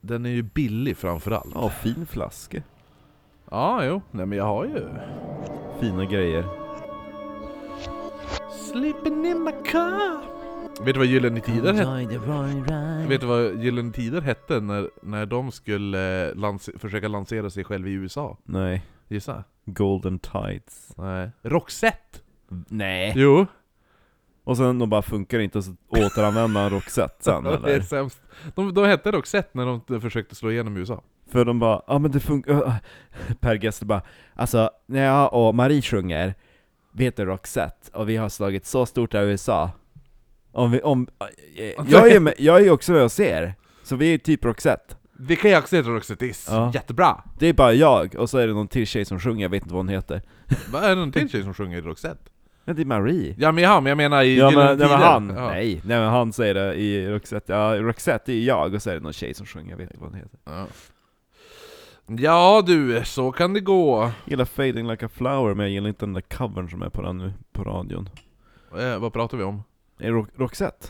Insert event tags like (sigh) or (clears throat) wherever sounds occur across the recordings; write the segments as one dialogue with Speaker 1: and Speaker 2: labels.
Speaker 1: den är ju billig framförallt.
Speaker 2: Ja, fin flaska.
Speaker 1: Ja, jo. Nej men jag har ju...
Speaker 2: Fina grejer.
Speaker 1: Sleeping in my car. Vet du vad Gyllene Tider hette? Vet du vad Gyllene Tider hette när, när de skulle eh, lans- försöka lansera sig själva i USA?
Speaker 2: Nej.
Speaker 1: Gissa?
Speaker 2: Golden Tights.
Speaker 1: Nej. Roxette!
Speaker 2: Nej.
Speaker 1: Jo,
Speaker 2: Och sen de bara funkar inte och så återanvänder man Roxette
Speaker 1: (laughs)
Speaker 2: sen
Speaker 1: det är
Speaker 2: eller?
Speaker 1: sämst. De, de hette Roxette när de inte försökte slå igenom i USA.
Speaker 2: För de bara, ja ah, men det funkar... (laughs) Per Gessle bara, alltså när jag och Marie sjunger, vi heter Roxette och vi har slagit så stort här i USA. Om vi, om... eh, Jag är, med, jag är också med och ser, så vi är typ Roxette.
Speaker 1: Det kan jag också heta Roxettis.
Speaker 2: Ja.
Speaker 1: Jättebra!
Speaker 2: Det är bara jag, och så är det någon till tjej som sjunger, jag vet inte vad hon heter.
Speaker 1: Vad är det någon till tjej som sjunger i Roxette?
Speaker 2: Ja, det är Marie.
Speaker 1: Ja men han, men jag menar i
Speaker 2: Ja
Speaker 1: Gyllene
Speaker 2: men det var
Speaker 1: Tider.
Speaker 2: han,
Speaker 1: Ja.
Speaker 2: nej, nej men han säger det i Roxette, ja Roxette är ju jag och så är det någon tjej som sjunger, jag vet inte vad hon heter
Speaker 1: Ja. ja du, så kan det gå.
Speaker 2: Jag gillar Fading Like A Flower men jag gillar inte den där covern som är på den nu, på radion
Speaker 1: Eh, vad pratar vi om?
Speaker 2: Är det Ro- Roxette?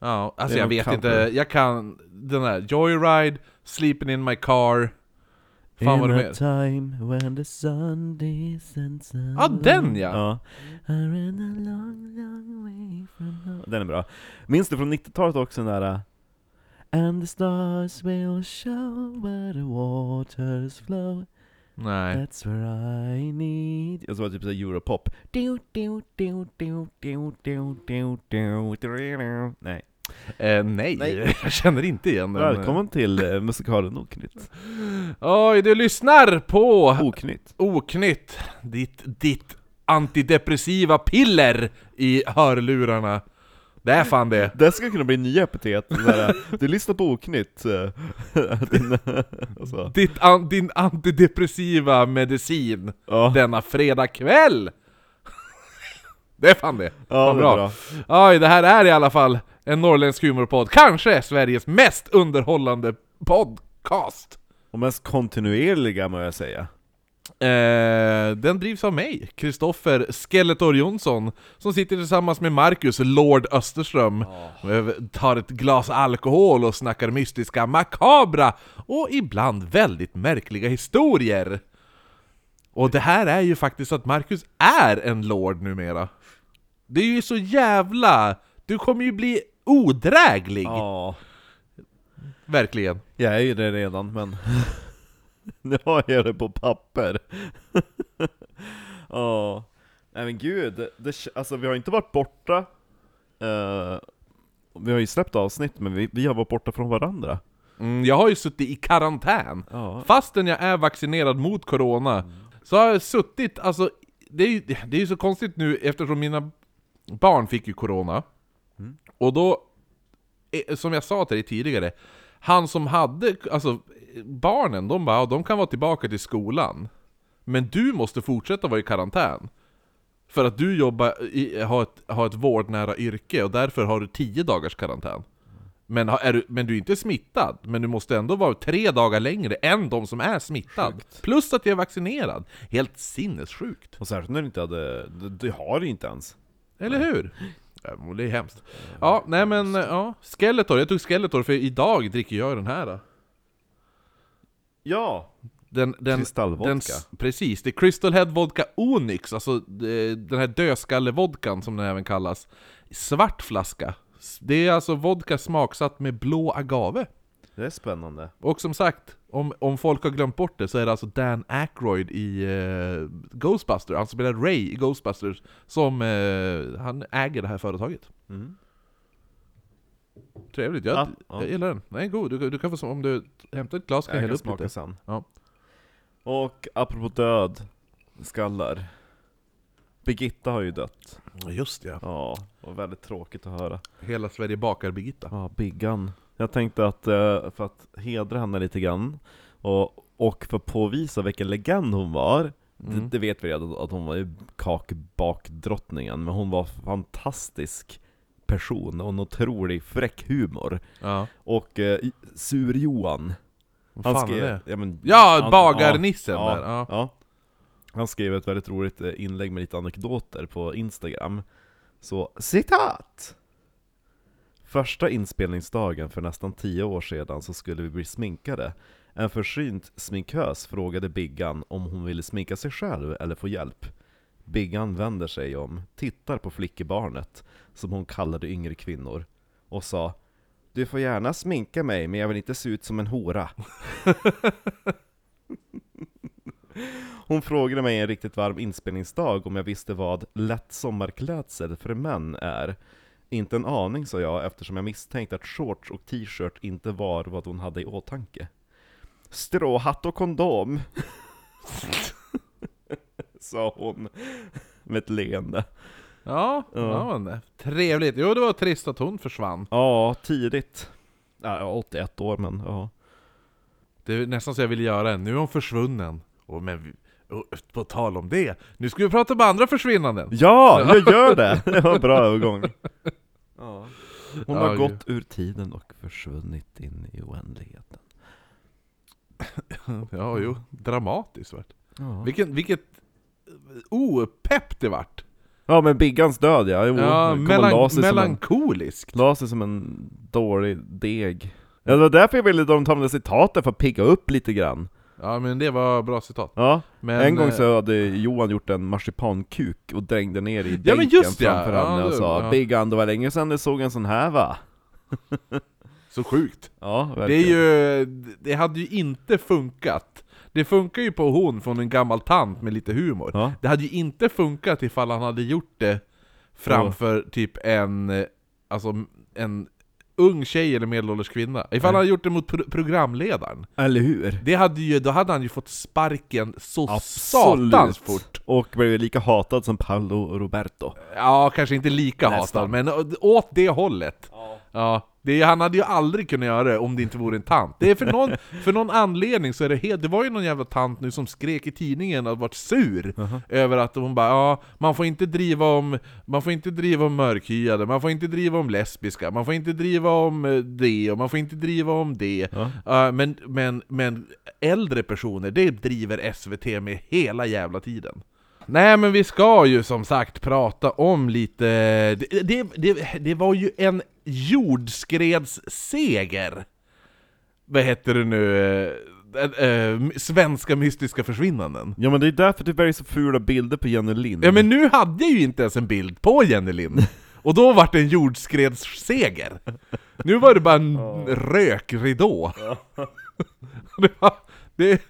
Speaker 1: Ja, alltså
Speaker 2: Det är
Speaker 1: jag
Speaker 2: någon
Speaker 1: vet
Speaker 2: cover.
Speaker 1: inte, jag kan den där Joyride, Sleeping in my car Fan vad det mer?
Speaker 2: time when the sun descends
Speaker 1: Ja den ja!
Speaker 2: Ja, I ran a long, long way from home. Den är bra. Minns du från 90-talet också den där eh, And the stars will show where the waters flow
Speaker 1: Nej,
Speaker 2: That's where I need... Jag var typ såhär europop. Du, du, du, du, du, du, du, du, du, du. Nej.
Speaker 1: eh, nej.
Speaker 2: Nej.
Speaker 1: (laughs) jag känner inte igen den
Speaker 2: Välkommen till eh, musikalen Oknytt.
Speaker 1: Oj, du lyssnar på
Speaker 2: Oknytt.
Speaker 1: Oknytt ditt, ditt antidepressiva piller i hörlurarna Det är fan det!
Speaker 2: Det ska kunna bli nya epitet. Sådär, du lyssnar på Oknytt. eh, (laughs) Din, alltså.
Speaker 1: Ditt an, din antidepressiva medicin
Speaker 2: ja,
Speaker 1: denna fredagkväll! (laughs) Det är fan det!
Speaker 2: ja,
Speaker 1: Vad
Speaker 2: det är bra.
Speaker 1: Oj, det här är i alla fall en norrländsk humorpodd, kanske Sveriges mest underhållande podcast!
Speaker 2: Och mest kontinuerliga må jag säga.
Speaker 1: Eh, den drivs av mig, Kristoffer Skeletor Jonsson, som sitter tillsammans med Marcus Lord Österström, eh, tar ett glas alkohol och snackar mystiska, makabra och ibland väldigt märkliga historier. Och det här är ju faktiskt att Marcus är en lord numera. Det är ju så jävla... Du kommer ju bli odräglig!
Speaker 2: Ja,
Speaker 1: Verkligen.
Speaker 2: jag är ju det redan men (laughs) nu har jag det på papper. (laughs) Ja, nej men gud, det, det, alltså vi har inte varit borta, eh, vi har ju släppt avsnitt men vi, vi har varit borta från varandra.
Speaker 1: Mm, jag har ju suttit i karantän.
Speaker 2: Ja.
Speaker 1: Fastän jag är vaccinerad mot corona, så har jag suttit, alltså, det är ju det är ju så konstigt nu eftersom mina barn fick ju corona, och då, eh, som jag sa till dig tidigare, han som hade, alltså barnen, de bara "Ja, de kan vara tillbaka till skolan, men du måste fortsätta vara i karantän. För att du jobbar i, har, ett, har ett vårdnära yrke och därför har du 10 dagars karantän. Men, har- är du, men du är inte smittad, men du måste ändå vara tre dagar längre än de som är smittad. Plus att jag är vaccinerad. Helt sinnessjukt.
Speaker 2: Och särskilt när du inte hade, du, du har det ju inte ens.
Speaker 1: Eller hur? Ja, men Det är hemskt. Ja, nej men ja. Skeletor, jag tog Skeletor för idag dricker jag den här.
Speaker 2: Ja!
Speaker 1: Den, den,
Speaker 2: Kristallvodka.
Speaker 1: den s- precis, det är Crystal Head Vodka Onyx, alltså eh, den här dödskallevodkan som den även kallas. Svart flaska. S- Det är alltså vodka smaksatt med blå agave.
Speaker 2: Det är spännande.
Speaker 1: Och som sagt, om, om folk har glömt bort det så är det alltså Dan Aykroyd i eh, Ghostbusters, han spelar Ray i Ghostbusters, som eh, han äger det här företaget.
Speaker 2: Mm.
Speaker 1: Trevligt, jag,
Speaker 2: Ja, ja.
Speaker 1: jag gillar den. Den är god, du, du kan få som om du hämtar ett glas kan jag hälla
Speaker 2: Jag kan
Speaker 1: upp
Speaker 2: smaka
Speaker 1: lite.
Speaker 2: sen.
Speaker 1: Ja.
Speaker 2: Och apropå död, skallar. Birgitta har ju dött.
Speaker 1: Just ja.
Speaker 2: Ja, och väldigt tråkigt att höra.
Speaker 1: Hela Sverige bakar Birgitta.
Speaker 2: Ja, Biggan. Jag tänkte att eh, för att hedra henne lite grann, och, och för att påvisa vilken legend hon var, det,
Speaker 1: Mm.
Speaker 2: det vet vi redan att hon var ju kakbakdrottningen, men hon var fantastisk person och en otrolig fräck humor.
Speaker 1: Ja.
Speaker 2: Och eh, Sur-Johan,
Speaker 1: Vad fan är det?
Speaker 2: Ja, men,
Speaker 1: Ja,
Speaker 2: han-
Speaker 1: bagarnissen
Speaker 2: ja,
Speaker 1: där. Ja.
Speaker 2: Ja. Han skrev ett väldigt roligt eh, inlägg med lite anekdoter på Instagram. Så citat! Första inspelningsdagen för nästan tio år sedan så skulle vi bli sminkade. En försynt sminkös frågade Biggan om hon ville sminka sig själv eller få hjälp. Biggan vänder sig om, tittar på flickebarnet, som hon kallade yngre kvinnor, och sa Du får gärna sminka mig, men jag vill inte se ut som en hora. Hon frågade mig en riktigt varm inspelningsdag om jag visste vad lätt sommarklädsel för män är. Inte en aning sa jag eftersom jag misstänkte att shorts och t-shirt inte var vad hon hade i åtanke. Stråhatt och kondom! (laughs) sa hon med ett leende.
Speaker 1: Ja, ja. men, trevligt. Jo, det var trist att hon försvann.
Speaker 2: Ja, tidigt. Ja, jag var 81 år men ja.
Speaker 1: Det är nästan så jag vill göra en. Nu är hon försvunnen. Och men, vi- och på tal om det, nu ska vi prata om andra försvinnanden.
Speaker 2: Ja, jag gör det! Det var en bra övergång. Ja. Hon har
Speaker 1: Ja,
Speaker 2: gått ur tiden och försvunnit in i oändligheten.
Speaker 1: Ja, jo. Dramatiskt vart
Speaker 2: Ja.
Speaker 1: Vilken, vilket opepp det vart!
Speaker 2: Ja men Biggans död ja, jo,
Speaker 1: Ja,
Speaker 2: den kom och la
Speaker 1: melan,
Speaker 2: sig som en,
Speaker 1: melankoliskt.
Speaker 2: la sig som en dålig deg Ja det var därför jag ville de ta med det citatet för att pigga upp lite grann
Speaker 1: Ja men det var bra citat.
Speaker 2: Ja,
Speaker 1: Men,
Speaker 2: en gång
Speaker 1: eh,
Speaker 2: så hade Johan gjort en marsipankuk och drängde ner i
Speaker 1: Ja,
Speaker 2: dejken
Speaker 1: men just det, ja.
Speaker 2: framför
Speaker 1: Ja,
Speaker 2: henne och
Speaker 1: det-
Speaker 2: sa
Speaker 1: ja.
Speaker 2: Biggan, det var länge sedan du såg en sån här va?
Speaker 1: Så sjukt.
Speaker 2: Ja, verkligen
Speaker 1: Det är ju, det hade ju inte funkat. Det funkar ju på hon från en gammal tant med lite humor.
Speaker 2: Ja,
Speaker 1: Det hade ju inte funkat ifall han hade gjort det framför typ en, eh, alltså en ung tjej eller medelålders kvinna. Ifall han
Speaker 2: Nej.
Speaker 1: hade gjort det mot pro- programledaren.
Speaker 2: eller hur?
Speaker 1: Det hade ju, då hade han ju fått sparken så
Speaker 2: Absolut.
Speaker 1: satans fort.
Speaker 2: Och blev lika hatad som Paolo Roberto
Speaker 1: Ja, kanske inte lika
Speaker 2: Nästan.
Speaker 1: hatad, men å- åt det hållet. Ja, det, han hade ju aldrig kunnat göra det om det inte vore en tant. Det är för någon, för någon anledning så är det helt... Det var ju någon jävla tant nu som skrek i tidningen att varit sur över att hon bara ja, man får inte driva om man får inte driva om mörkhyade, man får inte driva om lesbiska, man får inte driva om eh, det och man får inte driva om det. Ja, men, men, men äldre personer, det driver SVT med hela jävla tiden. Nej men vi ska ju som sagt prata om lite... Det, det, det, det var ju en jordskredsseger! Vad heter det nu? Eh, eh, svenska mystiska försvinnanden.
Speaker 2: Ja men det är därför det är så fula bilder på Jenny Lind
Speaker 1: Ja men nu hade jag ju inte ens en bild på Jenny (laughs) Lind. Och då vart det en jordskredsseger. Nu var det bara en rökridå. (laughs) Det, var, det,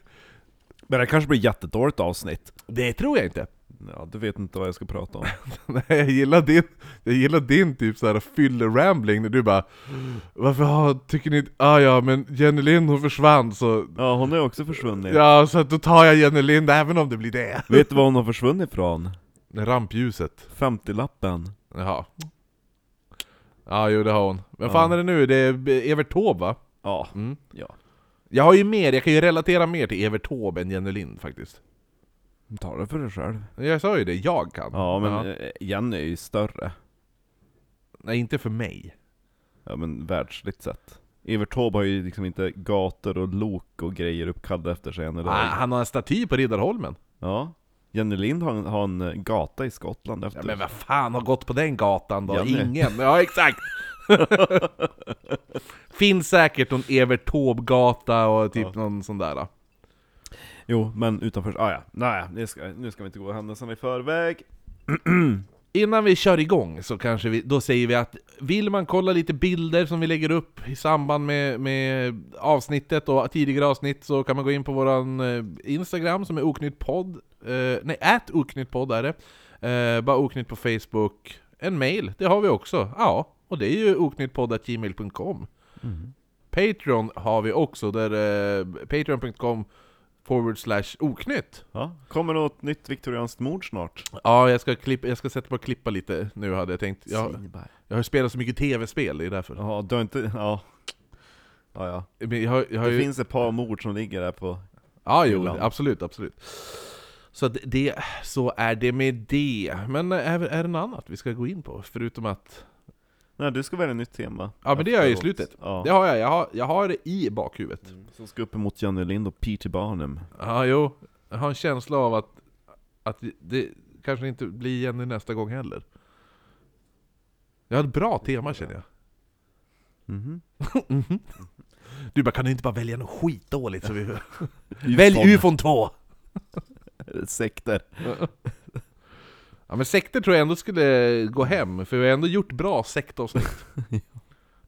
Speaker 2: men det kanske blir ett jättedåligt avsnitt
Speaker 1: det tror jag inte.
Speaker 2: Ja, du vet inte vad jag ska prata om
Speaker 1: (laughs) Nej, jag gillar din, jag gillar din typ såhär fylle-rambling när du bara Varför har, tycker ni inte, ah, ja men Jenny Lind hon försvann så
Speaker 2: (laughs) Ja, hon är också försvunnit.
Speaker 1: Ja, så att då tar jag Jenny Lind även om det blir det
Speaker 2: (laughs) Vet du var hon har försvunnit ifrån?
Speaker 1: Rampljuset,
Speaker 2: 50-lappen.
Speaker 1: jaha Ja jo det har hon, vem fan är det nu? Det är Evert Taube va?
Speaker 2: Ja.
Speaker 1: Mm.
Speaker 2: ja.
Speaker 1: Jag har ju mer, jag kan ju relatera mer till Evert Taube än Jenny Lind faktiskt
Speaker 2: Ta det för dig själv.
Speaker 1: Jag sa ju det, jag kan
Speaker 2: Ja, men eh, Jenny är ju större.
Speaker 1: Nej inte för mig
Speaker 2: Ja, men världsligt sett. Evert Taube har ju liksom inte gator och lok och grejer uppkallade efter sig än
Speaker 1: ah,
Speaker 2: idag.
Speaker 1: Han har en staty på Riddarholmen
Speaker 2: Ja. Jenny Lind har, en- har en gata i Skottland efter
Speaker 1: Ja,
Speaker 2: sig.
Speaker 1: men vad fan har gått på den gatan då?
Speaker 2: Jenny.
Speaker 1: Ingen! Ja,
Speaker 2: (laughs)
Speaker 1: exakt! Finns säkert någon Evert Taube-gata och typ någon sån där. då.
Speaker 2: Jo, men utanför... Ah, ja, nej, det ska, nu ska vi inte gå händelserna i förväg.
Speaker 1: Innan vi kör igång så kanske vi, då säger vi att vill man kolla lite bilder som vi lägger upp i samband med, med avsnittet och tidigare avsnitt så kan man gå in på våran eh, Instagram som är oknyttpodd, eh, nej, ät oknyttpodd är det. Eh, bara oknytt på Facebook. En mail, det har vi också. Ja, och det är ju oknyttpodd.gmail.com. Mm. Patreon har vi också, där eh, patreon.com forward slash oknytt.
Speaker 2: Ja. Kommer något nytt viktorianskt mord snart?
Speaker 1: Ja, jag ska, klippa, jag ska sätta på och klippa lite nu hade jag tänkt. Jag,
Speaker 2: Sinberg.
Speaker 1: jag har spelat så mycket tv-spel, det är därför.
Speaker 2: Ja, du har inte... Ja. Ja, ja.
Speaker 1: Men jag, har- jag har
Speaker 2: Det
Speaker 1: ju...
Speaker 2: finns ett par mord som ligger där på...
Speaker 1: Ja, jo,
Speaker 2: Ibland.
Speaker 1: absolut, absolut. Så att det, så är det med det. Men är, är det något annat vi ska gå in på? Förutom att...
Speaker 2: Nej, du ska välja ett nytt tema.
Speaker 1: Ja, men det gör jag i
Speaker 2: Efteråt.
Speaker 1: slutet.
Speaker 2: Ja. Mm,
Speaker 1: Det har jag, jag har, jag har det i bakhuvudet.
Speaker 2: Som ska upp emot Johnny Lind och Peter Barnum.
Speaker 1: Ja, jo. Jag har en känsla av att, att det kanske inte blir Jenny nästa gång heller. Jag har ett bra tema känner jag.
Speaker 2: Mhm.
Speaker 1: Du bara, kan du inte bara välja något skitdåligt? Så (laughs) vi...
Speaker 2: Ufon.
Speaker 1: Välj UFON 2!
Speaker 2: Sekter.
Speaker 1: Ja men sekter tror jag ändå skulle gå hem, för vi har ändå gjort bra sektavsnitt.
Speaker 2: (laughs)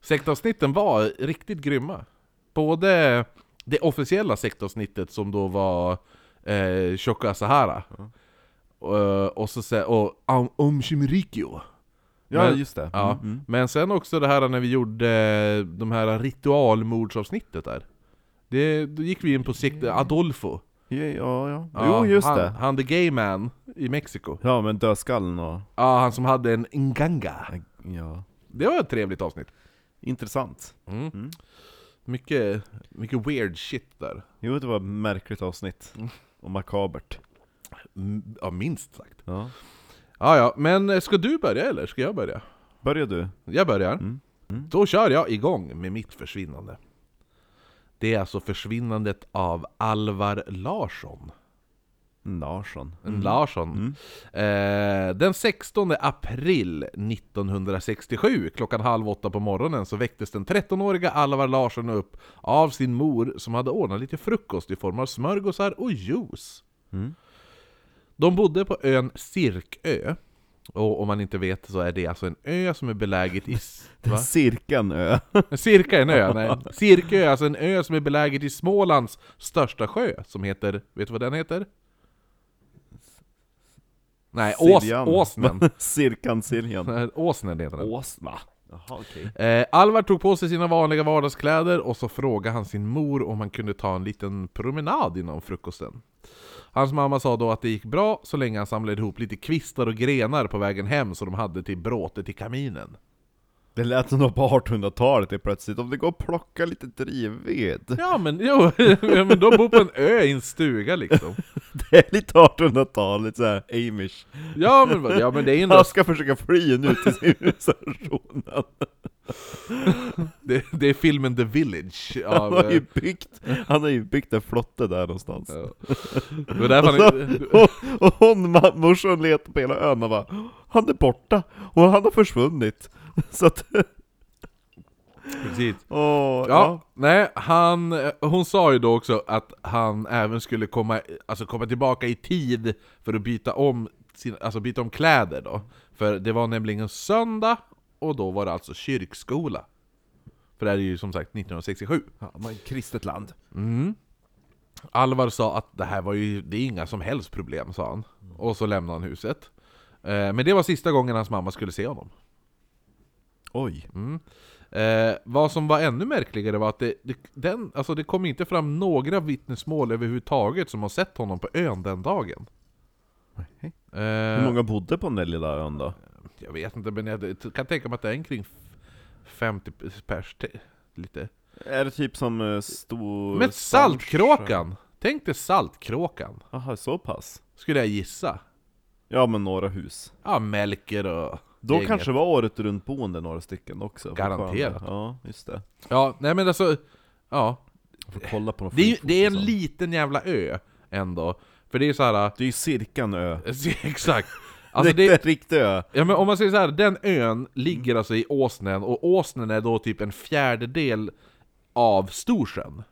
Speaker 1: Sektavsnitten var riktigt grymma. Både det officiella sektavsnittet som då var eh, Tjocka Sahara,
Speaker 2: Mm.
Speaker 1: Eh, och, så, se- och Om- Om Shimrikyo.
Speaker 2: Ja,
Speaker 1: Men-
Speaker 2: just det.
Speaker 1: Ja.
Speaker 2: Mm, mm.
Speaker 1: Men sen också det här när vi gjorde eh, de här ritualmordsavsnittet där. Det, då gick vi in på sekt Adolfo.
Speaker 2: Ja, ja, ja.
Speaker 1: Ja,
Speaker 2: jo, just
Speaker 1: han,
Speaker 2: det.
Speaker 1: Han the gay man i Mexiko.
Speaker 2: Ja, men dödskallen och... äh,
Speaker 1: Ja, han som hade en nganga.
Speaker 2: Ja.
Speaker 1: Det var ett trevligt avsnitt.
Speaker 2: Intressant.
Speaker 1: Mm. Mycket, mycket weird shit där.
Speaker 2: Jo, det var ett märkligt avsnitt. Och makabert.
Speaker 1: M- Ja, minst sagt.
Speaker 2: Ja.
Speaker 1: Ja, ja, men eh, ska du börja eller ska jag börja?
Speaker 2: Börjar du?
Speaker 1: Jag börjar.
Speaker 2: Mm. Mm.
Speaker 1: Då kör jag igång med mitt försvinnande. Det är alltså försvinnandet av Alvar Larsson.
Speaker 2: Larsson.
Speaker 1: En Mm. Larsson. Eh, den 16 april 1967, klockan halv åtta på morgonen, så väcktes den 13-åriga Alvar Larsson upp av sin mor som hade ordnat lite frukost i form av smörgåsar och juice.
Speaker 2: Mm.
Speaker 1: De bodde på ön Sirkö. Och om man inte vet så är det alltså en ö som är beläget i...
Speaker 2: Det är
Speaker 1: Va?
Speaker 2: cirkeln ö.
Speaker 1: Cirka är en ö, nej. Sirkö är alltså en ö som är beläget i Smålands största sjö, som heter... Vet du vad den heter? Nej, Ås,
Speaker 2: Siljan.
Speaker 1: Åsnen. (laughs)
Speaker 2: (laughs) Cirkan, Siljan.
Speaker 1: Nej, Åsnen heter den.
Speaker 2: Åsna. Jaha, okej.
Speaker 1: Eh, Alvar tog på sig sina vanliga vardagskläder och så frågade han sin mor om han kunde ta en liten promenad innan frukosten. Hans mamma sa då att det gick bra så länge han samlade ihop lite kvistar och grenar på vägen hem så de hade till bråte i kaminen.
Speaker 2: Det lät som något på 1800-talet helt plötsligt. Om det går att plocka lite drivved. (laughs)
Speaker 1: Ja men jo, (laughs) ja, men de bor på en ö i en stuga liksom.
Speaker 2: Det är lite 1800-talet såhär, amish.
Speaker 1: Ja men, vad- ja, men det är ändå
Speaker 2: Han ska försöka fly nu till (laughs) civilisationen.
Speaker 1: Det, det är filmen The Village
Speaker 2: Han (laughs)
Speaker 1: av...
Speaker 2: har ju
Speaker 1: eh,
Speaker 2: byggt, han har ju byggt en flotte där någonstans.
Speaker 1: ja. Det var därför
Speaker 2: Och,
Speaker 1: han,
Speaker 2: så, och, och hon, ma- morsan letar på hela ön och bara Han är borta, och han har försvunnit. (laughs) Så att,
Speaker 1: precis.
Speaker 2: åh,
Speaker 1: Ja,
Speaker 2: ja.
Speaker 1: nej, han, eh, hon sa ju då också att han även skulle komma, alltså komma tillbaka i tid för att byta om, sin, alltså byta om kläder då. För det var nämligen söndag, och då var det alltså kyrkskola. För det här är ju som sagt 1967.
Speaker 2: ja. Man kristet land.
Speaker 1: Alvar sa att det här var ju, det är inga som helst problem, sa han. Och så lämnade han huset. Eh, Men det var sista gången hans mamma skulle se honom.
Speaker 2: Oj.
Speaker 1: Eh, vad som var ännu märkligare var att det, det, den, alltså det kom inte fram några vittnesmål överhuvudtaget som har sett honom på ön den dagen. Eh,
Speaker 2: Hur många bodde på den där lilla ön då?
Speaker 1: Jag vet inte, men jag t- kan tänka mig att det är en kring f- 50 pers till, lite.
Speaker 2: Är det typ som eh, stor...
Speaker 1: Men Saltkråkan! Tänk dig Saltkråkan,
Speaker 2: Jaha, så pass?
Speaker 1: skulle jag gissa.
Speaker 2: Ja men några hus.
Speaker 1: Ja, Melker och...
Speaker 2: Då
Speaker 1: gänget.
Speaker 2: kanske var året runt boende några stycken också.
Speaker 1: Garanterat.
Speaker 2: fortfarande. Ja, just det.
Speaker 1: Ja, nej men alltså... Ja.
Speaker 2: Jag får kolla på någon
Speaker 1: Det är, ju-
Speaker 2: flygfot
Speaker 1: det är
Speaker 2: och
Speaker 1: en
Speaker 2: sånt.
Speaker 1: liten jävla ö, ändå. För det är ju såhär...
Speaker 2: Det är ju cirkan ö.
Speaker 1: (laughs) Exakt!
Speaker 2: Alltså
Speaker 1: Alltså
Speaker 2: det är
Speaker 1: det,
Speaker 2: inte en riktig ö.
Speaker 1: Ja men om man säger så här, den ön ligger alltså i Åsnen, och Åsnen är då typ en fjärdedel av Storsjön.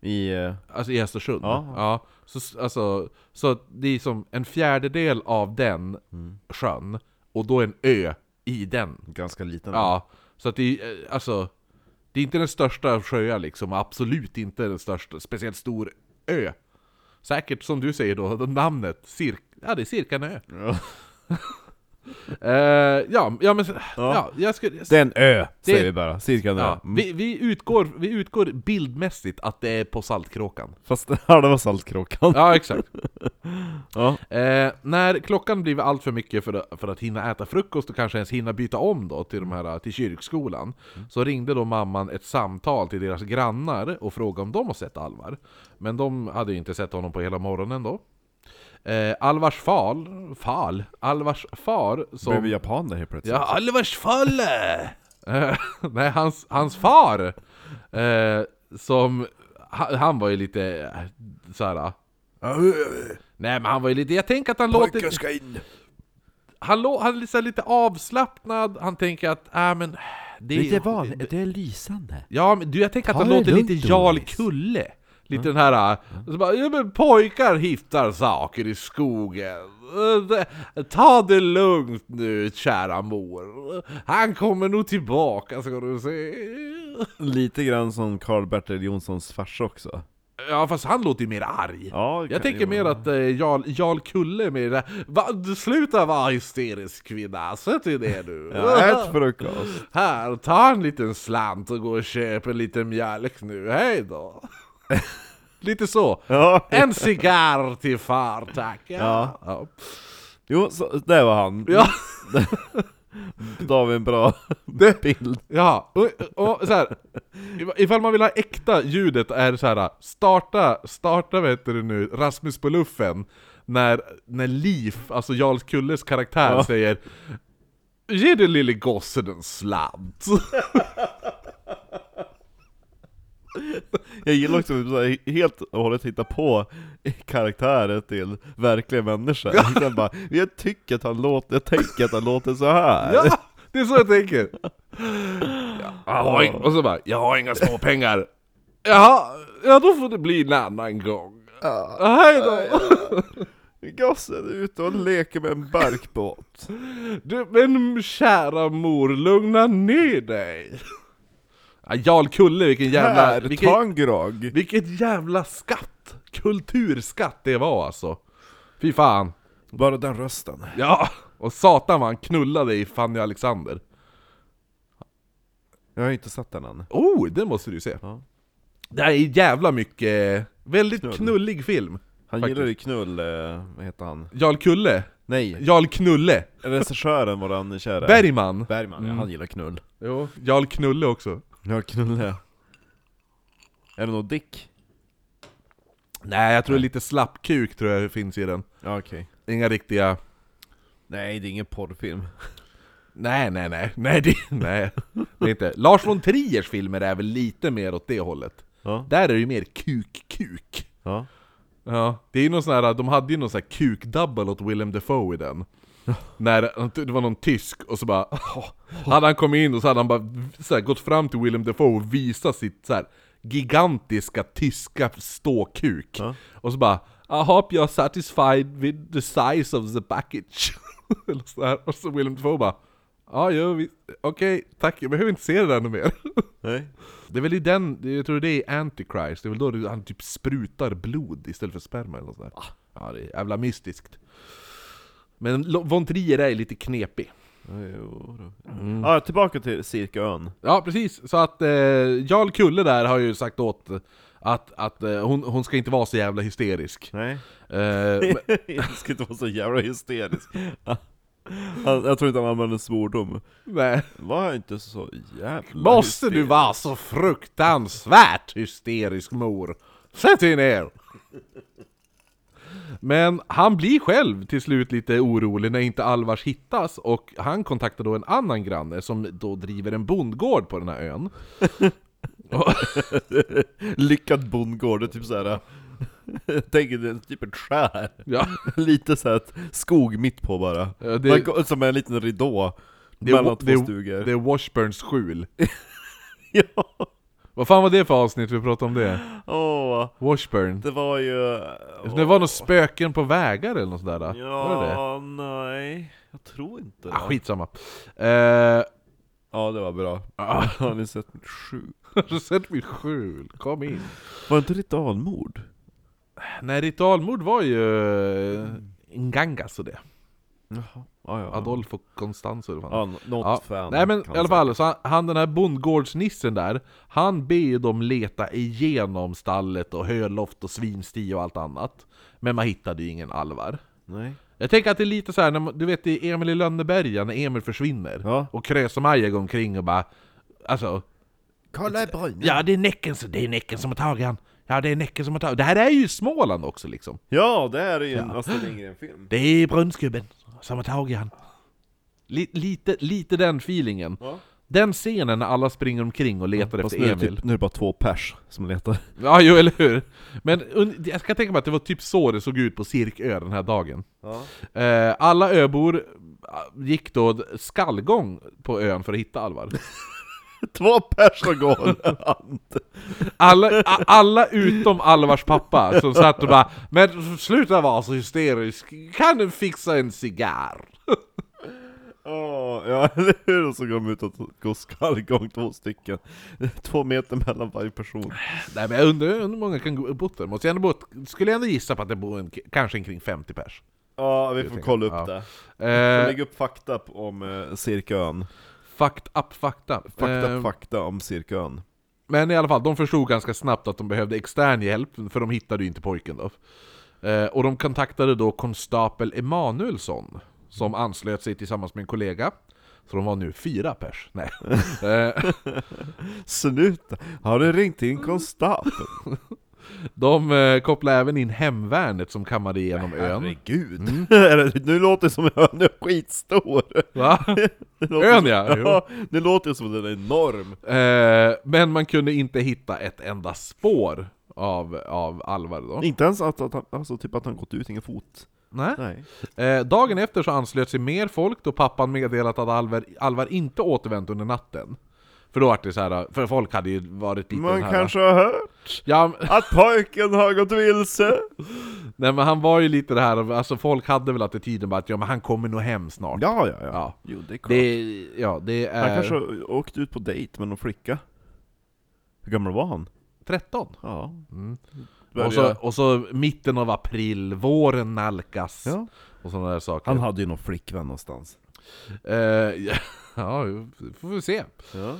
Speaker 2: I... eh,
Speaker 1: Alltså i Östersund.
Speaker 2: Ja.
Speaker 1: Ja, så, s- alltså, så att det är som en fjärdedel av den sjön, och då en ö i den.
Speaker 2: ganska liten ö.
Speaker 1: Ja, så att det är, eh, alltså, det är inte den största av sjöar liksom, och absolut inte den största, speciellt stor ö. Säkert som du säger då, namnet, cir- ja det är Cirkanö.
Speaker 2: Ja.
Speaker 1: (laughs) Eh, ja, ja men, ja. ja jag skulle...
Speaker 2: Det är en ö, säger
Speaker 1: Det-
Speaker 2: vi bara. Cirkan
Speaker 1: Ja,
Speaker 2: ö. Mm.
Speaker 1: vi, vi, utgår, vi utgår bildmässigt att det är på Saltkråkan.
Speaker 2: Fast (laughs) ja, det var Saltkråkan.
Speaker 1: Ja, exakt.
Speaker 2: Ja.
Speaker 1: Eh, när klockan blivit allt för mycket för, att- för att hinna äta frukost och kanske ens hinna byta om då till, de här, eh, till kyrkskolan, så ringde då mamman ett samtal till deras grannar och frågade om de har sett Alvar. Men de hade ju inte sett honom på hela morgonen då. Eh, Alvars far, far, Alvars far som...
Speaker 2: Blev vi japaner helt plötsligt?
Speaker 1: Ja, Alvars falle! Eh, (laughs) Nej, hans, hans far! Eh, som... Han, han var ju lite eh, såhär... Nej men han var ju lite... Jag tänker att han låter...
Speaker 2: ska in!
Speaker 1: Han, lå, han är liksom lite avslappnad, han tänker att äh, men det
Speaker 2: Det är, van, det är lysande.
Speaker 1: Ja, men du jag tänker att
Speaker 2: Ta
Speaker 1: han låter
Speaker 2: det lugnt, Mm.
Speaker 1: lite Jarl
Speaker 2: Doris.
Speaker 1: Kulle. Lite den här, och så bara, ja, men pojkar hittar saker i skogen. Eh, det- Ta det lugnt nu kära mor. Han kommer nog tillbaka ska du se.
Speaker 2: Lite grann som Karl-Bertil Jonssons
Speaker 1: (laughs)
Speaker 2: farsa också.
Speaker 1: Ja fast han låter ju mer arg.
Speaker 2: Ja, det
Speaker 1: Jag
Speaker 2: kan
Speaker 1: tänker
Speaker 2: ju
Speaker 1: mer
Speaker 2: vara.
Speaker 1: att eh, Jarl, Jarl Kulle är mer det där, "Va, du Sluta vara hysterisk kvinna, sätt dig ner nu.
Speaker 2: (laughs) Ja, ät frukost!
Speaker 1: (laughs) Här, ta en liten slant och gå och köp en liten mjölk nu, hej
Speaker 2: (laughs)
Speaker 1: då! Lite så.
Speaker 2: Ja.
Speaker 1: En cigarr till far, tack!
Speaker 2: Ja.
Speaker 1: ja.
Speaker 2: Jo, så, det var han.
Speaker 1: Ja.
Speaker 2: (laughs) Då har vi en bra bild.
Speaker 1: Ja, och, och så här, if- ifall man vill ha äkta ljudet är så här starta, starta vad heter det nu, Rasmus på luffen när, när Liv, alltså Jarl Kulles karaktär,
Speaker 2: Ja.
Speaker 1: säger Ge den lille gossen en slant!
Speaker 2: Jag gillar också att jag helt och hållet hitta på karaktärer till verkliga människor. Sen bara, jag tycker att han låter, jag tänker att han låter så här.
Speaker 1: Ja, det är så jag tänker! Jag har ing- och så bara, jag har inga småpengar! Jaha, ja då får det bli en annan gång. Hej då!
Speaker 2: Gossen är ute och leker med en barkbåt.
Speaker 1: Du, men kära mor, lugna ner dig! Ja, Jarl Kulle, vilken jävla...
Speaker 2: Här, ta
Speaker 1: Vilken,
Speaker 2: en grogg.
Speaker 1: vilken jävla skatt! Kulturskatt det var alltså! Fy fan!
Speaker 2: Bara den rösten.
Speaker 1: Ja! Och satan vad han knullade i Fanny Alexander.
Speaker 2: Jag har inte sett den än.
Speaker 1: Oh, det måste du se!
Speaker 2: Ja.
Speaker 1: Det här är jävla mycket... Väldigt
Speaker 2: Knull.
Speaker 1: knullig film.
Speaker 2: Han
Speaker 1: Faktiskt.
Speaker 2: gillar ju knull, eh, vad heter han?
Speaker 1: Jarl Kulle?
Speaker 2: Nej,
Speaker 1: (laughs) Jarl Knulle?
Speaker 2: regissören våran kära
Speaker 1: Bergman?
Speaker 2: Bergman, ja,
Speaker 1: Mm.
Speaker 2: han gillar knull.
Speaker 1: Jo. Jarl Knulle också.
Speaker 2: Ja, knulle. Är det något dick?
Speaker 1: Nej, jag tror det är lite slappkuk tror jag det finns i den.
Speaker 2: Ja, okej.
Speaker 1: Inga riktiga...
Speaker 2: Nej, det är ingen porrfilm.
Speaker 1: Nej, nej, nej. (laughs) Nej, det, nej. det är inte. Lars von Triers filmer är väl lite mer åt det hållet.
Speaker 2: Ja.
Speaker 1: Där är det ju mer kuk-kuk.
Speaker 2: ja.
Speaker 1: Ja, det är ju någon sån här, de hade ju någon sån här kuk-double åt Willem Dafoe i den. När, det var någon tysk, och så bara... (laughs) Hade han kommit in och så hade han bara så här, gått fram till Willem Dafoe och visat sitt så här, gigantiska tyska ståkuk.
Speaker 2: Ja.
Speaker 1: Och så bara I hope you're satisfied with the size of the package. (laughs) Eller så här. Och så Willem Dafoe bara Ja, jo, vi- okej, tack, jag behöver inte se det där något mer. (laughs)
Speaker 2: Nej.
Speaker 1: Det är väl i den, jag tror det är Antichrist, det är väl då du- han typ sprutar blod istället för sperma eller nåt sånt där. Ja, det är jävla mystiskt. Men Lo- von Trier är lite knepig.
Speaker 2: Ja, jo då. Ja, tillbaka till Cirkaön.
Speaker 1: Ja, precis. Så att eh, Jarl Kulle där har ju sagt åt att, att eh, hon, hon ska inte vara så jävla hysterisk.
Speaker 2: (laughs) Nej.
Speaker 1: Eh, men,
Speaker 2: Jag ska inte vara så jävla hysterisk. Han, jag tror inte han använde svordom.
Speaker 1: nej.
Speaker 2: Var inte så jävla
Speaker 1: Måste du
Speaker 2: hysterisk.
Speaker 1: vara så fruktansvärt hysterisk mor? Sätt dig ner! Men han blir själv till slut lite orolig när inte Alvars hittas och han kontaktar då en annan granne som då driver en bondgård på den här ön.
Speaker 2: Lyckad bondgård, det är typ såhär... (laughs) Jag tänker det är typ ett skär.
Speaker 1: Ja,
Speaker 2: Lite såhär skog mitt på bara.
Speaker 1: Ja, det-
Speaker 2: Man går, som en liten ridå.
Speaker 1: det,
Speaker 2: mellan
Speaker 1: är,
Speaker 2: två
Speaker 1: det,
Speaker 2: stugor.
Speaker 1: är, det är Washburns skjul.
Speaker 2: (laughs) ja.
Speaker 1: Vad fan var det för avsnitt vi pratade om det?
Speaker 2: Åh,
Speaker 1: Washburn?
Speaker 2: det var ju...
Speaker 1: Det var nog spöken på vägar eller något sådär? Var det det?
Speaker 2: Ja, nej. Jag tror inte
Speaker 1: Ah,
Speaker 2: det.
Speaker 1: skitsamma. Eh, (laughs)
Speaker 2: Ja, det var bra.
Speaker 1: ah,
Speaker 2: Har ni sett mitt sju?
Speaker 1: har du sett mitt skjul? Kom in.
Speaker 2: Var det inte ritualmord?
Speaker 1: Nej, ritualmord var ju eh, Ngangas och det.
Speaker 2: Jaha. Ja, Mm. ja.
Speaker 1: Adolfo Constanzo eller vad
Speaker 2: Ja,
Speaker 1: han-
Speaker 2: n- något
Speaker 1: Ja.
Speaker 2: fan.
Speaker 1: Nej men
Speaker 2: kan
Speaker 1: i alla
Speaker 2: säga.
Speaker 1: fall, så han, han den här bondgårdsnissen där, han ber ju dem leta igenom stallet och höloft och svinsti och allt annat. Men man hittade ju ingen alvar.
Speaker 2: Nej.
Speaker 1: Jag tänker att det är lite så här, när man, du vet i Emil i Lönneberga när Emil försvinner
Speaker 2: Ja.
Speaker 1: och Krös och Maja går omkring och bara Alltså,
Speaker 2: Kolla i brynen.
Speaker 1: ja det är Näcken, som- det är näcken som har tagit han. Ja det är Näcken som har tagit Det här är ju Småland också liksom.
Speaker 2: Ja, det här är ju en Astrid Lindgren-film.
Speaker 1: Det är brunnsgubben som har tagit han. Li- lite, lite den feelingen.
Speaker 2: Ja.
Speaker 1: Den scenen när alla springer omkring och letar
Speaker 2: Fast
Speaker 1: efter
Speaker 2: nu är, det
Speaker 1: Emil.
Speaker 2: typ, nu är det bara två pers som letar. (laughs)
Speaker 1: Ja, jo, eller hur? Men un- jag ska tänka mig att det var typ så det såg ut på Cirkö den här dagen.
Speaker 2: Ja.
Speaker 1: Eh, alla öbor eh, gick då skallgång på ön för att hitta Alvar.
Speaker 2: Två pers som går
Speaker 1: (laughs)
Speaker 2: håller hand.
Speaker 1: Alla, a- alla utom Alvars pappa som satt och bara Men sluta vara så hysterisk, kan du fixa en cigarr?
Speaker 2: Åh, ja (laughs) eller hur? Och så går de ut och går skallgång två stycken. (laughs) Två meter mellan varje person.
Speaker 1: Nej men jag undrar hur många kan gå bort där? Måste jag ändå bott, skulle jag ändå gissa på att det bor en, kanske kring 50 pers?
Speaker 2: Ja, vi får
Speaker 1: tänker-
Speaker 2: kolla upp
Speaker 1: ja.
Speaker 2: det. Vi får
Speaker 1: Eh,
Speaker 2: lägga upp fakta p- om eh, Cirkön.
Speaker 1: fucked up fakta.
Speaker 2: Fakta,
Speaker 1: Eh,
Speaker 2: fakta om Cirkön.
Speaker 1: Men i alla fall, de förstod ganska snabbt att de behövde extern hjälp, för de hittade ju inte pojken då. Eh, och de kontaktade då konstapel Emanuelsson, som anslöt sig tillsammans med en kollega. Så de var nu fyra pers.
Speaker 2: (laughs)
Speaker 1: Nej. Eh,
Speaker 2: Sluta! Har du ringt
Speaker 1: Mm.
Speaker 2: in konstapeln?
Speaker 1: de eh, kopplade även in hemvärnet som kammade igenom ön.
Speaker 2: Herregud! (laughs) Eller, nu låter Mm. det som att ön är skitstor! (laughs)
Speaker 1: Va?
Speaker 2: Det låter
Speaker 1: Ön
Speaker 2: som,
Speaker 1: ja! Jo.
Speaker 2: ja! Det låter som att den är enorm!
Speaker 1: Eh, men man kunde inte hitta ett enda spår av, av Alvar då.
Speaker 2: Inte ens att, att han, alltså typ att han gått ut, ingen fot.
Speaker 1: Nej.
Speaker 2: Nej.
Speaker 1: Eh, dagen efter så anslöt sig mer folk då pappan meddelat att Alvar, Alvar inte återvänt under natten. För då var det så här, för folk hade ju varit lite
Speaker 2: Man
Speaker 1: så här,
Speaker 2: kanske har hört
Speaker 1: Ja, men-
Speaker 2: att pojken har gått vilse!
Speaker 1: nej men han var ju lite det här, alltså folk hade väl attityden bara att ja men han kommer nog hem snart.
Speaker 2: Ja, ja, ja.
Speaker 1: Ja.
Speaker 2: Jo, det är klart.
Speaker 1: Det, ja, det
Speaker 2: Han
Speaker 1: är...
Speaker 2: kanske har åkt ut på dejt med någon flicka. Hur gammal var han?
Speaker 1: 13.
Speaker 2: Ja.
Speaker 1: Mm.
Speaker 2: Börja-
Speaker 1: Och så, och så mitten av april, våren nalkas.
Speaker 2: Ja.
Speaker 1: Och sådana där saker.
Speaker 2: Han hade ju någon flickvän någonstans.
Speaker 1: Eh, (laughs) ja, vi får vi se.
Speaker 2: Ja.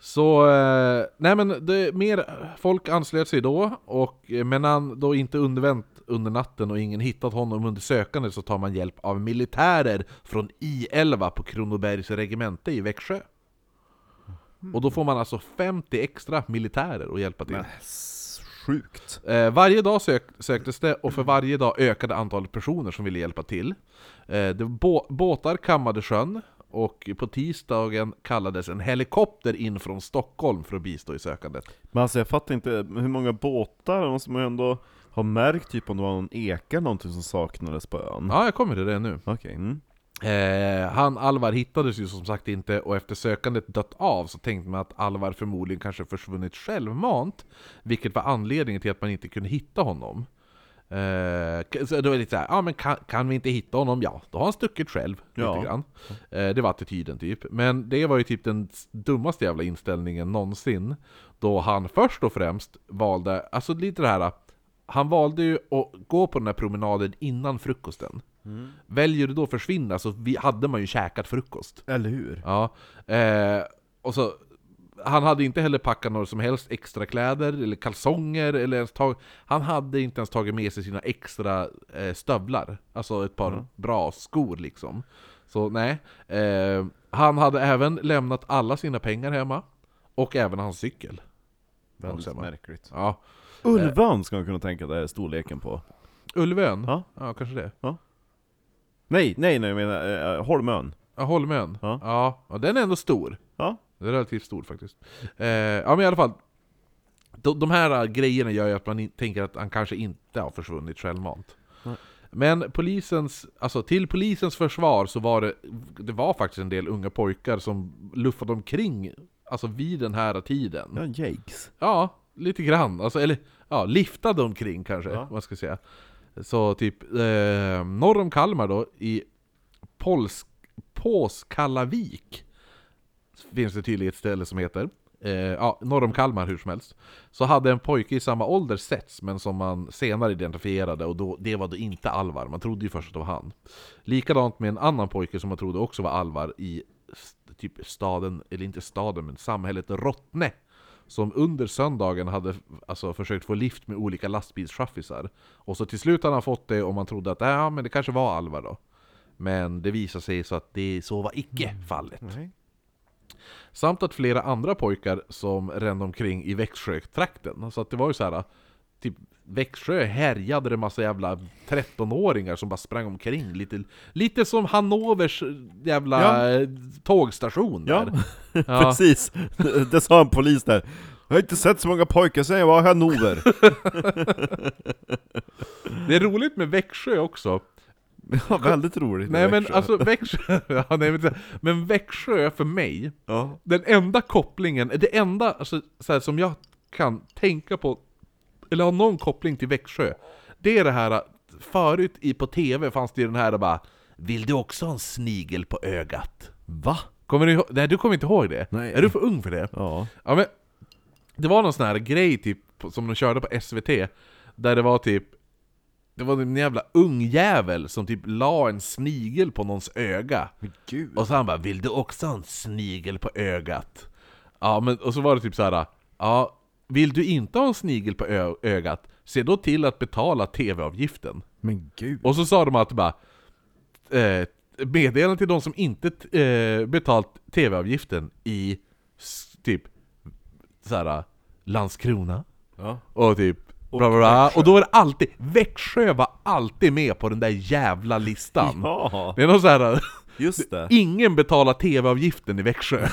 Speaker 1: Så, eh, nej men det, mer folk anslöt sig då, och, eh, men han då inte undervänt under natten och ingen hittat honom under sökandet så tar man hjälp av militärer från I11 på Kronobergs regemente i Växjö. Och då får man alltså 50 extra militärer att hjälpa till.
Speaker 2: Men, s- sjukt.
Speaker 1: Eh, varje dag sök, söktes det och för varje dag ökade antalet personer som ville hjälpa till. Eh, det var bå, båtar kammade sjön och på tisdagen kallades en helikopter in från Stockholm för att bistå i sökandet.
Speaker 2: Men alltså jag fattar inte, hur många båtar, man måste ju ändå ha märkt typ om det var någon eka eller någonting som saknades på ön.
Speaker 1: Ja, jag kommer till det nu.
Speaker 2: Okej, mm.
Speaker 1: Eh, han Alvar hittades ju som sagt inte och efter sökandet dött av så tänkte man att Alvar förmodligen kanske försvunnit självmant, vilket var anledningen till att man inte kunde hitta honom. Eh, k- så det var lite såhär, ja men kan, kan vi inte hitta honom? Ja, då har han stuckit själv.
Speaker 2: Ja.
Speaker 1: Lite grann. Eh, det var attityden typ. Men det var ju typ den s- dummaste jävla inställningen någonsin. Då han först och främst valde, alltså lite det här, han valde ju att gå på den här promenaden innan frukosten. Väljer du då att försvinna så vi, hade man ju käkat frukost.
Speaker 2: Eller hur?
Speaker 1: Ja. Eh, och så, han hade inte heller packat några som helst extra kläder eller kalsonger eller ens tag, Han hade inte ens tagit med sig sina extra eh, stövlar. Alltså ett par bra skor liksom. Så nej. Eh, han hade även lämnat alla sina pengar hemma. Och även hans cykel.
Speaker 2: Väldigt
Speaker 1: Också, va?
Speaker 2: märkligt.
Speaker 1: Ja.
Speaker 2: Ulvan ska man kunna tänka det är storleken på.
Speaker 1: Ulvön?
Speaker 2: Ja.
Speaker 1: ja, kanske det.
Speaker 2: Nej, nej, nej jag menar eh, Holmön.
Speaker 1: Ja, Holmön?
Speaker 2: Ja.
Speaker 1: Ja. ja, den är ändå stor.
Speaker 2: Ja.
Speaker 1: Den är relativt stor faktiskt. Eh, ja men i alla fall. De, de här äh, grejerna gör ju att man in, tänker att han kanske inte har försvunnit självmant.
Speaker 2: Nej.
Speaker 1: Men polisens, alltså till polisens försvar så var det, det var faktiskt en del unga pojkar som luffade omkring, alltså vid den här tiden.
Speaker 2: Ja, Jakes.
Speaker 1: Ja, lite grann. Alltså, eller ja, liftade omkring kanske,
Speaker 2: Ja.
Speaker 1: man ska säga. Så typ eh, norr om Kalmar då, i Polsk, Påskallavik, finns det tydligen ett ställe som heter. Eh, ja, norr om Kalmar hur som helst. Så hade en pojke i samma ålder setts, men som man senare identifierade och då, det var då inte Alvar. Man trodde ju först att det var han. Likadant med en annan pojke som man trodde också var Alvar i st- typ staden, eller inte staden, men samhället Rottne som under söndagen hade alltså, försökt få lift med olika lastbilschaffisar. Och så till slut hade han fått det och man trodde att ja, men det kanske var Alvar då. Men det visade sig så att det så var icke fallet.
Speaker 2: Mm. Nej.
Speaker 1: Samt att flera andra pojkar som rände omkring i Växjötrakten. Så att det var ju så här, typ Växjö härjade det massa jävla 13-åringar som bara sprang omkring. Lite, lite som Hannovers jävla eh, tågstation
Speaker 2: Ja. (laughs)
Speaker 1: där.
Speaker 2: Precis, (laughs) det sa en polis där. Jag har inte sett så många pojkar sen jag var i (laughs) Hannover.
Speaker 1: Det är roligt med Växjö också.
Speaker 2: Ja, väldigt roligt i
Speaker 1: Nej men
Speaker 2: Växjö.
Speaker 1: alltså Växjö, (laughs) ja, nej, men, men Växjö för mig,
Speaker 2: Ja.
Speaker 1: den enda kopplingen, det enda alltså, så här, som jag kan tänka på, eller har någon koppling till Växjö, det är det här, förut i, på TV fanns det ju den här bara Vill du också ha en snigel på ögat?
Speaker 3: Va?
Speaker 1: Kommer du ihåg? Nej du kommer inte ihåg det?
Speaker 2: Nej.
Speaker 1: Är du för ung för det?
Speaker 2: Ja.
Speaker 1: Ja men, det var någon sån här grej typ, som de körde på SVT, där det var typ det var en jävla ungjävel som typ la en snigel på någons öga
Speaker 2: Men gud.
Speaker 1: och så han bara 'Vill du också ha en snigel på ögat?' Ja, men och så var det typ så här. Ja, vill du inte ha en snigel på ö- ögat, se då till att betala TV-avgiften.
Speaker 2: Men gud.
Speaker 1: Och så sa de att bara eh, Meddelande till de som inte t- eh, betalt TV-avgiften i s- typ så här, Landskrona
Speaker 2: Ja.
Speaker 1: och typ Bla bla bla. Och då är det alltid, Växjö var alltid med på den där jävla listan.
Speaker 2: ja.
Speaker 1: Det är någon så här
Speaker 2: Just det.
Speaker 1: Ingen betalar TV-avgiften i Växjö.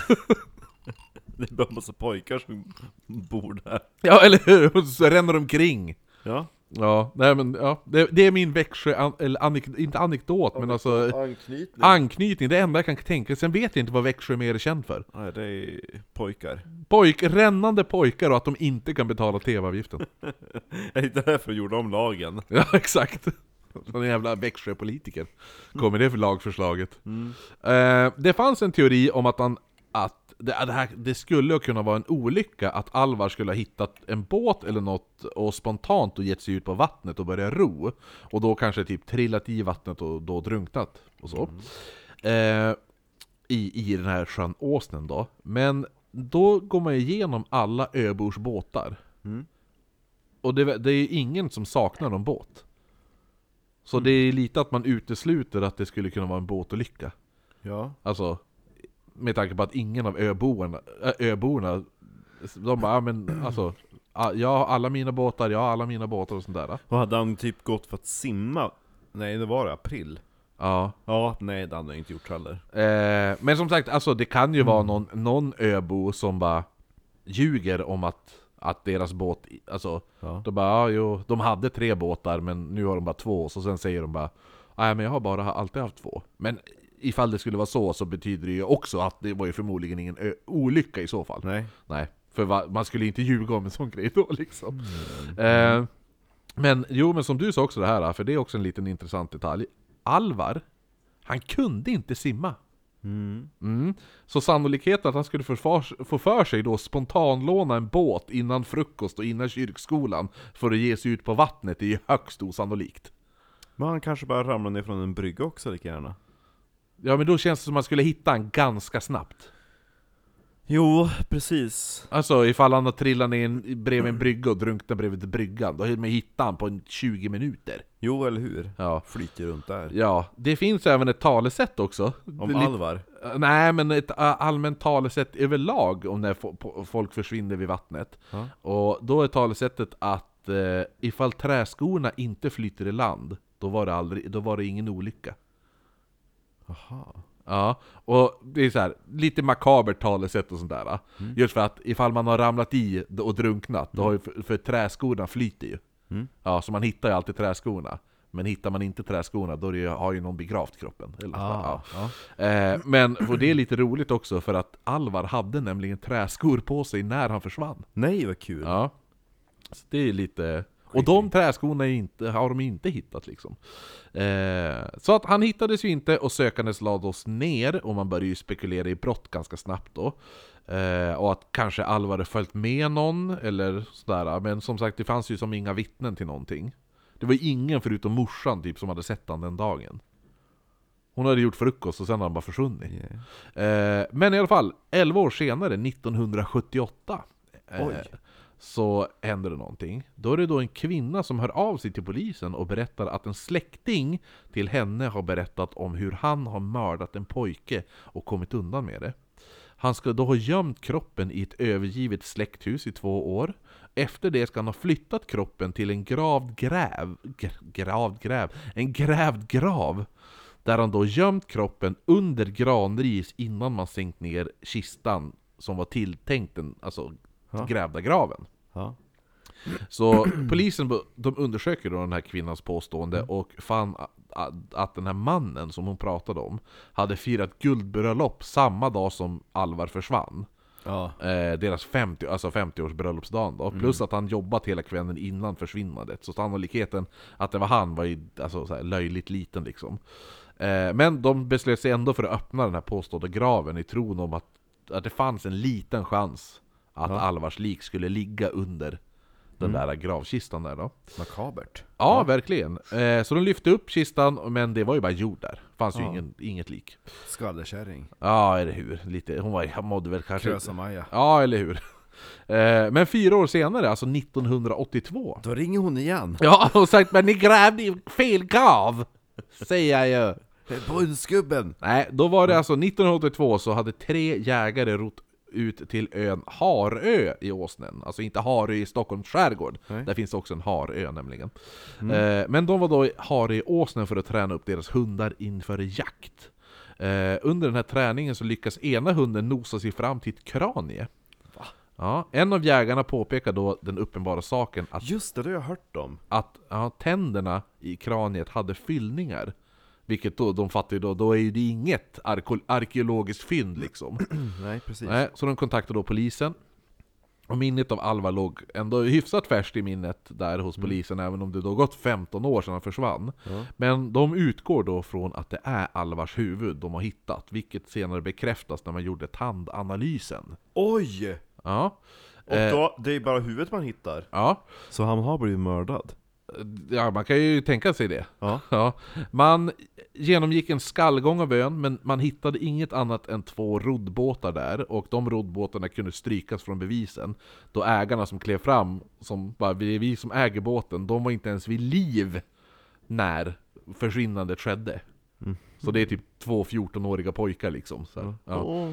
Speaker 1: (laughs)
Speaker 2: (laughs) Det är bara en massa pojkar som bor där.
Speaker 1: ja, eller hur? Och Så ränner de omkring.
Speaker 2: Ja.
Speaker 1: Ja, nej men ja. Det, det är min Växjö, an, eller anek, inte anekdot, men alltså
Speaker 2: Anknytning.
Speaker 1: anknytning. Det enda jag kan tänka Sen vet jag inte vad Växjö mer är känd för.
Speaker 2: Nej, det är pojkar.
Speaker 1: Pojk, rännande pojkar och att de inte kan betala TV-avgiften.
Speaker 2: Är inte därför de gjorde om lagen?
Speaker 1: (laughs) ja, exakt. Någon jävla Växjöpolitiker. Kommer det för lagförslaget. Eh, det fanns en teori om att han att det, det, här, det skulle kunna vara en olycka att Alvar skulle ha hittat en båt eller något och spontant och gett sig ut på vattnet och börjat ro. Och då kanske typ trillat i vattnet och då drunknat och så. Eh, i, I den här sjön Åsnen då. Men då går man igenom alla öbors båtar. Och det, det är ingen som saknar någon båt. Så det är lite att man utesluter att det skulle kunna vara en båtolycka.
Speaker 2: Ja.
Speaker 1: Alltså, med tanke på att ingen av öborna, ö- öborna de bara, "Ja, men alltså, a- jag har alla mina båtar, jag har alla mina båtar och sånt där.
Speaker 2: Och hade han typ gått för att simma? Nej, det var det april.
Speaker 1: Ja.
Speaker 2: Ja, nej det hade han inte gjort heller.
Speaker 1: Eh, men som sagt, alltså, det kan ju vara någon, någon öbo som bara ljuger om att, att deras båt, i- alltså,
Speaker 2: Ja.
Speaker 1: de bara, ja, jo, de hade tre båtar men nu har de bara två, så sen säger de bara, nej men jag har bara alltid haft två. Men ifall det skulle vara så så betyder det ju också att det var ju förmodligen ingen ö- olycka i så fall.
Speaker 2: Nej.
Speaker 1: Nej, för va, man skulle inte ljuga om en sån grej då liksom. Eh, men jo, men som du sa också det här, för det är också en liten intressant detalj. Alvar, han kunde inte simma. Mm. Så sannolikheten att han skulle få för- få för sig då spontanlåna en båt innan frukost och innan kyrkskolan för att ge sig ut på vattnet är ju högst osannolikt.
Speaker 2: Men han kanske bara ramlade ner från en brygga också lika gärna.
Speaker 1: Ja men då känns det som att man skulle hitta han ganska snabbt.
Speaker 2: Jo, precis.
Speaker 1: Alltså ifall han har trillat ner en- bredvid en brygga och drunknat bredvid bryggan, då hittar han på en 20 minuter.
Speaker 2: Jo, eller hur?
Speaker 1: Ja.
Speaker 2: Flyter runt där.
Speaker 1: Ja, det finns även ett talesätt också.
Speaker 2: Om
Speaker 1: Lite-
Speaker 2: Alvar.
Speaker 1: Eh, Nej, men ett eh, allmänt talesätt överlag om när fo- po- folk försvinner vid vattnet.
Speaker 2: Ja.
Speaker 1: Och då är talesättet att eh, ifall träskorna inte flyter i land, då var det, aldrig, då var det ingen olycka.
Speaker 2: Aha.
Speaker 1: Ja, och det är så här, lite makabert talesätt och sånt där. va?
Speaker 2: Mm.
Speaker 1: Just för att ifall man har ramlat i och drunknat, då har ju för, för träskorna flyter ju.
Speaker 2: Mm.
Speaker 1: Ja, så man hittar ju alltid träskorna. Men hittar man inte träskorna, då är det, ju- har ju någon begravt kroppen. Eller så
Speaker 2: Ah,
Speaker 1: där, ja.
Speaker 2: ja.
Speaker 1: Eh, men och det är lite roligt också för att Alvar hade nämligen träskor på sig när han försvann.
Speaker 2: Nej, vad kul.
Speaker 1: Ja. Så det är lite... Och de träskorna är inte, har de inte hittat liksom. Eh, så att han hittades ju inte och sökandes lades ner och man började ju spekulera i brott ganska snabbt då. Eh, och att kanske Alvar hade följt med någon eller sådär. Men som sagt, det fanns ju som inga vittnen till någonting. Det var ju ingen förutom morsan typ som hade sett han den dagen. Hon hade gjort frukost och sen hade han bara försvunnit.
Speaker 2: Yeah.
Speaker 1: Eh, men i alla fall, 11 år senare, 1978, eh,
Speaker 2: Oj.
Speaker 1: så händer det någonting. Då är det då en kvinna som hör av sig till polisen och berättar att en släkting till henne har berättat om hur han har mördat en pojke och kommit undan med det. Han ska då ha gömt kroppen i ett övergivet släkthus i två år. Efter det ska han ha flyttat kroppen till en gravd gräv, gr- gravd gräv, en grävd grav där han då gömt kroppen under granris innan man sänkt ner kistan som var tilltänkt den alltså,
Speaker 2: Ja.
Speaker 1: grävda graven.
Speaker 2: Ja.
Speaker 1: Så (clears throat) polisen bo- de undersöker då den här kvinnans påstående och fann a- a- att den här mannen som hon pratade om hade firat guldbröllop samma dag som Alvar försvann.
Speaker 3: Ja.
Speaker 1: Eh, deras 50, alltså 50-års bröllopsdagen då. Plus att han jobbat hela kvällen innan försvinnandet. Så sannolikheten att det var han var ju alltså, så här, löjligt liten liksom. Eh, men de beslöt sig ändå för att öppna den här påstådda graven i tron om att, att det fanns en liten chans att Alvars lik skulle ligga under den där gravkistan där då.
Speaker 3: Makabert.
Speaker 1: Ja, verkligen. Eh, så de lyfte upp kistan, men det var ju bara jord där. fanns ju ingen, inget lik.
Speaker 3: Skvallerkärring.
Speaker 1: Ja, eller hur. Lite, hon var, hon mådde väl kanske...
Speaker 3: Maja.
Speaker 1: Ja, eller hur? Eh, Men fyra år senare, alltså 1982.
Speaker 3: Då ringer hon igen.
Speaker 1: Ja, och sagt men ni grävde i fel grav! Säger jag ju.
Speaker 2: Eh,
Speaker 3: Bundsgubben!
Speaker 1: Nej, då var det alltså 1982 så hade tre jägare rott ut till ön Harö i Åsnen. Alltså inte Harö i Stockholms skärgård.
Speaker 3: Nej.
Speaker 1: Där finns också en Harö nämligen. Eh, Men de var då i Harö i Åsnen för att träna upp deras hundar inför jakt. Eh, Under den här träningen så lyckas ena hunden nosa sig fram till ett kranie. Ja, en av jägarna påpekar då den uppenbara saken att
Speaker 2: Just det, det har jag hört om.
Speaker 1: att ja, tänderna i kraniet hade fyllningar. Vilket då, de fattar ju då, då är ju det inget arko- arkeologiskt fynd liksom.
Speaker 2: Mm,
Speaker 3: Nej, precis.
Speaker 1: Nej, så de kontaktade då polisen. Och minnet av Alva låg ändå hyfsat färskt i minnet där hos polisen, även om det då gått 15 år sedan han försvann. Men de utgår då från att det är Alvars huvud de har hittat, vilket senare bekräftas när man gjorde tandanalysen.
Speaker 2: Oj!
Speaker 1: Ja.
Speaker 2: Och då, det är bara huvudet man hittar.
Speaker 1: Ja.
Speaker 2: Eh. Så han har blivit mördad?
Speaker 1: Ja, man kan ju tänka sig det. (laughs)
Speaker 2: Ja.
Speaker 1: Man genomgick en skallgång av ön, men man hittade inget annat än två roddbåtar där, och de roddbåtarna kunde strykas från bevisen, då ägarna som klev fram, som bara, vi, vi som äger båten, de var inte ens vid liv när försvinnandet skedde. Så det är typ två 14-åriga pojkar liksom. Så här. Ja.
Speaker 2: Åh.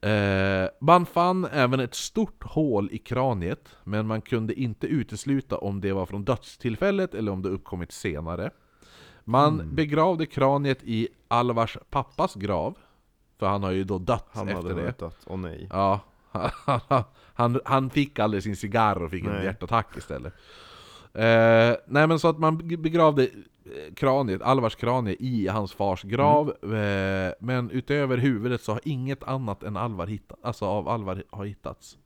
Speaker 1: Eh, man fann även ett stort hål i kraniet, men man kunde inte utesluta om det var från dödstillfället eller om det uppkommit senare. Man
Speaker 2: Hmm.
Speaker 1: begravde kraniet i Alvars pappas grav, för han har ju då dött
Speaker 2: Han
Speaker 1: efter
Speaker 2: hade
Speaker 1: det.
Speaker 2: mördad. Åh nej.
Speaker 1: Ja, (laughs) han, han fick aldrig sin cigarr och fick en
Speaker 2: Nej.
Speaker 1: hjärtattack istället. Eh, nej men så att man begravde eh, kraniet, Alvars kranie i hans fars grav, eh, men utöver huvudet så har inget annat än Alvar hittat, alltså av Alvar har hittats.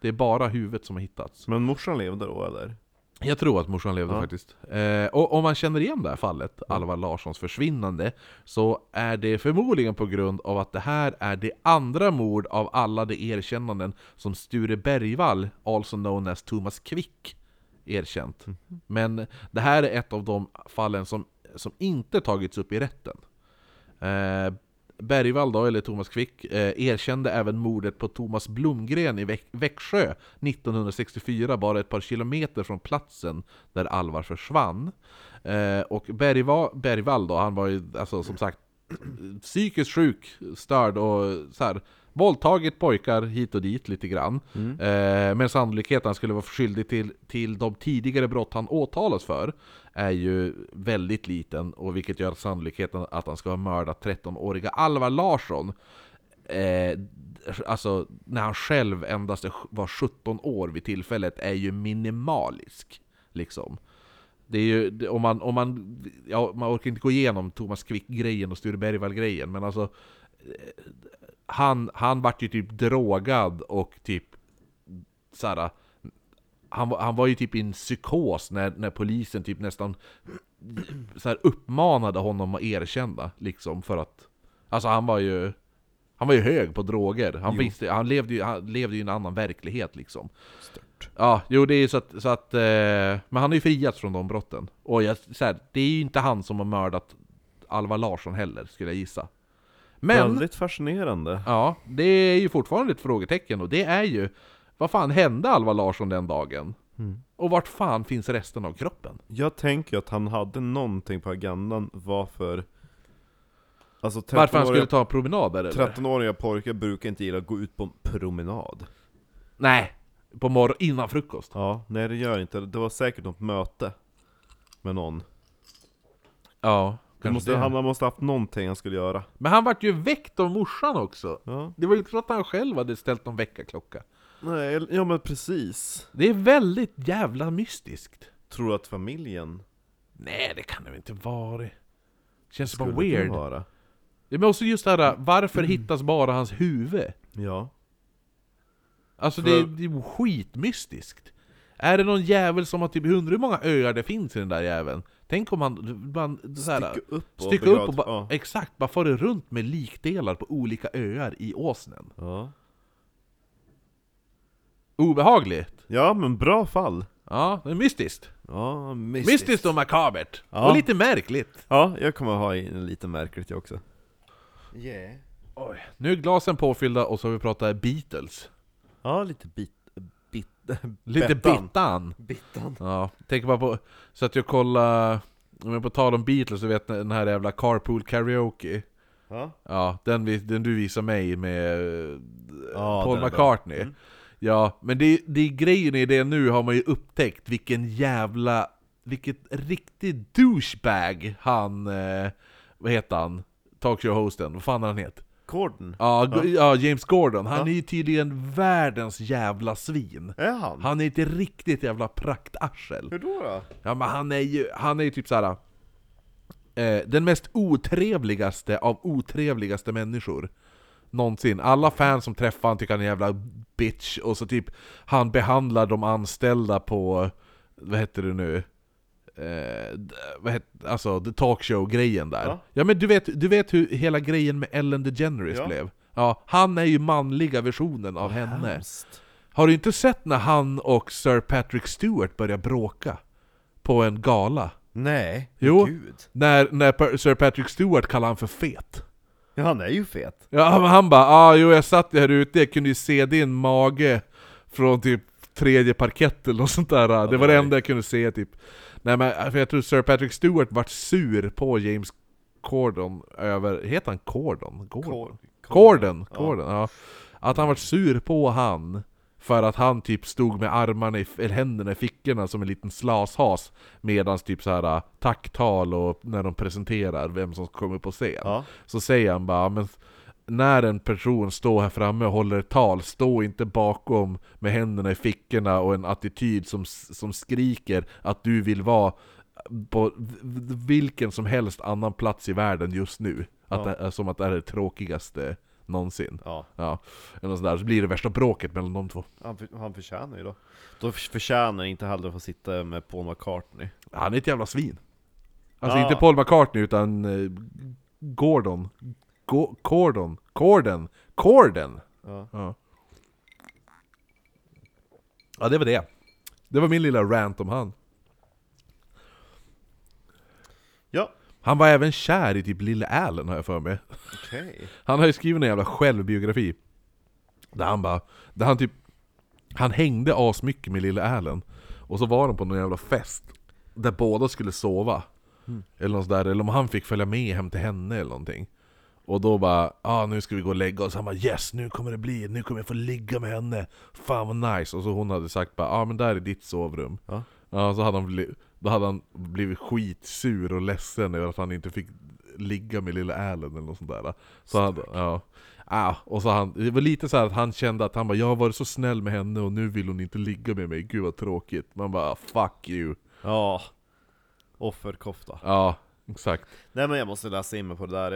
Speaker 1: Det är bara huvudet som har hittats.
Speaker 2: Men morsan levde då eller?
Speaker 1: Jag tror att morsan levde
Speaker 2: Ja.
Speaker 1: faktiskt. Eh, och om man känner igen det här fallet, Alvar Larssons försvinnande, så är det förmodligen på grund av att det här är det andra mord av alla de erkännanden som Sture Bergvall, also known as Thomas Quick, erkänt. Men det här är ett av de fallen som, som inte tagits upp i rätten. Eh, Bergvall då, eller Thomas Quick, eh, erkände även mordet på Thomas Blomgren i Väx- Växjö 1964, bara ett par kilometer från platsen där Alvar försvann. Eh, och Bergva- Bergvall då, han var ju alltså, som sagt psykiskt sjuk, störd och så här våldtagit pojkar hit och dit lite grann. Eh, men sannolikheten att han skulle vara skyldig till, till de tidigare brott han åtalas för är ju väldigt liten, och vilket gör att sannolikheten att han ska ha mördat 13-åriga Alvar Larsson eh, Alltså när han själv endast var 17 år vid tillfället är ju minimalisk. Liksom. Det är ju, det- om man, om man, ja, man orkar inte gå igenom Thomas Quick-grejen och Sture Bergvall-grejen, men alltså eh, han, han vart ju typ drogad och typ såhär, han, var- han var ju typ i en psykos när, när polisen typ nästan så här uppmanade honom att erkänna liksom för att Alltså han var ju Han var ju hög på droger, han, visste, han, levde, ju, han levde ju i en annan verklighet liksom
Speaker 2: Stört.
Speaker 1: Ja, jo det är ju så att, så att eh, Men han har ju friats från de brotten Och jag, så här, det är ju inte han som har mördat Alvar Larsson heller skulle jag gissa Men
Speaker 2: Väldigt fascinerande.
Speaker 1: Ja, det är ju fortfarande ett frågetecken och det är ju Vad fan hände Alvar Larsson den dagen?
Speaker 2: Mm.
Speaker 1: Och vart fan finns resten av kroppen?
Speaker 2: Jag tänker att han hade någonting på agendan varför... Alltså
Speaker 1: Varför han
Speaker 2: 13-åriga
Speaker 1: skulle ta promenader eller?
Speaker 2: 13-åriga pojkar brukar inte gilla att gå ut på en promenad.
Speaker 1: Nej! På morgon innan frukost.
Speaker 2: Ja, nej det gör jag inte. Det var säkert något möte med någon.
Speaker 1: Ja,
Speaker 2: Det måste, han han måste ha haft någonting han skulle göra.
Speaker 1: Men han vart ju väckt av morsan också.
Speaker 2: Ja.
Speaker 1: Det var ju inte så att han själv hade ställt någon väckarklocka.
Speaker 2: Nej, ja men precis.
Speaker 1: Det är väldigt jävla mystiskt.
Speaker 2: Tror du att familjen
Speaker 1: Nej, det kan det väl inte vara. Känns
Speaker 2: skulle
Speaker 1: bara
Speaker 2: kunna
Speaker 1: weird.
Speaker 2: vara? Mm.
Speaker 1: Ja, men också just det här, varför hittas bara hans huvud?
Speaker 2: Ja.
Speaker 1: Alltså
Speaker 2: För-
Speaker 1: det, är- det är skitmystiskt. Är det någon jävel som har typ hundra hur många öar det finns i den där jäveln? Tänk om han... Man, så här,
Speaker 2: Sticka upp och
Speaker 1: stycka upp
Speaker 2: begrad-
Speaker 1: och bara,
Speaker 2: ja.
Speaker 1: exakt, bara far runt med likdelar på olika öar i åsnen.
Speaker 2: ja.
Speaker 1: Obehagligt!
Speaker 2: Ja men bra fall.
Speaker 1: Ja, det är mystiskt.
Speaker 2: Ja, mystiskt.
Speaker 1: Mystiskt, och makabert.
Speaker 2: Ja.
Speaker 1: Och lite märkligt.
Speaker 2: Ja, jag kommer ha in lite märkligt jag också. Yeah.
Speaker 1: Oj. Nu är glasen påfyllda och så har vi pratat Beatles.
Speaker 2: Ja, lite bit... bit (laughs)
Speaker 1: Lite
Speaker 2: Bettan.
Speaker 1: Bittan.
Speaker 2: bitan.
Speaker 1: Ja, tänk bara på... Så att jag kollar... Men på tal om Beatles, så vet ni den här jävla Carpool Karaoke.
Speaker 2: Ja.
Speaker 1: Ja, den, vi, den du visar mig med eh,
Speaker 2: Ja,
Speaker 1: Paul
Speaker 2: den är bra. Mm.
Speaker 1: McCartney. Ja, men det, det är grejen i det nu har man ju upptäckt vilken jävla... Vilket riktigt douchebag han... Eh, vad heter han? Talkshow-hosten, vad fan har han heter?
Speaker 2: Gordon.
Speaker 1: Ja, Go- ja, James Gordon. Han
Speaker 2: Ja.
Speaker 1: är ju tydligen världens jävla svin.
Speaker 2: Är han?
Speaker 1: Han är ett riktigt jävla praktarsel.
Speaker 2: Hur då? då?
Speaker 1: Ja men han är ju, han är ju typ såhär... Eh, den mest otrevligaste av otrevligaste människor Någonsin. Alla fans som träffar han tycker han är en jävla bitch och så typ Han behandlar de anställda på, vad heter det nu? Eh, d- vad heter, alltså the talkshow-grejen där.
Speaker 2: Ja.
Speaker 1: Ja. men du vet, du vet hur hela grejen med Ellen DeGeneres
Speaker 2: Ja.
Speaker 1: blev? Ja, han är ju manliga versionen av henne.
Speaker 2: Hemskt.
Speaker 1: Har du inte sett när han och Sir Patrick Stewart börjar bråka? På en gala?
Speaker 2: Nej.
Speaker 1: Jo.
Speaker 2: Gud.
Speaker 1: När, när Per- Sir Patrick Stewart kallar han för fet.
Speaker 2: Ja, han är ju fet.
Speaker 1: Ja, men han bara ah, jo jag satt här ute, jag kunde ju se din mage från typ tredje parkett eller något sånt där. det var det
Speaker 2: nej.
Speaker 1: enda jag kunde se typ. Nej men för jag tror Sir Patrick Stewart vart sur på James Corden över, heter han Corden? Gordon? Corden, Corden, ja. Att han var sur på han för att han typ stod med armarna i, eller händerna i fickorna som en liten slashas Medan typ så här tacktal och när de presenterar vem som kommer på scen
Speaker 2: Ja.
Speaker 1: Så säger han bara men när en person står här framme och håller ett tal, stå inte bakom med händerna i fickorna och en attityd som, som skriker att du vill vara på v- v- vilken som helst annan plats i världen just nu. Att
Speaker 2: Ja.
Speaker 1: det är, som att det är det tråkigaste någonsin.
Speaker 2: Ja,
Speaker 1: Ja, eller sådär. Så blir det värsta bråket mellan de två.
Speaker 2: han, för, han förtjänar ju då. Då f- förtjänar inte heller att få sitta med Paul McCartney.
Speaker 1: Han är ett jävla svin. Alltså
Speaker 2: Ja.
Speaker 1: inte Paul McCartney utan eh, Gordon. Go- Gordon. Corden. Corden!
Speaker 2: Ja.
Speaker 1: Ja. ja, det var det. Det var min lilla rant om han.
Speaker 2: Ja,
Speaker 1: Han var även kär i typ Lille Allen har jag för mig.
Speaker 2: okej.
Speaker 1: Han har ju skrivit en jävla självbiografi. Där han bara, där han typ, han hängde asmycket med lille Allen. Och så var de på någon jävla fest, där båda skulle sova. Eller något sådär, eller om han fick följa med hem till henne eller någonting. Och då bara, ah, nu ska vi gå och lägga oss. Han bara 'Yes, nu kommer det bli, nu kommer jag få ligga med henne' Fan vad nice! Och så hon hade sagt bara, ah, men där är ditt sovrum'
Speaker 2: Ja.
Speaker 1: Ja, så hade han blivit, då hade han blivit skitsur och ledsen över att han inte fick ligga med lilla Allen eller något sånt där. Så han, ja. Ah, och så han, det var lite så här att han kände att han bara 'Jag har varit så snäll med henne och nu vill hon inte ligga med mig, gud vad tråkigt' Man bara 'Fuck you'
Speaker 2: Ja. Offerkofta.
Speaker 1: Ja, exakt.
Speaker 2: Nej men jag måste läsa in mig på det där.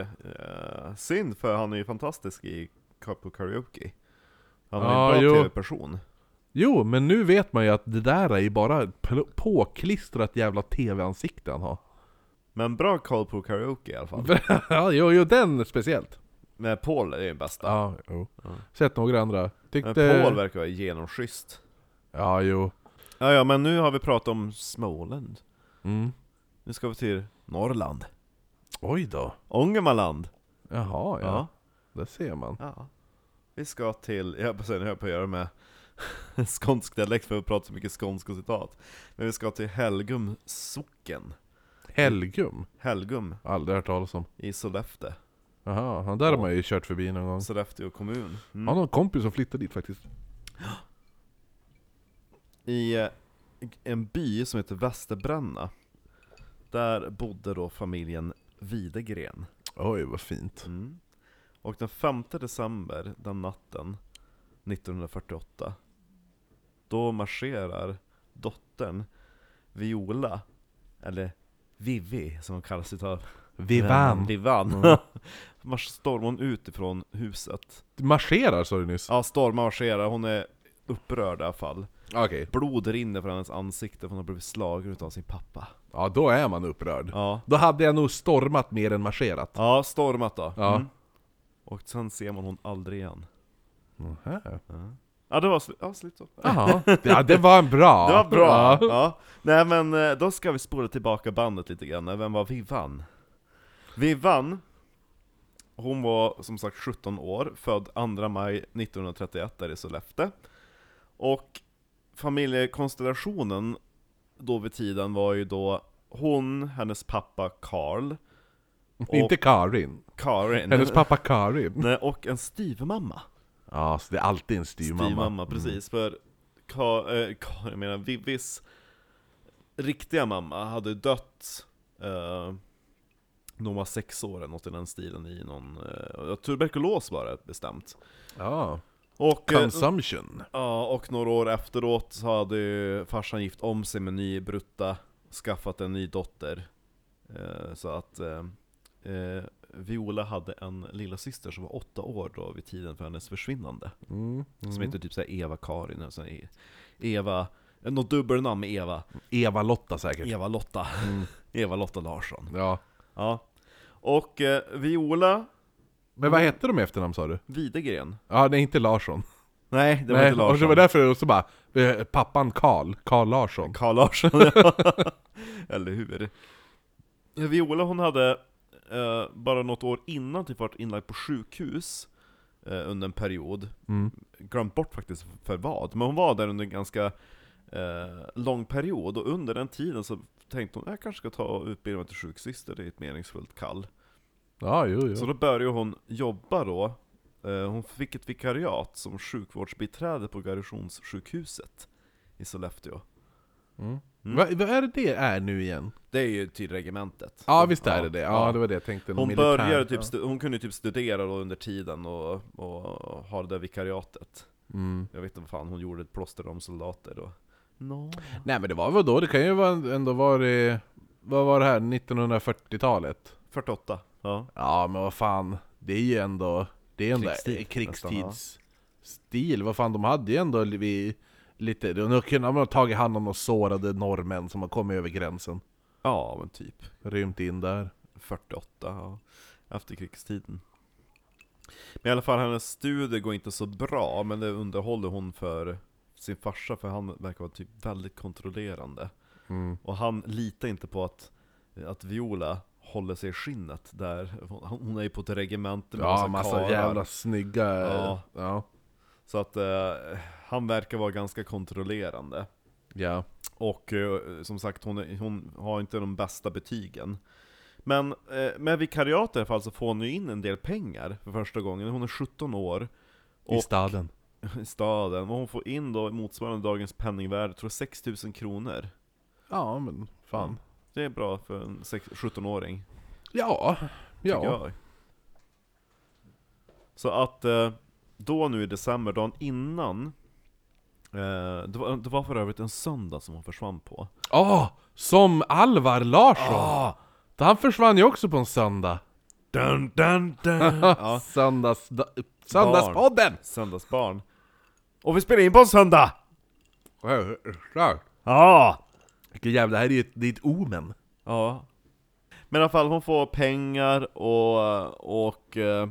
Speaker 2: Eh, synd för han är ju fantastisk i ka- på karaoke. Han var
Speaker 1: Ja,
Speaker 2: ju en
Speaker 1: jo.
Speaker 2: bra tv-person.
Speaker 1: Jo, men nu vet man ju att det där är ju bara ett pl- påklistrat jävla TV-ansikte han har.
Speaker 2: Men bra koll på karaoke i alla fall.
Speaker 1: (laughs) ja, jo, jo, den speciellt.
Speaker 2: Men Paul är ju den bästa.
Speaker 1: Ja, jo.
Speaker 2: Ja.
Speaker 1: Sett några andra.
Speaker 2: Men
Speaker 1: Tyckte...
Speaker 2: Paul verkar vara genomschysst.
Speaker 1: ja, jo.
Speaker 2: Ja, ja, men nu har vi pratat om Småland.
Speaker 1: Mm.
Speaker 2: Nu ska vi till Norrland.
Speaker 1: Oj då.
Speaker 2: Ångermanland.
Speaker 1: Jaha, ja.
Speaker 2: Ja.
Speaker 1: Där ser man.
Speaker 2: ja. Vi ska till, jag höll på att säga, nu höll jag på att göra med (laughs) skånsk dialekt för att prata så mycket skånska citat. Men vi ska till Helgum socken.
Speaker 1: Helgum?
Speaker 2: Helgum
Speaker 1: Aldrig hört talas om.
Speaker 2: i Sollefteå.
Speaker 1: Jaha, han där har man ju kört förbi någon gång.
Speaker 2: Sollefteå kommun.
Speaker 1: Jag
Speaker 2: Mm.
Speaker 1: har någon kompis som flyttade dit faktiskt.
Speaker 2: I eh, en by som heter Västerbränna. Där bodde då familjen Videgren.
Speaker 1: Oj, vad fint.
Speaker 2: Mm. Och den 5 december, den natten, 1948, då marscherar dottern Viola, eller Vivi som hon kallas utav (laughs) vännen, Vivan. Mars- Stormar hon ut ifrån huset.
Speaker 1: Marscherar sa du nyss?
Speaker 2: Ja, stormar marscherar, hon är upprörd i alla fall.
Speaker 1: Okej.
Speaker 2: Blod rinner från hennes ansikte för hon har blivit slagen utav sin pappa.
Speaker 1: Ja, då är man upprörd.
Speaker 2: Ja,
Speaker 1: Då hade jag nog stormat mer än marscherat.
Speaker 2: ja stormat då.
Speaker 1: Ja.
Speaker 2: Mm. Och sen ser man hon aldrig igen. Ja, det var sl- ja, slut så.
Speaker 1: Jaha. Ja, det var en bra.
Speaker 2: (laughs) Det var bra!
Speaker 1: Ja.
Speaker 2: Ja. Nej men eh, då ska vi spola tillbaka bandet lite grann, vem var Vivan? Vivan, hon var som sagt 17 år, född 2 maj 1931 där i Sollefteå. Och familjekonstellationen då vid tiden var ju då hon, hennes pappa Karl,
Speaker 1: Inte Karin.
Speaker 2: Karin,
Speaker 1: Hennes pappa Karin.
Speaker 2: Nej, och en styvmamma.
Speaker 1: Ja, så det är alltid en styrmamma.
Speaker 2: Styvmamma, precis. För Ka, eh, Ka, jag menar Vivis riktiga mamma hade dött eh, när hon var sex år eller något i den stilen i någon, eh, tuberkulos var det bestämt.
Speaker 1: Ja.
Speaker 2: Och, eh,
Speaker 1: Consumption.
Speaker 2: ja, och några år efteråt så hade ju farsan gift om sig med en ny brutta, skaffat en ny dotter. Eh, så att eh, eh, Viola hade en lilla syster som var åtta år då vid tiden för hennes försvinnande.
Speaker 1: Mm.
Speaker 2: Som heter typ såhär Eva-Karin, eller såhär E- Eva, något dubbelnamn med Eva.
Speaker 1: Eva-Lotta säkert.
Speaker 2: Eva-Lotta.
Speaker 1: Mm.
Speaker 2: (laughs) Eva-Lotta Larsson.
Speaker 1: Ja.
Speaker 2: Ja. Och eh, Viola
Speaker 1: Men vad hette de i efternamn sa du?
Speaker 2: Widegren.
Speaker 1: Ja, nej inte Larsson.
Speaker 2: Nej, det var
Speaker 1: nej,
Speaker 2: inte
Speaker 1: Och det
Speaker 2: Larsson.
Speaker 1: var därför jag så bara, eh, pappan Karl, Karl Larsson.
Speaker 2: Karl Larsson, (laughs) ja. Eller hur? Viola hon hade, eh, bara något år innan, typ varit inlagd på sjukhus eh, under en period.
Speaker 1: Mm.
Speaker 2: glömt bort faktiskt för vad, men hon var där under en ganska eh, lång period, och under den tiden så tänkte hon jag kanske ska ta och utbilda mig till sjuksyster, det är ett meningsfullt kall.
Speaker 1: Ja, jo, jo.
Speaker 2: Så då började hon jobba då, eh, hon fick ett vikariat som sjukvårdsbiträde på garnisonssjukhuset i Sollefteå. Mm.
Speaker 1: Vad, vad är det det är nu igen?
Speaker 2: Det är ju till regementet.
Speaker 1: Ja, visst är det det. Ja, det var det jag tänkte.
Speaker 2: Hon,
Speaker 1: militär.
Speaker 2: började typ stu- hon kunde ju typ studera då under tiden och, och ha det där vikariatet.
Speaker 1: Mm.
Speaker 2: Jag vet inte vad fan, hon gjorde ett plåster om soldater då. No.
Speaker 1: Nej men det var väl då, det kan ju vara, ändå vara i- Vad var det här, 1940-talet?
Speaker 2: 48. Ja.
Speaker 1: Ja men vad fan, det är ju ändå... Det är ändå
Speaker 2: Krigstid,
Speaker 1: eh,
Speaker 2: nästan,
Speaker 1: krigstidsstil, vad fan de hade ju ändå vi, lite... De kunde de ha tagit hand om de sårade norrmän som har kommit över gränsen.
Speaker 2: Ja, men typ
Speaker 1: Rymt in där.
Speaker 2: 48, ja. Efterkrigstiden. Men i alla fall, hennes studier går inte så bra, men det underhåller hon för sin farsa, för han verkar vara typ väldigt kontrollerande.
Speaker 1: Mm.
Speaker 2: Och han litar inte på att, att Viola håller sig i skinnet där. Hon- Hon är ju på ett regemente med
Speaker 1: Ja, massa
Speaker 2: karlar.
Speaker 1: jävla snygga...
Speaker 2: Ja.
Speaker 1: Ja. Ja.
Speaker 2: Så att eh, han verkar vara ganska kontrollerande.
Speaker 1: ja.
Speaker 2: Och eh, som sagt, hon, är, hon har inte de bästa betygen. Men eh, med vikariat i alla fall så får hon ju in en del pengar för första gången. Hon är 17 år
Speaker 1: I
Speaker 2: Och-
Speaker 1: staden.
Speaker 2: i staden, och hon får in då motsvarande dagens penningvärde, jag tror 6 000 kronor.
Speaker 1: Ja men fan.
Speaker 2: Det är bra för en sex- 17-åring,
Speaker 1: Ja.
Speaker 2: tycker
Speaker 1: Ja.
Speaker 2: jag. Så att eh, då nu i december, dagen innan, eh, det, var, det var för övrigt en söndag som hon försvann på. Ah!
Speaker 1: Ah, som Alvar Larsson! Han försvann ju också på en söndag.
Speaker 2: Dun, dun, dun.
Speaker 1: Ja. (laughs) Söndags, söndagspodden!
Speaker 2: Söndagsbarn. Och vi spelar in på en söndag! Ja!
Speaker 1: Vilken jävla, det här är ju ett, det är ett omen.
Speaker 2: Ja. Men i alla fall, hon får pengar och, och eh,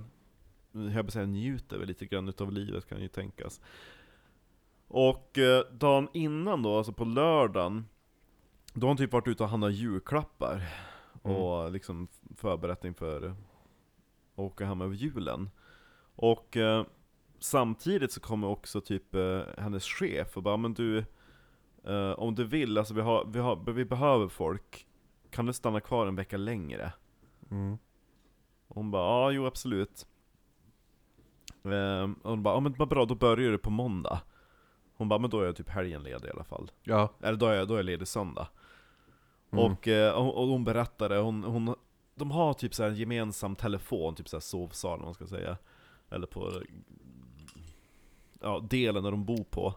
Speaker 2: jag vill säga njuter väl lite grann utav livet kan ju tänkas. Och eh, dagen innan då, alltså på lördagen, då har hon typ varit ute och handlat julklappar. Och liksom förberett inför att åka hem över julen. Och eh, samtidigt så kommer också typ eh, hennes chef och bara men du, eh, om du vill, alltså vi, har, vi, har, vi behöver folk, kan du stanna kvar en vecka längre?
Speaker 1: Mm.
Speaker 2: Och hon bara ja, jo absolut. Ehm, och hon bara ja men vad bra, då börjar du på måndag. Hon bara men då är jag typ helgen ledig i alla fall.
Speaker 1: Ja.
Speaker 2: Eller då är jag, då är jag ledig söndag.
Speaker 1: Mm.
Speaker 2: Och, eh, och, och hon berättade, hon, hon, de har typ så här en gemensam telefon, typ så här sovsal om man ska säga. Eller på eh, ja, delen där de bor på.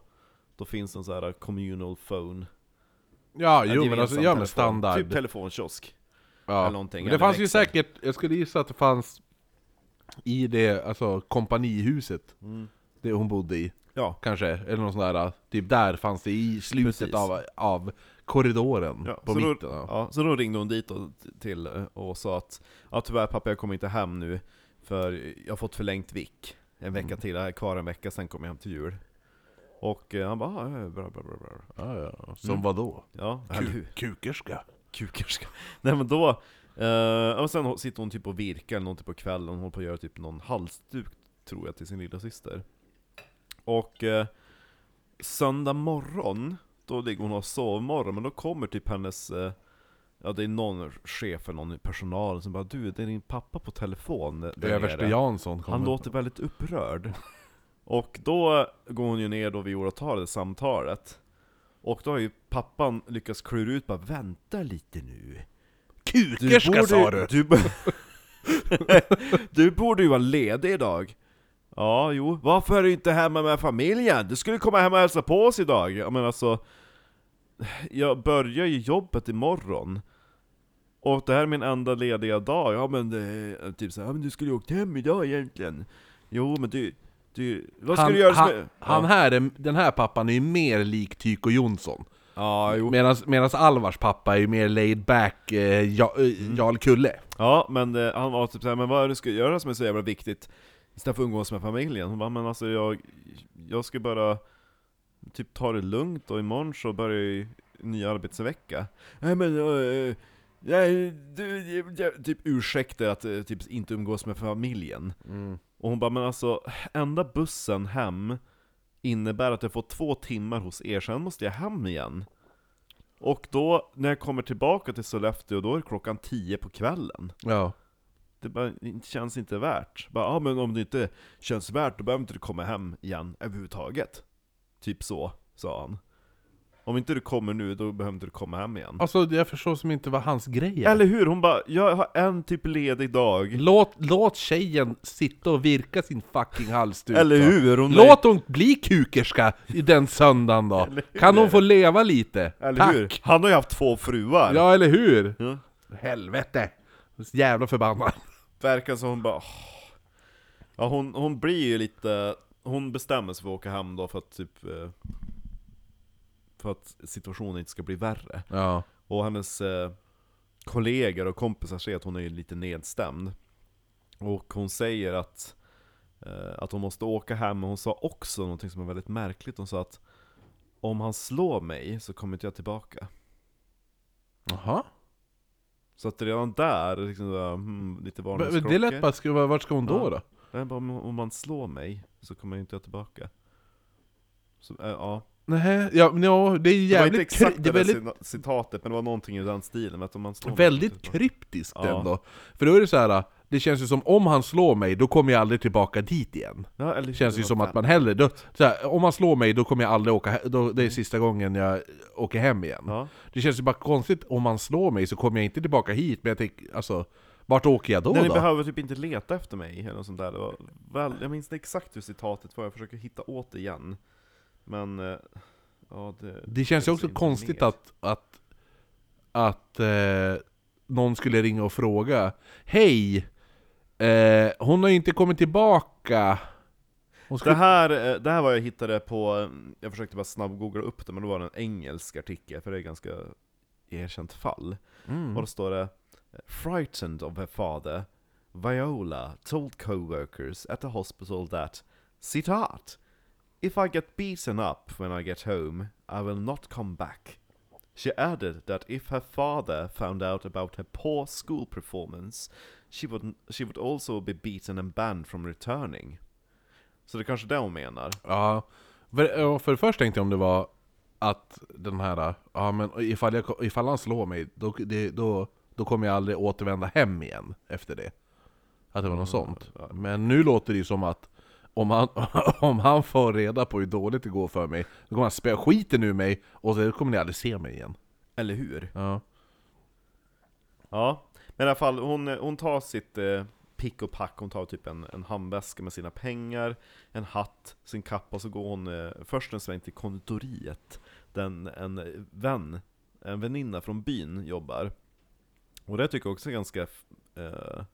Speaker 2: Då finns en sån här communal phone.
Speaker 1: Ja,
Speaker 2: Ja, det
Speaker 1: jo
Speaker 2: är
Speaker 1: men
Speaker 2: gemensam
Speaker 1: alltså, ja
Speaker 2: telefon.
Speaker 1: men standard.
Speaker 2: Typ telefonkiosk.
Speaker 1: ja.
Speaker 2: eller någonting,
Speaker 1: Men det
Speaker 2: eller
Speaker 1: fanns ju
Speaker 2: växel.
Speaker 1: säkert, jag skulle gissa att det fanns i det, alltså kompanihuset. Det hon bodde i,
Speaker 2: Ja.
Speaker 1: kanske. Eller någon sån där, typ där fanns det i
Speaker 2: Precis.
Speaker 1: slutet av, av korridoren.
Speaker 2: Ja,
Speaker 1: på
Speaker 2: så
Speaker 1: mitten.
Speaker 2: Då,
Speaker 1: ja.
Speaker 2: ja, så då ringde hon dit och, till eh, och sa att ja, tyvärr pappa jag kommer inte hem nu för jag har fått förlängt vick en vecka
Speaker 1: Mm.
Speaker 2: till, jag är kvar en vecka sen kommer jag hem till jul. Och eh, han bara "Ah, ja, bra, bra, bra, bra.
Speaker 1: Ja, ja.
Speaker 2: Mm.
Speaker 1: Som vadå?
Speaker 2: Ja, eller hur?
Speaker 1: Ku- kukerska?
Speaker 2: kukerska. (laughs) Nej men då, eh, och sen sitter hon typ och virkar eller någonting på kvällen, hon håller på att göra typ någon halsduk tror jag till sin lilla syster. Och eh, söndag morgon, då ligger hon och har sovmorgon, men då kommer typ hennes, eh, ja det är någon chef eller någon i personalen som bara Du, det är din pappa på telefon där nere."
Speaker 1: Överste Jansson kommer.
Speaker 2: Han låter väldigt upprörd. Och då går hon ju ner då vid årtalet, samtalet. Och då har ju pappan lyckats klura ut bara 'Vänta lite nu'
Speaker 1: Kukerska sa du!
Speaker 2: Du, bo- (laughs) du borde ju vara ledig idag. Ja, jo. Varför är du inte hemma med familjen? Du skulle komma hem och hälsa på oss idag! Jag menar alltså, jag börjar ju jobbet imorgon. Och det här är min enda lediga dag. Ja men eh, typ såhär, ja men du skulle ju åkt hem idag egentligen. Jo men du, du vad ska
Speaker 1: Han,
Speaker 2: du göra som
Speaker 1: han,
Speaker 2: är-
Speaker 1: han
Speaker 2: ja.
Speaker 1: här, är- den här pappan är ju mer lik Tyko Jonsson.
Speaker 2: ja, jo.
Speaker 1: Medan Alvars pappa är ju mer laid back eh, ja, eh,
Speaker 2: Mm.
Speaker 1: Jarl Kulle.
Speaker 2: Ja, men eh, han var typ såhär, men vad är det du ska göra som är så jävla viktigt? Istället för att umgås med familjen? Hon bara, men alltså jag, jag ska bara typ ta det lugnt och imorgon så börjar ju en ny arbetsvecka. Nej men, eh, nej, du, jag- typ ursäkter att eh, typ inte umgås med familjen. Och hon bara, men alltså enda bussen hem innebär att jag får två timmar hos er, sen måste jag hem igen. Och då, när jag kommer tillbaka till Sollefteå, då är klockan tio på kvällen
Speaker 1: Ja.
Speaker 2: det bara, det känns inte värt. Bara, ah, men om det inte känns värt, då behöver inte du komma hem igen överhuvudtaget. Typ så, sa han. Om inte du kommer nu, då behöver inte du komma hem igen.
Speaker 1: Alltså jag förstår som inte vad hans grej är.
Speaker 2: Eller hur? Hon bara, jag har en typ ledig dag.
Speaker 1: Låt, låt tjejen sitta och virka sin fucking halsduk
Speaker 2: Eller
Speaker 1: då.
Speaker 2: hur? Hon
Speaker 1: Låt hon bli kukerska i den söndagen då!
Speaker 2: Eller hur?
Speaker 1: Kan hon få leva lite?
Speaker 2: eller
Speaker 1: Tack!
Speaker 2: hur? Han har ju haft två fruar.
Speaker 1: Ja, eller hur?
Speaker 2: Ja.
Speaker 1: Helvete! Jag är Så jävla förbannad.
Speaker 2: Verkar som hon bara... "Åh." Ja, hon, hon blir ju lite... Hon bestämmer sig för att åka hem då för att typ... eh, För att situationen inte ska bli värre.
Speaker 1: Ja.
Speaker 2: Och hennes eh, kollegor och kompisar säger att hon är lite nedstämd. Och hon säger att, eh, att hon måste åka hem, men hon sa också någonting som är väldigt märkligt. Hon sa att om han slår mig så kommer inte jag tillbaka.
Speaker 1: Jaha?
Speaker 2: Så att redan där, liksom, så här, hmm, lite
Speaker 1: Men- men Det lät
Speaker 2: varningsklockor.
Speaker 1: bara skruva, vart ska hon då
Speaker 2: Ja.
Speaker 1: då?
Speaker 2: Nej, bara, "Om- om man slår mig så kommer inte jag tillbaka. Så, eh, ja.
Speaker 1: Nej, ja, men ja, det är ju
Speaker 2: Det var inte
Speaker 1: jävligt kry-
Speaker 2: exakt
Speaker 1: det
Speaker 2: det
Speaker 1: är väldigt,
Speaker 2: där cina- citatet, men det var någonting i den stilen. Att om man slår mig kommer jag
Speaker 1: väldigt
Speaker 2: inte tillbaka.
Speaker 1: kryptiskt
Speaker 2: Ja.
Speaker 1: ändå. För då är det så här. det känns ju som om han slår mig, då kommer jag aldrig tillbaka dit igen.
Speaker 2: ja, eller,
Speaker 1: Det känns ju som att man hellre, då, så här, om man slår mig då kommer jag aldrig åka, he- då, det är sista gången jag åker hem igen.
Speaker 2: Ja.
Speaker 1: Det känns ju bara konstigt, om man slår mig så kommer jag inte tillbaka hit, men jag tänker, alltså, vart åker jag då?
Speaker 2: Nej, ni
Speaker 1: då?
Speaker 2: behöver typ inte leta efter mig eller något sånt där. Det var väl, jag minns inte exakt hur citatet var, jag försöker hitta åt det igen. Men, eh, ja det...
Speaker 1: det känns ju också
Speaker 2: inte
Speaker 1: konstigt
Speaker 2: ner.
Speaker 1: att, att, att eh, någon skulle ringa och fråga Hej! Eh, hon har ju inte kommit tillbaka! Hon
Speaker 2: Det
Speaker 1: skulle,
Speaker 2: här, eh, det här var jag hittade på, eh, jag försökte bara snabbgoogla upp det, men då var det en engelsk artikel, för det är ett ganska erkänt fall. Och då står det Frightened of her father, Viola told co-workers at the hospital that Citat! If I get beaten up when I get home, I will not come back. She added that if her father found out about her poor school performance, she would, she would also be beaten and banned from returning. Så det är kanske det hon menar.
Speaker 1: Ja, för, ja, för först tänkte jag om det var att den här, ja men ifall, jag, ifall han slår mig, då, det, då, då kommer jag aldrig återvända hem igen efter det. Att det var något
Speaker 2: Mm.
Speaker 1: sånt. Men nu låter det ju som att om han, (laughs) om han får reda på hur dåligt det går för mig, då kommer han spöa skiten ur mig och så kommer ni aldrig se mig igen.
Speaker 2: Eller hur?
Speaker 1: Ja.
Speaker 2: Ja, men i alla fall hon, hon tar sitt eh, pick och pack, hon tar typ en, en handväska med sina pengar, en hatt, sin kappa, och så går hon eh, först en sväng till konditoriet, den en vän, en väninna från byn jobbar. Och det tycker jag också är ganska f- eh,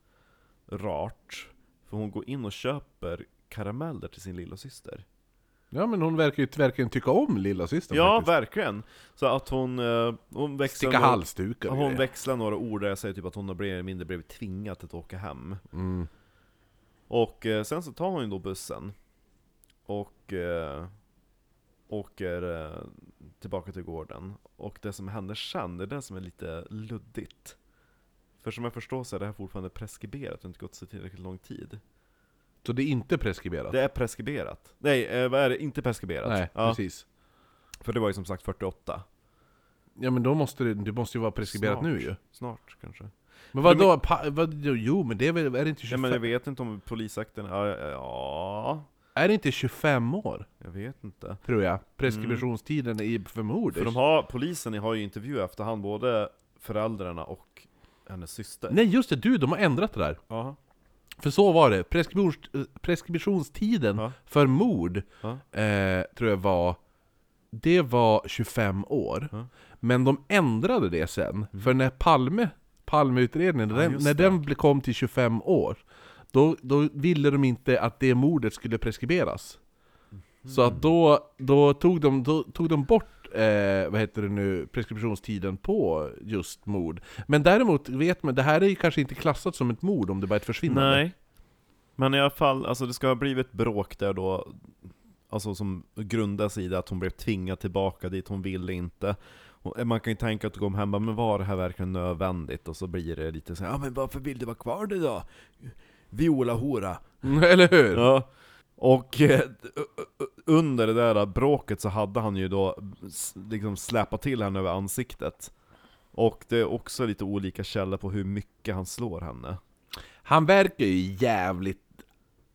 Speaker 2: rart, för hon går in och köper karameller till sin lilla syster.
Speaker 1: Ja men hon verkar ju verkligen tycka om lilla systern
Speaker 2: Ja,
Speaker 1: faktiskt.
Speaker 2: verkligen! Så att hon, eh, hon växlar
Speaker 1: Sticka
Speaker 2: några-
Speaker 1: halsdukar och
Speaker 2: Ja, hon
Speaker 1: grejer.
Speaker 2: växlar några ord där jag säger typ att hon har mer eller mindre blivit tvingad att åka hem.
Speaker 1: mm.
Speaker 2: Och eh, sen så tar hon ju då bussen. Och eh, åker eh, tillbaka till gården. Och det som händer sen, det är det som är lite luddigt. För som jag förstår så är det här fortfarande preskriberat, det har inte gått så tillräckligt lång tid.
Speaker 1: Så det är inte preskriberat?
Speaker 2: Det är preskriberat. Nej, eh, vad är det? Inte preskriberat.
Speaker 1: Nej,
Speaker 2: ja,
Speaker 1: precis.
Speaker 2: för det var ju som sagt 48.
Speaker 1: Ja men då måste det, det måste ju vara preskriberat
Speaker 2: Snart.
Speaker 1: nu ju.
Speaker 2: Snart kanske.
Speaker 1: Men vadå? Pa, vad, jo men det är väl, är det inte
Speaker 2: Nej
Speaker 1: 25,
Speaker 2: men jag vet inte om polisakten, ja, ja, ja
Speaker 1: är det inte 25 år?
Speaker 2: jag vet inte.
Speaker 1: Tror jag. Preskriptionstiden i, för mord.
Speaker 2: För de har, polisen har ju intervjuat efterhand både föräldrarna och hennes syster.
Speaker 1: Nej just det, du de har ändrat det där.
Speaker 2: Jaha.
Speaker 1: För så var det, Preskribitions- preskriptionstiden
Speaker 2: Ja.
Speaker 1: för mord
Speaker 2: Ja.
Speaker 1: eh, tror jag var Det var 25 år
Speaker 2: Ja. Mm.
Speaker 1: Men de ändrade det sen, för när Palme Palmeutredningen, när den,
Speaker 2: just
Speaker 1: när
Speaker 2: det.
Speaker 1: den ble- kom till 25 år då, då ville de inte att det mordet skulle preskriberas
Speaker 2: Mhm.
Speaker 1: Så att då, då, tog, de, då tog de bort eh, vad heter det nu, preskriptionstiden på just mord Men däremot vet man, det här är ju kanske inte klassat som ett mord om det bara är ett försvinnande
Speaker 2: Nej. Men i alla fall, alltså det ska ha blivit bråk där då, alltså som grundas i det att hon blev tvingad tillbaka dit, hon ville inte. Och eh, man kan ju tänka att gå hem och bara, men var det här verkligen nödvändigt? Och så blir det lite så här, ja men varför vill du vara kvar det då? Viola hora.
Speaker 1: (laughs) Eller hur?
Speaker 2: Ja. Och eh, under det där bråket så hade han ju då s- liksom släpat till henne över ansiktet. Och det är också lite olika källor på hur mycket han slår henne.
Speaker 1: Han verkar ju jävligt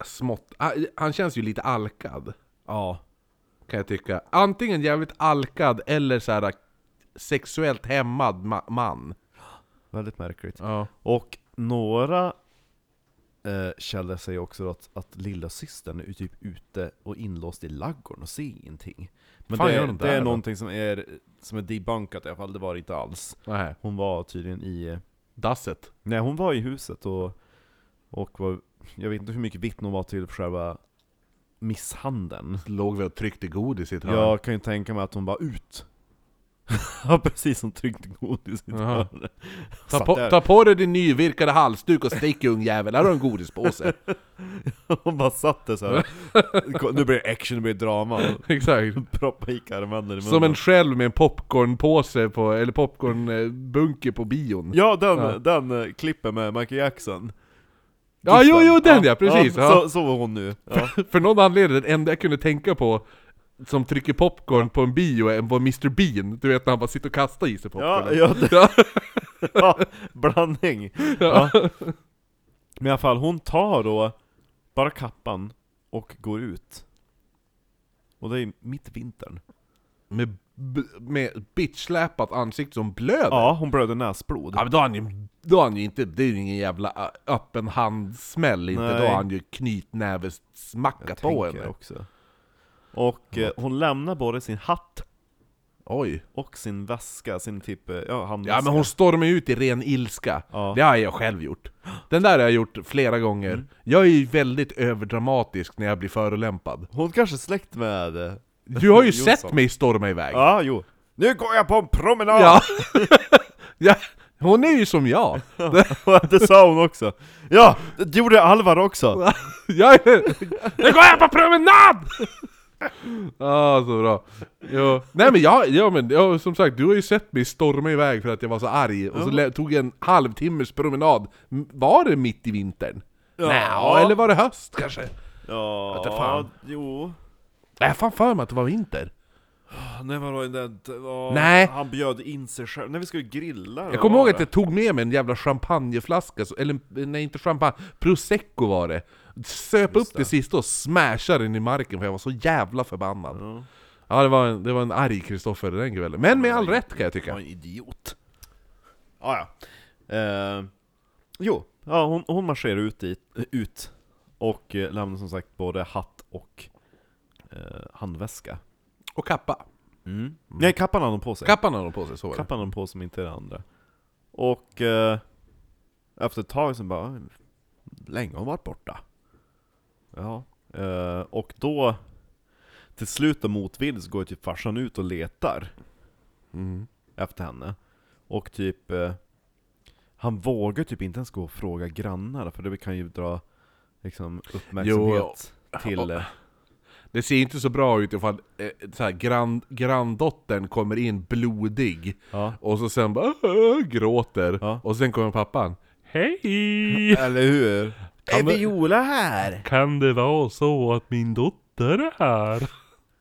Speaker 1: smått... han- Han känns ju lite alkad,
Speaker 2: Ja.
Speaker 1: kan jag tycka. Antingen jävligt alkad eller så här sexuellt hämmad ma- man.
Speaker 2: Väldigt märkligt.
Speaker 1: Ja.
Speaker 2: Och några eh, källor säger också att, att lilla systern är typ ute och inlåst i laggorn och ser ingenting. Men
Speaker 1: Fan,
Speaker 2: det,
Speaker 1: gör
Speaker 2: är,
Speaker 1: de
Speaker 2: det
Speaker 1: där
Speaker 2: är
Speaker 1: då?
Speaker 2: någonting som är, som är debunkat i alla fall, det var det inte alls.
Speaker 1: Nej.
Speaker 2: Hon var tydligen i eh,
Speaker 1: Dasset.
Speaker 2: Nej, hon var i huset och, och var, jag vet inte hur mycket vittne hon var till för själva misshandeln.
Speaker 1: Låg vi och tryckte godis i ett hörn.
Speaker 2: Jag kan ju tänka mig att hon var ut. (laughs) Ja, precis som tryckte godis i ett
Speaker 1: Jaha.
Speaker 2: hörn.
Speaker 1: Ta,
Speaker 2: Satt
Speaker 1: på,
Speaker 2: där.
Speaker 1: ta på dig din nyvirkade halsduk och stick ungjävel, här har du en
Speaker 2: (laughs)
Speaker 1: godispåse.
Speaker 2: (laughs) Hon bara satt där såhär. Nu blir det action, nu blir det drama.
Speaker 1: Exakt.
Speaker 2: Proppa i karameller i
Speaker 1: Som en
Speaker 2: munnen.
Speaker 1: själv med en popcornpåse på, eller popcornbunke på bion.
Speaker 2: Ja, den,
Speaker 1: Ja.
Speaker 2: den eh, klippen med Michael Jackson.
Speaker 1: Ja, jo, jo, den ja, precis. ja.
Speaker 2: Så, så var hon nu. Ja.
Speaker 1: För någon anledning, den enda jag kunde tänka på som trycker popcorn på en bio är- var Mr Bean, du vet när han bara sitter och kastar i sig
Speaker 2: Ja,
Speaker 1: popcorn.
Speaker 2: ja, (laughs) ja, blandning. Ja. Men i alla fall, hon tar då bara kappan och går ut. Och det är mitt i vintern.
Speaker 1: Med, b- med bitchsläpat ansikte som blöder. Ja.
Speaker 2: Ja, hon blöder näsblod.
Speaker 1: men då har han ju, då har han ju inte, det är ju ingen jävla ö- öppen handsmäll inte,
Speaker 2: Nej.
Speaker 1: då har han ju knytnävesmacka
Speaker 2: Jag
Speaker 1: på
Speaker 2: tänker
Speaker 1: henne.
Speaker 2: också. Och eh, hon lämnar både sin hatt
Speaker 1: Oj.
Speaker 2: och sin väska, sin typ, eh, ja handväska.
Speaker 1: Ja men hon stormar ju ut i ren ilska.
Speaker 2: Ja. Mm.
Speaker 1: Det har jag själv gjort. Den där har jag gjort flera gånger. Jag är ju väldigt överdramatisk när jag blir förolämpad.
Speaker 2: Hon kanske är släkt med... eh,
Speaker 1: Du
Speaker 2: (laughs)
Speaker 1: har ju
Speaker 2: Jonsson.
Speaker 1: sett mig storma iväg.
Speaker 2: Ja, jo. Nu går jag på en promenad!
Speaker 1: Ja. (laughs) ja! Hon är ju som jag!
Speaker 2: (laughs) det sa hon också. Ja, det gjorde Alvar också.
Speaker 1: jag är... Nu går jag på (laughs) promenad! ah, så bra. Jo. Nej men jag, ja men ja, som sagt, du har ju sett mig storma iväg för att jag var så arg, och så lä- tog jag en halvtimmes promenad. M- Var det mitt i vintern?
Speaker 2: Ja.
Speaker 1: Ja. eller var det höst kanske?
Speaker 2: Ja,
Speaker 1: Vete fan.
Speaker 2: jo.
Speaker 1: Jag har fan för mig att det var vinter.
Speaker 2: Nej vadå, det, det var,
Speaker 1: Nej.
Speaker 2: han bjöd in sig själv, när vi skulle grilla
Speaker 1: Jag kommer ihåg att jag tog med mig en jävla champagneflaska, så- eller nej inte champagne, prosecco var det. Söp upp det.
Speaker 2: det.
Speaker 1: sista och smashade den i marken för jag var så jävla förbannad.
Speaker 2: Ja.
Speaker 1: Ja, det var en, det var en arg Kristoffer den kvällen. Men med all rätt kan jag
Speaker 2: var
Speaker 1: tycka.
Speaker 2: en idiot ah, ja. eh, Jo, Ja, hon, hon marscherar ut dit, eh, ut och eh, lämnar som sagt både hatt och eh, handväska.
Speaker 1: Och kappa. Mm.
Speaker 2: Nej, kappan hade hon på sig.
Speaker 1: Kappan har de på sig, så var det.
Speaker 2: kappan hade hon på sig, men inte det andra. Och eh, efter ett tag så bara, länge har hon varit borta. Ja. Eh, och då, till slut och motvind så går ju typ farsan ut och letar
Speaker 1: Mm.
Speaker 2: efter henne. Och typ, eh, han vågar typ inte ens gå och fråga grannar för det kan ju dra liksom, uppmärksamhet till... eh,
Speaker 1: Det ser inte så bra ut ifall eh, så här, grand, granndottern kommer in blodig
Speaker 2: Ja.
Speaker 1: och så sen bara "Åh", gråter.
Speaker 2: Ja.
Speaker 1: Och sen kommer pappan. (laughs) Hej!
Speaker 2: Eller hur?
Speaker 1: Kan vi-
Speaker 3: Viola här!
Speaker 1: Kan det vara så att min dotter är här?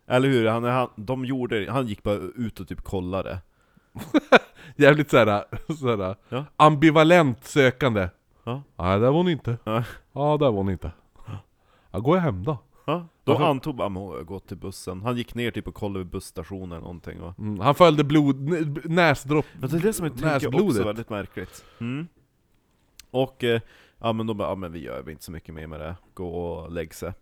Speaker 2: Eller hur? Han, han, de gjorde, han gick bara ut och typ kollade.
Speaker 1: Jävligt såhär, såhär
Speaker 2: Ja.
Speaker 1: ambivalent sökande.
Speaker 2: Ja.
Speaker 1: Nej, där var hon inte.
Speaker 2: Ja.
Speaker 1: Ja, där var hon inte. Ja, går jag hem då?
Speaker 2: Ja, då
Speaker 1: Varför-
Speaker 2: antog han att gå till bussen. Han gick ner typ och kollade vid busstationen eller någonting och...
Speaker 1: Mm, han följde blod, n- näsdropp.
Speaker 2: Men det är det som jag tänker också
Speaker 1: Näsblodet.
Speaker 2: är väldigt märkligt. Mm. Och, eh, ja men de bara, ja men vi gör väl inte så mycket mer med det. Gå och lägg sig.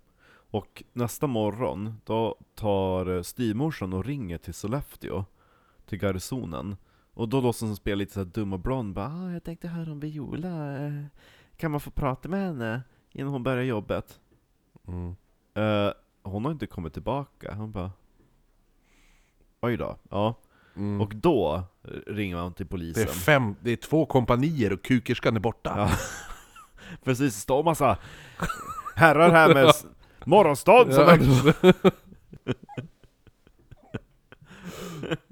Speaker 2: Och nästa morgon, då tar eh, styvmorsan och ringer till Sollefteå, till garnisonen. Och då låtsas hon spela lite så här dum och blond, bara ah, jag tänkte höra om Viola, eh, kan man få prata med henne innan hon börjar jobbet?'
Speaker 1: Mm.
Speaker 2: Eh, hon har inte kommit tillbaka. Han bara... Oj då. Ja.
Speaker 1: Mm.
Speaker 2: Och då ringer han till
Speaker 1: det,
Speaker 2: polisen.
Speaker 1: är fem, det är två kompanier och kukerskan är borta.
Speaker 2: Ja. Precis, det står massa herrar här med s-
Speaker 1: (laughs)
Speaker 2: morgonstånd som
Speaker 1: Ja.
Speaker 2: har...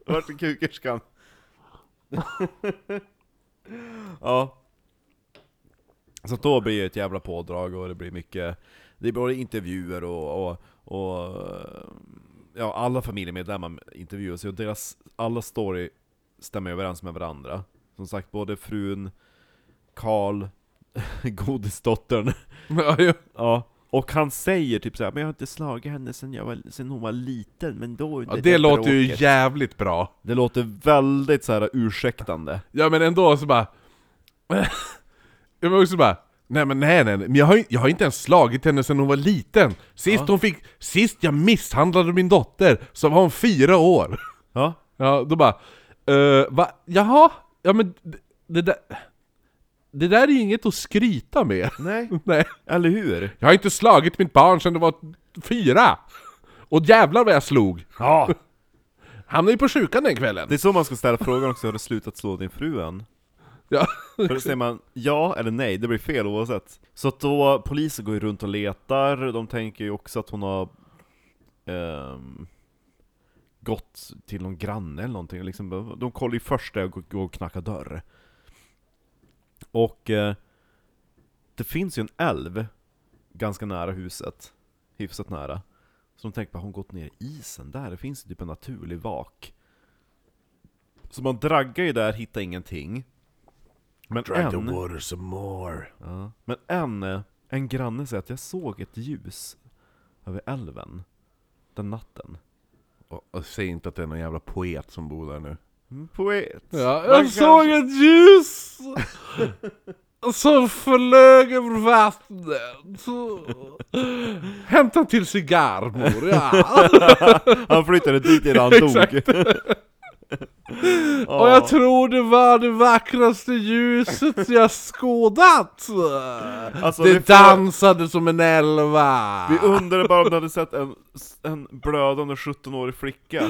Speaker 2: Vart är kukerskan? (laughs) ja. Så då blir det ett jävla pådrag och det blir mycket, det blir både intervjuer och, och, och ja, alla familjemedlemmar intervjuas ju och deras, alla story stämmer överens med varandra. Som sagt, både frun, Karl, (laughs) godisdottern,
Speaker 1: Ja, ja.
Speaker 2: ja. Och han säger typ såhär, men jag har inte slagit henne sen, jag var, sen hon var liten, men då...
Speaker 1: Ja, det låter ju
Speaker 2: bråket."
Speaker 1: jävligt bra.
Speaker 2: Det låter väldigt så här ursäktande.
Speaker 1: Ja men ändå så bara... (laughs) jag var också bara... Nej men nej nej, nej. Men jag, har, ju- jag har inte ens slagit henne sedan hon var liten. Sist
Speaker 2: Ja.
Speaker 1: hon fick... Sist jag misshandlade min dotter så var hon fyra år.
Speaker 2: Ja.
Speaker 1: Ja, då bara... Uh, va? Jaha? Ja men det, det där... Det där är ju inget att skryta med. (laughs)
Speaker 2: Nej.
Speaker 1: nej.
Speaker 2: Eller hur?
Speaker 1: Jag har inte slagit mitt barn sedan det var fyra! Och jävlar vad jag slog!
Speaker 2: Ja.
Speaker 1: Hamnade ju på sjukan den kvällen!
Speaker 2: Det är så man ska ställa frågan också, har du slutat slå din fru än?
Speaker 1: Ja.
Speaker 2: För då säger man ja eller nej, det blir fel oavsett. Så att då, polisen går ju runt och letar, de tänker ju också att hon har ehm, gått till någon granne eller någonting. Liksom, de kollar ju först där och går- går och knackar dörr. Och eh, det finns ju en älv ganska nära huset, hyfsat nära. Så de tänker bara, har hon gått ner i isen där? Det finns ju typ en naturlig vak. Så man draggar ju där, hittar ingenting. Men en,
Speaker 1: water some more.
Speaker 2: Ja. Men en, eh, en granne säger att jag såg ett ljus över älven den natten.
Speaker 1: Och, och säg inte att det är någon jävla poet som bor där nu.
Speaker 2: Mm, Poet!
Speaker 1: Ja,
Speaker 2: Man
Speaker 1: jag såg
Speaker 2: kanske-
Speaker 1: ett ljus! som flög över vattnet. Hämta en till cigarr mor, ja.
Speaker 2: (laughs) Han flyttade dit innan han dog.
Speaker 1: Och
Speaker 2: (laughs) Ja.
Speaker 1: jag tror det var det vackraste
Speaker 2: (laughs)
Speaker 1: ljuset jag skådat!
Speaker 2: Alltså, vi
Speaker 1: det
Speaker 2: får-
Speaker 1: dansade som en elva!
Speaker 2: Vi undrade bara om du hade sett en, en blödande 17-årig flicka.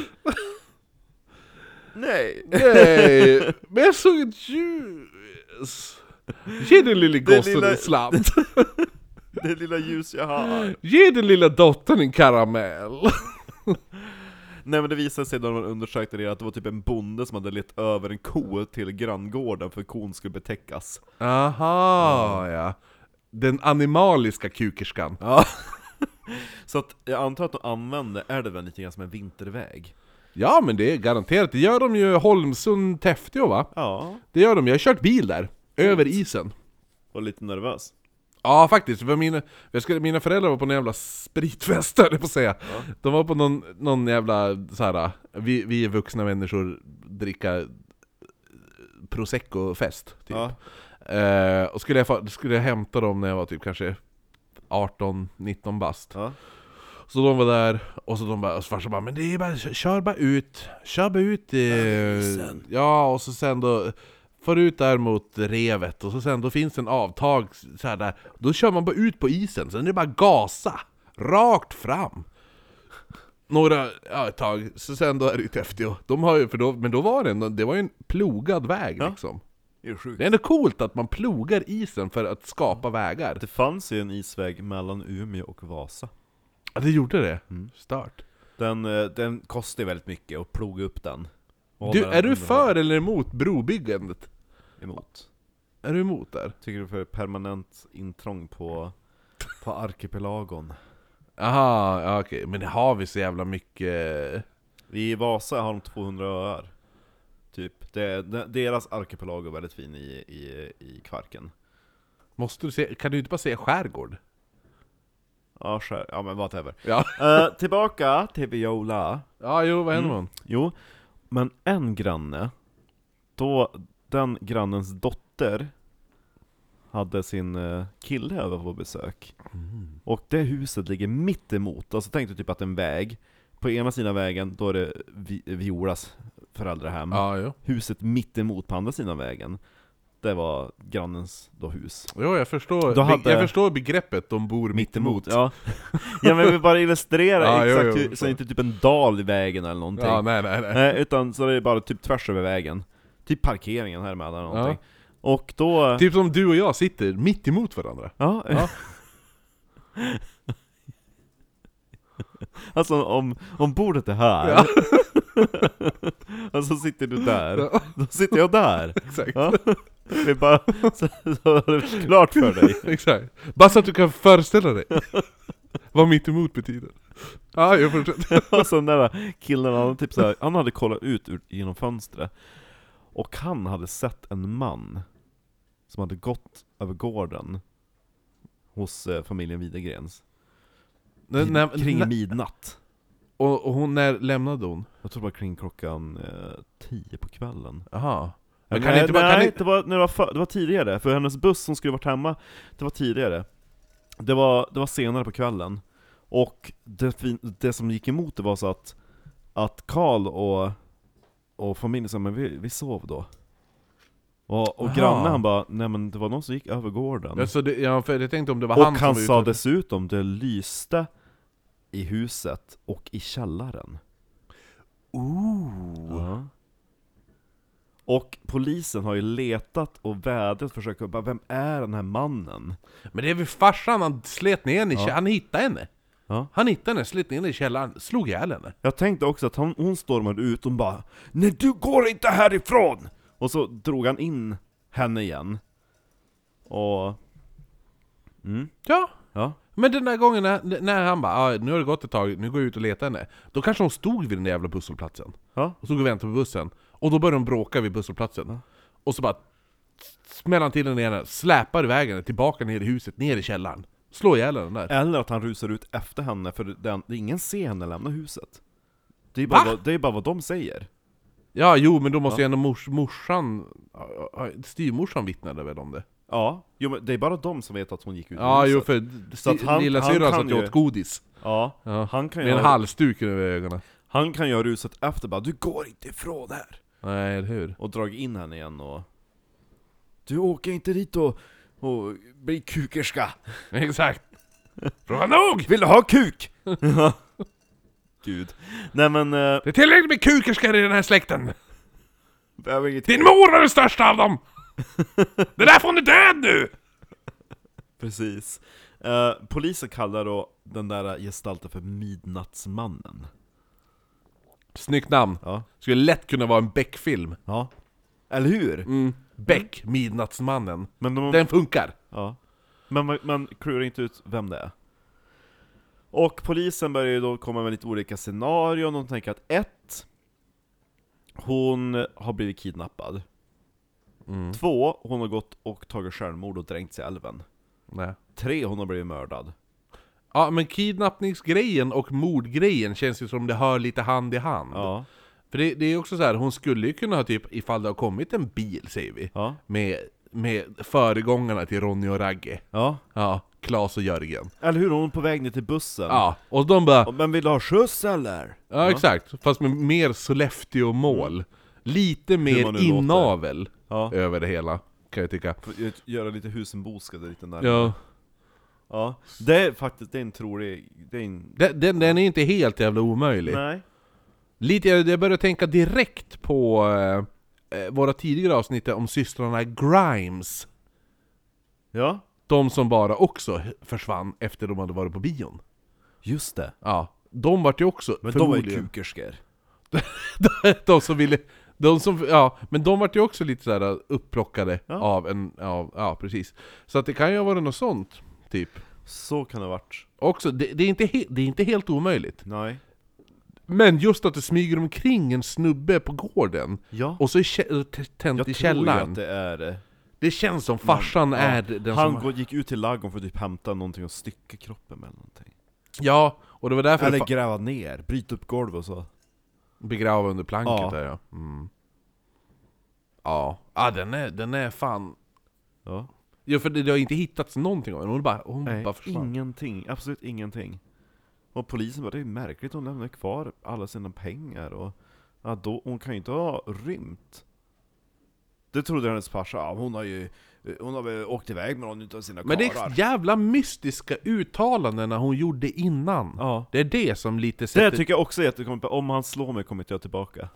Speaker 2: (laughs) Nej!
Speaker 1: Nej, (laughs) men jag såg ett ljus! Ge den lille
Speaker 2: Det
Speaker 1: gossen
Speaker 2: lilla-
Speaker 1: en slant!
Speaker 2: Det lilla ljus jag har.
Speaker 1: Ge den lilla dottern en karamell!
Speaker 2: Nej men det visade sig när man undersökte det att det var typ en bonde som hade lett över en ko till granngården för kon skulle betäckas.
Speaker 1: Aha, ja. Den animaliska kukerskan.
Speaker 2: Ja. Så att jag antar att de använde älven lite grann som en vinterväg.
Speaker 1: Ja men det är garanterat, det gör de ju Holmsund, Täfteå va?
Speaker 2: Ja.
Speaker 1: Det gör de, jag har kört bil där. Över isen.
Speaker 2: Var lite nervös.
Speaker 1: Ja faktiskt, för mina, jag skulle, mina föräldrar var på någon jävla spritfest (laughs) höll jag på att säga. De var på någon, någon jävla så här. vi, vi är vuxna människor, dricka prosecco-fest typ.
Speaker 2: Ja.
Speaker 1: Eh, och skulle jag, fa- skulle jag hämta dem när jag var typ kanske 18-19 bast.
Speaker 2: Ja.
Speaker 1: Så de var där, och så de bara, och farsan bara 'Men det är bara, kör bara ut, kör bara ut' eh, Ja, och så sen då, far ut där mot revet, och så sen då finns en avtag så här där Då kör man bara ut på isen, sen är det bara gasa, rakt fram några, ja ett tag, så sen då är det ju Skellefteå. De har ju, för då, men då var det ändå, det var ju en plogad väg
Speaker 2: Ja.
Speaker 1: liksom.
Speaker 2: Det är sjukt.
Speaker 1: Det är ändå coolt att man plogar isen för att skapa vägar.
Speaker 2: Det fanns ju en isväg mellan Umeå och Vasa.
Speaker 1: Ja, det gjorde det. Stört.
Speaker 2: Den, eh, den kostar ju väldigt mycket att ploga upp den. Och
Speaker 1: Du,
Speaker 2: hålla
Speaker 1: är
Speaker 2: den
Speaker 1: du för eller emot brobyggandet?
Speaker 2: Emot.
Speaker 1: Är du emot där?
Speaker 2: Tycker du för permanent intrång på, på arkipelagon?
Speaker 1: Aha, ja, okej. Men det har vi så jävla mycket...
Speaker 2: I Vasa har de 200 öar. Typ. Det, de- deras arkipelag är väldigt fin i, i, i Kvarken.
Speaker 1: Måste du se, kan du inte bara säga skärgård?
Speaker 2: Ja, skär, ja men whatever.
Speaker 1: Ja,
Speaker 2: Eh, tillbaka till Viola.
Speaker 1: ja jo vad händer man?
Speaker 2: Jo, men en granne, då den grannens dotter hade sin eh, kille över på besök.
Speaker 1: Mm.
Speaker 2: Och det huset ligger mitt emot, alltså tänk dig typ att en väg, på ena sidan vägen då är det Vi- Violas föräldrahem.
Speaker 1: Ja, jo.
Speaker 2: Huset mitt emot på andra sidan vägen, det var grannens då hus.
Speaker 1: Jo, jag förstår,
Speaker 2: Då hade-
Speaker 1: jag förstår begreppet de bor mittemot.
Speaker 2: Ja, ja men jag vill bara illustrera
Speaker 1: Ja, jo,
Speaker 2: exakt
Speaker 1: jo,
Speaker 2: hur,
Speaker 1: jag
Speaker 2: så
Speaker 1: förstår.
Speaker 2: det inte är typ en dal i vägen eller någonting.
Speaker 1: Ja, nej, nej, (laughs) nej.
Speaker 2: Nej, utan så det är bara typ tvärs över vägen. Typ parkeringen här med eller någonting. Och då...
Speaker 1: Typ som du och jag sitter mitt emot varandra. (laughs)
Speaker 2: Ja.
Speaker 1: Ja.
Speaker 2: (laughs) alltså om, om bordet är här,
Speaker 1: Ja.
Speaker 2: (laughs) och så sitter du där,
Speaker 1: Ja,
Speaker 2: då sitter
Speaker 1: (laughs)
Speaker 2: jag där.
Speaker 1: exakt.
Speaker 2: Ja. Det är bara så, så är det klart för dig.
Speaker 1: Exakt. Bara så att du kan föreställa dig (laughs) vad mitt emot betyder. Ja, jag fortsätter.
Speaker 2: Och så Alltså, den där killen, han, typ så här, han hade kollat ut ur, genom fönstret, och han hade sett en man som hade gått över gården hos eh, familjen Widegrens.
Speaker 1: När- när-
Speaker 2: kring
Speaker 1: när-
Speaker 2: midnatt.
Speaker 1: och, och hon, när lämnade hon?
Speaker 2: Jag tror det var kring klockan eh, tio på kvällen.
Speaker 1: Jaha.
Speaker 2: Men
Speaker 1: Men kan
Speaker 2: nej,
Speaker 1: inte bara- kan
Speaker 2: nej,
Speaker 1: inte-
Speaker 2: det, var, när det, var för, det var tidigare, för hennes buss som skulle varit hemma, det var tidigare. Det var, det var senare på kvällen. Och det, fin- det som gick emot det var så att, att Karl och, och familjen sa men vi, vi sov då. Och, och
Speaker 1: Aha.
Speaker 2: grannen han bara, nej men det var någon som gick över gården.
Speaker 1: Alltså, det, ja, för jag tänkte om det var
Speaker 2: och
Speaker 1: han
Speaker 2: han,
Speaker 1: som var ute-
Speaker 2: sa dessutom, det lyste i huset och i källaren.
Speaker 1: Ooh.
Speaker 2: Ja. Och polisen har ju letat och vädrat, försökt, bara, vem är den här mannen?
Speaker 1: Men det är väl farsan, han slet ner henne, i kä- han hittade henne.
Speaker 2: Ja.
Speaker 1: Han hittade henne, slet ner henne i källaren, slog ihjäl henne.
Speaker 2: Jag tänkte också att han, hon stormade ut och bara Nej du går inte härifrån! Och så drog han in henne igen. Och... Mm,
Speaker 1: Ja.
Speaker 2: ja.
Speaker 1: Men den där gången när, när han bara ah, 'Nu har det gått ett tag, nu går jag ut och letar henne' Då kanske hon stod vid den där jävla busshållplatsen.
Speaker 2: Ja.
Speaker 1: Och stod och väntade på bussen. Och då började de bråka vid busshållplatsen. Och så bara smäller han till den ena, släpar iväg henne tillbaka ner i huset, ner i källaren. Slår ihjäl den där.
Speaker 2: Eller att han rusar ut efter henne för den, ingen ser henne lämna huset. Det är bara,
Speaker 1: Va?
Speaker 2: vad, det är bara vad de säger.
Speaker 1: Ja, jo men då måste ju ändå mors, morsan, ja, ja, styvmorsan vittnade väl om det?
Speaker 2: Ja, jo, men det är bara de som vet att hon gick ut ur
Speaker 1: Ja, jo
Speaker 2: huset.
Speaker 1: för
Speaker 2: Mm, Så att han-
Speaker 1: lilla
Speaker 2: han
Speaker 1: syrran
Speaker 2: kan
Speaker 1: satt ju
Speaker 2: ju-
Speaker 1: åt godis.
Speaker 2: Ja,
Speaker 1: Ja.
Speaker 2: han kan ju
Speaker 1: Med en
Speaker 2: ha,
Speaker 1: halsduk över ögonen.
Speaker 2: han kan ju ha rusat efter bara 'Du går inte ifrån här'
Speaker 1: Nej, eller hur? (laughs)
Speaker 2: och dragit in henne igen och... Du åker inte dit och, och blir kukerska!
Speaker 1: Exakt! Fråga nog!
Speaker 2: Vill du ha kuk? (laughs) Gud. Nej men, eh,
Speaker 1: Det är tillräckligt med kukerskor i den här släkten!
Speaker 2: behöver inget...
Speaker 1: Din mor var den största av dem! Det där får hon är död nu!
Speaker 2: Precis. Eh, polisen kallar då den där gestalten för Midnattsmannen.
Speaker 1: Snyggt namn.
Speaker 2: Ja.
Speaker 1: Skulle lätt kunna vara en Beck-film.
Speaker 2: Ja. Eller hur?
Speaker 1: Mm. Beck, Midnattsmannen.
Speaker 2: Men de...
Speaker 1: Den funkar.
Speaker 2: Ja. Men man, man klurar inte ut vem det är. Och polisen börjar ju då komma med lite olika scenarion, de tänker att ett, Hon har blivit kidnappad. Två, Hon har gått och tagit självmord och dränkt sig i älven.
Speaker 1: Nej.
Speaker 2: Tre, Hon har blivit mördad.
Speaker 1: Ja, men kidnappningsgrejen och mordgrejen känns ju som det hör lite hand i hand.
Speaker 2: Ja.
Speaker 1: För det, det är ju också så här, hon skulle ju kunna ha typ, ifall det har kommit en bil, säger vi,
Speaker 2: Ja.
Speaker 1: med med föregångarna till Ronny och Ragge.
Speaker 2: Ja,
Speaker 1: Ja, Klas och Jörgen.
Speaker 2: eller hur? Hon är på väg ner till bussen.
Speaker 1: Ja, och de bara
Speaker 2: Och, Men vill du ha skjuts eller?
Speaker 1: Ja, exakt, fast med mer Sollefteå-mål. Lite
Speaker 2: Mm. man nu
Speaker 1: mer
Speaker 2: låter.
Speaker 1: inavel
Speaker 2: Ja.
Speaker 1: över det hela, kan jag tycka.
Speaker 2: Får jag Göra lite Husenboska där lite närmare.
Speaker 1: Ja.
Speaker 2: Ja, det är faktiskt, det är en trolig, det är en...
Speaker 1: Den, den, den är inte helt jävla omöjlig.
Speaker 2: Nej.
Speaker 1: Lite, jag jag började tänka direkt på eh, eh, våra tidigare avsnitt om systrarna Grimes.
Speaker 2: Ja,
Speaker 1: De som bara också försvann efter de hade varit på bion.
Speaker 2: just det.
Speaker 1: Ja, de vart ju också
Speaker 2: Men de var ju
Speaker 1: förmodligen-
Speaker 2: kukerskor.
Speaker 1: de som ville... De som, ja, men de vart ju också lite sådär upplockade
Speaker 2: Ja.
Speaker 1: av en... Av, ja, precis. Så att det kan ju ha varit något sånt, typ.
Speaker 2: Så kan det ha varit.
Speaker 1: Också, det, det, är inte he, det är inte helt omöjligt.
Speaker 2: Nej.
Speaker 1: Men just att det smyger omkring en snubbe på gården,
Speaker 2: Ja.
Speaker 1: och så är kä- t- tänt i
Speaker 2: jag tror ju
Speaker 1: källaren.
Speaker 2: att
Speaker 1: Det...
Speaker 2: det är det.
Speaker 1: känns som farsan
Speaker 2: Ja.
Speaker 1: är den
Speaker 2: Han
Speaker 1: som...
Speaker 2: gå- gick ut till ladugården för att typ hämta någonting och stycka kroppen med någonting.
Speaker 1: Ja, och det var därför
Speaker 2: Eller
Speaker 1: det fa-
Speaker 2: gräva ner, bryta upp golvet och så.
Speaker 1: begrava under planket
Speaker 2: Ja.
Speaker 1: där ja. Mm. Ja, ah, den, är, den är fan...
Speaker 2: Ja.
Speaker 1: Ja, för det, det har inte hittats någonting av henne, hon bara, hon
Speaker 2: Nej,
Speaker 1: bara försvann.
Speaker 2: ingenting. Absolut ingenting. Och polisen bara, det är ju märkligt, hon lämnar kvar alla sina pengar och... Ja, då, hon kan ju inte ha rymt. Det trodde hennes farsa, ja, hon har ju... eh, Hon har väl åkt iväg med någon utav sina
Speaker 1: Men det
Speaker 2: karlar.
Speaker 1: är jävla mystiska uttalandena hon gjorde innan.
Speaker 2: Ja.
Speaker 1: Det är det som lite sätter...
Speaker 2: Det tycker jag också är jättekompet. Om han slår mig kommer inte jag tillbaka.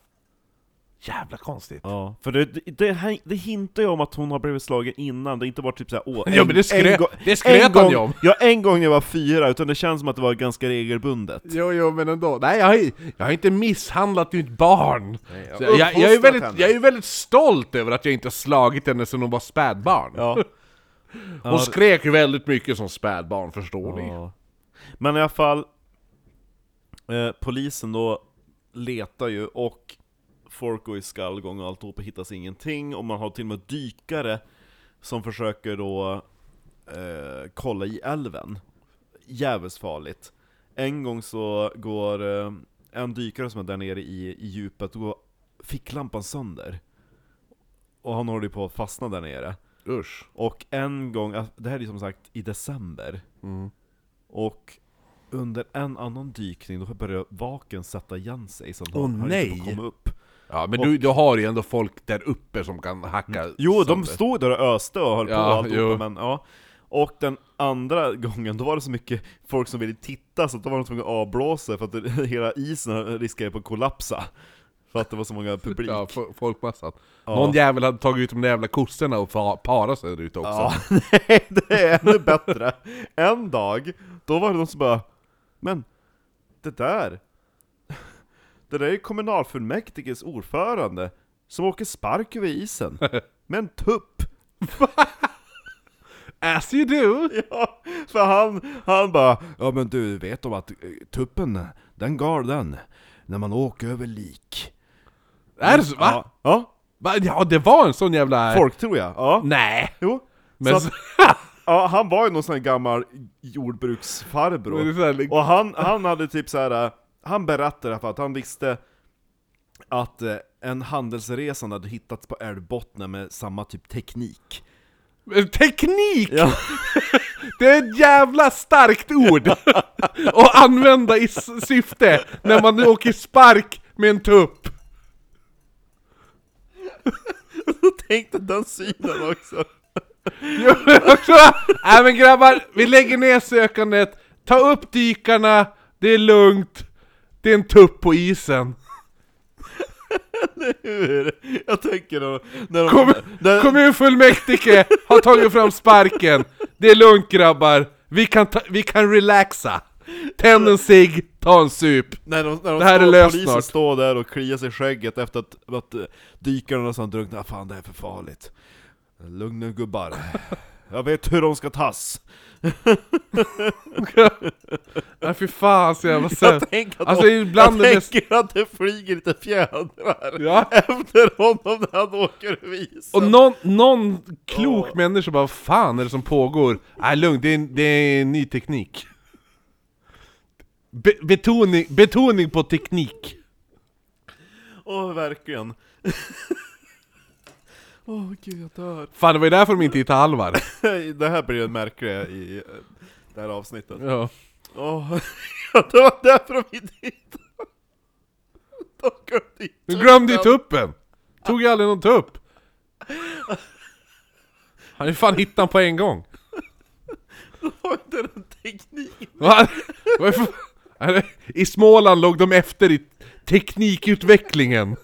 Speaker 1: Jävla konstigt.
Speaker 2: Ja, för det, det, det, här- det hintar ju om att hon har blivit slagen innan, det har inte varit typ såhär åh,
Speaker 1: Ja, men det skrö- det skröt han
Speaker 2: gång,
Speaker 1: ju om.
Speaker 2: Ja, en gång när jag var fyra, utan det känns som att det var ganska regelbundet.
Speaker 1: Jo, jo, men ändå. Nej, jag har, ju- jag har inte misshandlat mitt barn. Så jag, jag, jag, är
Speaker 2: uppfostrat
Speaker 1: väldigt,
Speaker 2: henne.
Speaker 1: jag är väldigt stolt över att jag inte har slagit henne sedan hon var spädbarn.
Speaker 2: Ja.
Speaker 1: Hon skrek ju väldigt mycket som spädbarn, förstår ni?
Speaker 2: ja. Men i alla fall, eh, polisen då letar ju och folk går i skallgång och alltihop och hittas ingenting, och man har till och med dykare som försöker då eh, kolla i älven. Jävligt farligt. En gång så går eh, en dykare som är där nere i, i djupet, och går ficklampan sönder. Och han håller ju på att fastna där nere.
Speaker 1: Usch.
Speaker 2: Och en gång, alltså, det här är ju som sagt i december,
Speaker 1: Mm.
Speaker 2: och under en annan dykning då börjar vaken sätta igen sig så att
Speaker 1: Åh,
Speaker 2: han, han
Speaker 1: nej. Äh,
Speaker 2: inte får komma upp.
Speaker 1: Ja, men du, du har ju ändå folk där uppe som kan hacka
Speaker 2: Jo, de
Speaker 1: sönder.
Speaker 2: stod där och öste och höll på
Speaker 1: Ja,
Speaker 2: och alltihopa,
Speaker 1: jo.
Speaker 2: men ja. Och den andra gången, då var det så mycket folk som ville titta så att då var de tvungna att avblåsa för att (laughs) det, hela isen riskerade på att kollapsa. För att det var så många publik.
Speaker 1: Ja,
Speaker 2: Ja,
Speaker 1: fo- folkmassan.
Speaker 2: Ja.
Speaker 1: Någon jävel hade tagit ut de där jävla kossorna och fa- parat sig där ute också.
Speaker 2: (laughs) nej, det är ännu bättre. En dag, då var det de som bara Men, det där, (laughs) det där är ju kommunalfullmäktiges ordförande som åker spark
Speaker 1: (laughs)
Speaker 2: över isen med en tupp.
Speaker 1: As you do!
Speaker 2: Ja, för han, han bara Ja men du, vet om att eh, tuppen, den gal den, när man åker över lik
Speaker 1: Är det så? Va?
Speaker 2: Ja, ja
Speaker 1: Va? Ja, det var en sån jävla...
Speaker 2: folk tror jag, ja,
Speaker 1: Nej!
Speaker 2: jo
Speaker 1: Men
Speaker 2: så
Speaker 1: så, (laughs)
Speaker 2: att, ja, han var ju någon sån här gammal
Speaker 1: det är
Speaker 2: jordbruksfarbror
Speaker 1: så här,
Speaker 2: Och han, han hade typ så här. han berättade för att han visste att eh, en handelsresande hade hittats på älvbottnen med samma typ teknik
Speaker 1: Teknik!
Speaker 2: Ja. (laughs)
Speaker 1: Det är ett jävla starkt ord! (laughs) Att använda i s- syfte när man åker spark med en tupp! (laughs)
Speaker 2: Tänkte den synen också!
Speaker 1: Nej men grabbar, vi lägger ner sökandet, ta upp dykarna, det är lugnt, det är en tupp på isen.
Speaker 2: Hur? Jag tänker då, när de,
Speaker 1: Kom,
Speaker 2: när,
Speaker 1: kommunfullmäktige har tagit fram sparken, det är lugnt grabbar, vi kan, ta, vi kan relaxa. Tänd en cigg, ta en sup.
Speaker 2: När de, när de
Speaker 1: Det här är
Speaker 2: står,
Speaker 1: löst
Speaker 2: polisen
Speaker 1: snart.
Speaker 2: står där och kliar sig i skägget efter att, att eh, dykarna som drunknat, "Ah, fan det här är för farligt. Lugn nu gubbar. Jag vet hur de ska tas.
Speaker 1: Nej fy fan så jävla
Speaker 2: Jag
Speaker 1: söt.
Speaker 2: tänker att,
Speaker 1: Alltså
Speaker 2: de,
Speaker 1: ibland
Speaker 2: jag
Speaker 1: är det...
Speaker 2: tänker att det flyger lite fjädrar
Speaker 1: Ja.
Speaker 2: efter honom när han åker över isen.
Speaker 1: Och någon, någon klok
Speaker 2: Åh.
Speaker 1: människa bara 'Vad fan är det som pågår?' Nej lugn, det är, det är en ny teknik. Be betoning, betoning på teknik. (laughs)
Speaker 2: Åh, verkligen. Åh gud, jag dör.
Speaker 1: Fan, det var ju därför de inte hittade Alvar.
Speaker 2: det här blir ju en märklig i eh, det här avsnittet.
Speaker 1: Ja.
Speaker 2: Åh, (laughs) det var därför de inte hittade De kunde inte
Speaker 1: Du glömde ju
Speaker 2: hitta-
Speaker 1: tuppen! Tog ju aldrig någon tupp! Han är fan hittat den på en gång!
Speaker 2: Det var inte den tekniken.
Speaker 1: Va? Varför- I Småland låg de efter i teknikutvecklingen!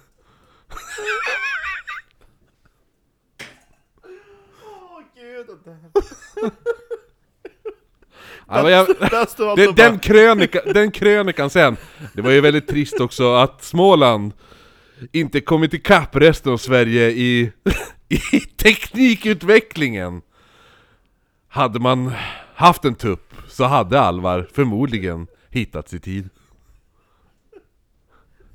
Speaker 2: Åh gud, det här.
Speaker 1: Ja, men jag-
Speaker 2: Där står alltså
Speaker 1: Det,
Speaker 2: bara-
Speaker 1: den, krönika, den krönikan sen, det var ju väldigt trist också att Småland inte kommit ikapp resten av Sverige i, (laughs) i teknikutvecklingen. Hade man haft en tupp så hade Alvar förmodligen hittats i tid.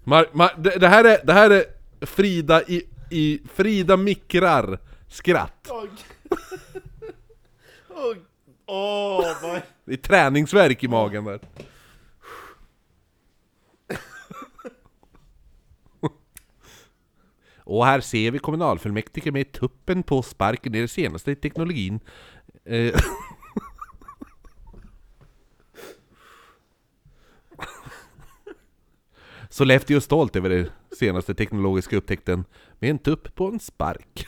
Speaker 1: Mar, mar, det, det, här är, det här är Frida i, i Frida Mikrar skratt.
Speaker 2: Åh, gud. Åh, åh, vad...
Speaker 1: Det är träningsverk i magen där. Och här ser vi kommunalfullmäktige med tuppen på sparken i den senaste teknologin. Eh. Sollefteå är stolt över den senaste teknologiska upptäckten med en tupp på en spark.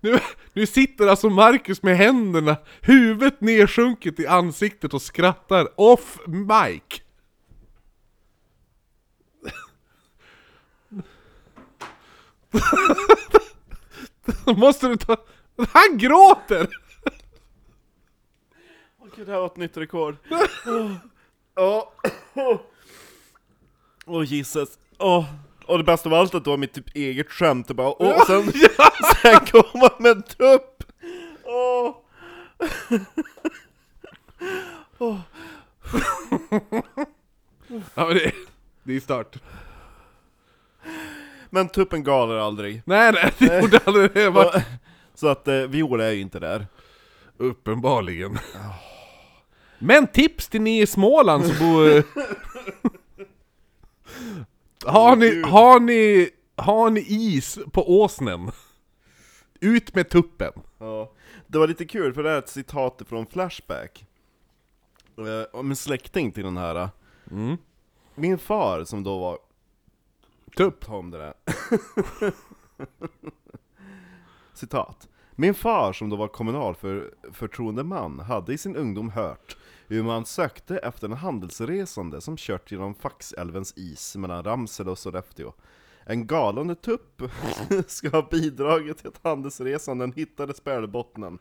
Speaker 1: Nu, nu sitter alltså Marcus med händerna, huvudet nedsjunket i ansiktet och skrattar off mic! (laughs) Då måste du ta... Han gråter!
Speaker 2: Åh gud, det här var ett nytt rekord. Åh, åh. Åh Jesus. Åh. Och det bästa av allt att det var mitt typ eget skämt, det bara åh, sen, (laughs) sen kom han med en tupp! Åh!
Speaker 1: Ja men det, det är stört.
Speaker 2: Men tuppen galer aldrig.
Speaker 1: Nej nej, det gjorde aldrig det. Var...
Speaker 2: Och- Så att eh, Viola är ju inte där.
Speaker 1: Uppenbarligen. (laughs) Men tips till ni i Småland som bor... har, ni, har, ni, har ni is på åsnen? Ut med tuppen!
Speaker 2: Ja. Det var lite kul, för det här är ett citat från Flashback. Eh, Om en släkting till den här. eh. Min far, som då var
Speaker 1: Tupp!
Speaker 2: Ta om det där. Citat. Min far som då var kommunal för, förtroendeman hade i sin ungdom hört hur man sökte efter en handelsresande som kört genom Faxälvens is mellan Ramsele och Sollefteå. En galande tupp (laughs) ska ha bidragit till att handelsresanden hittade Spärlbottnen.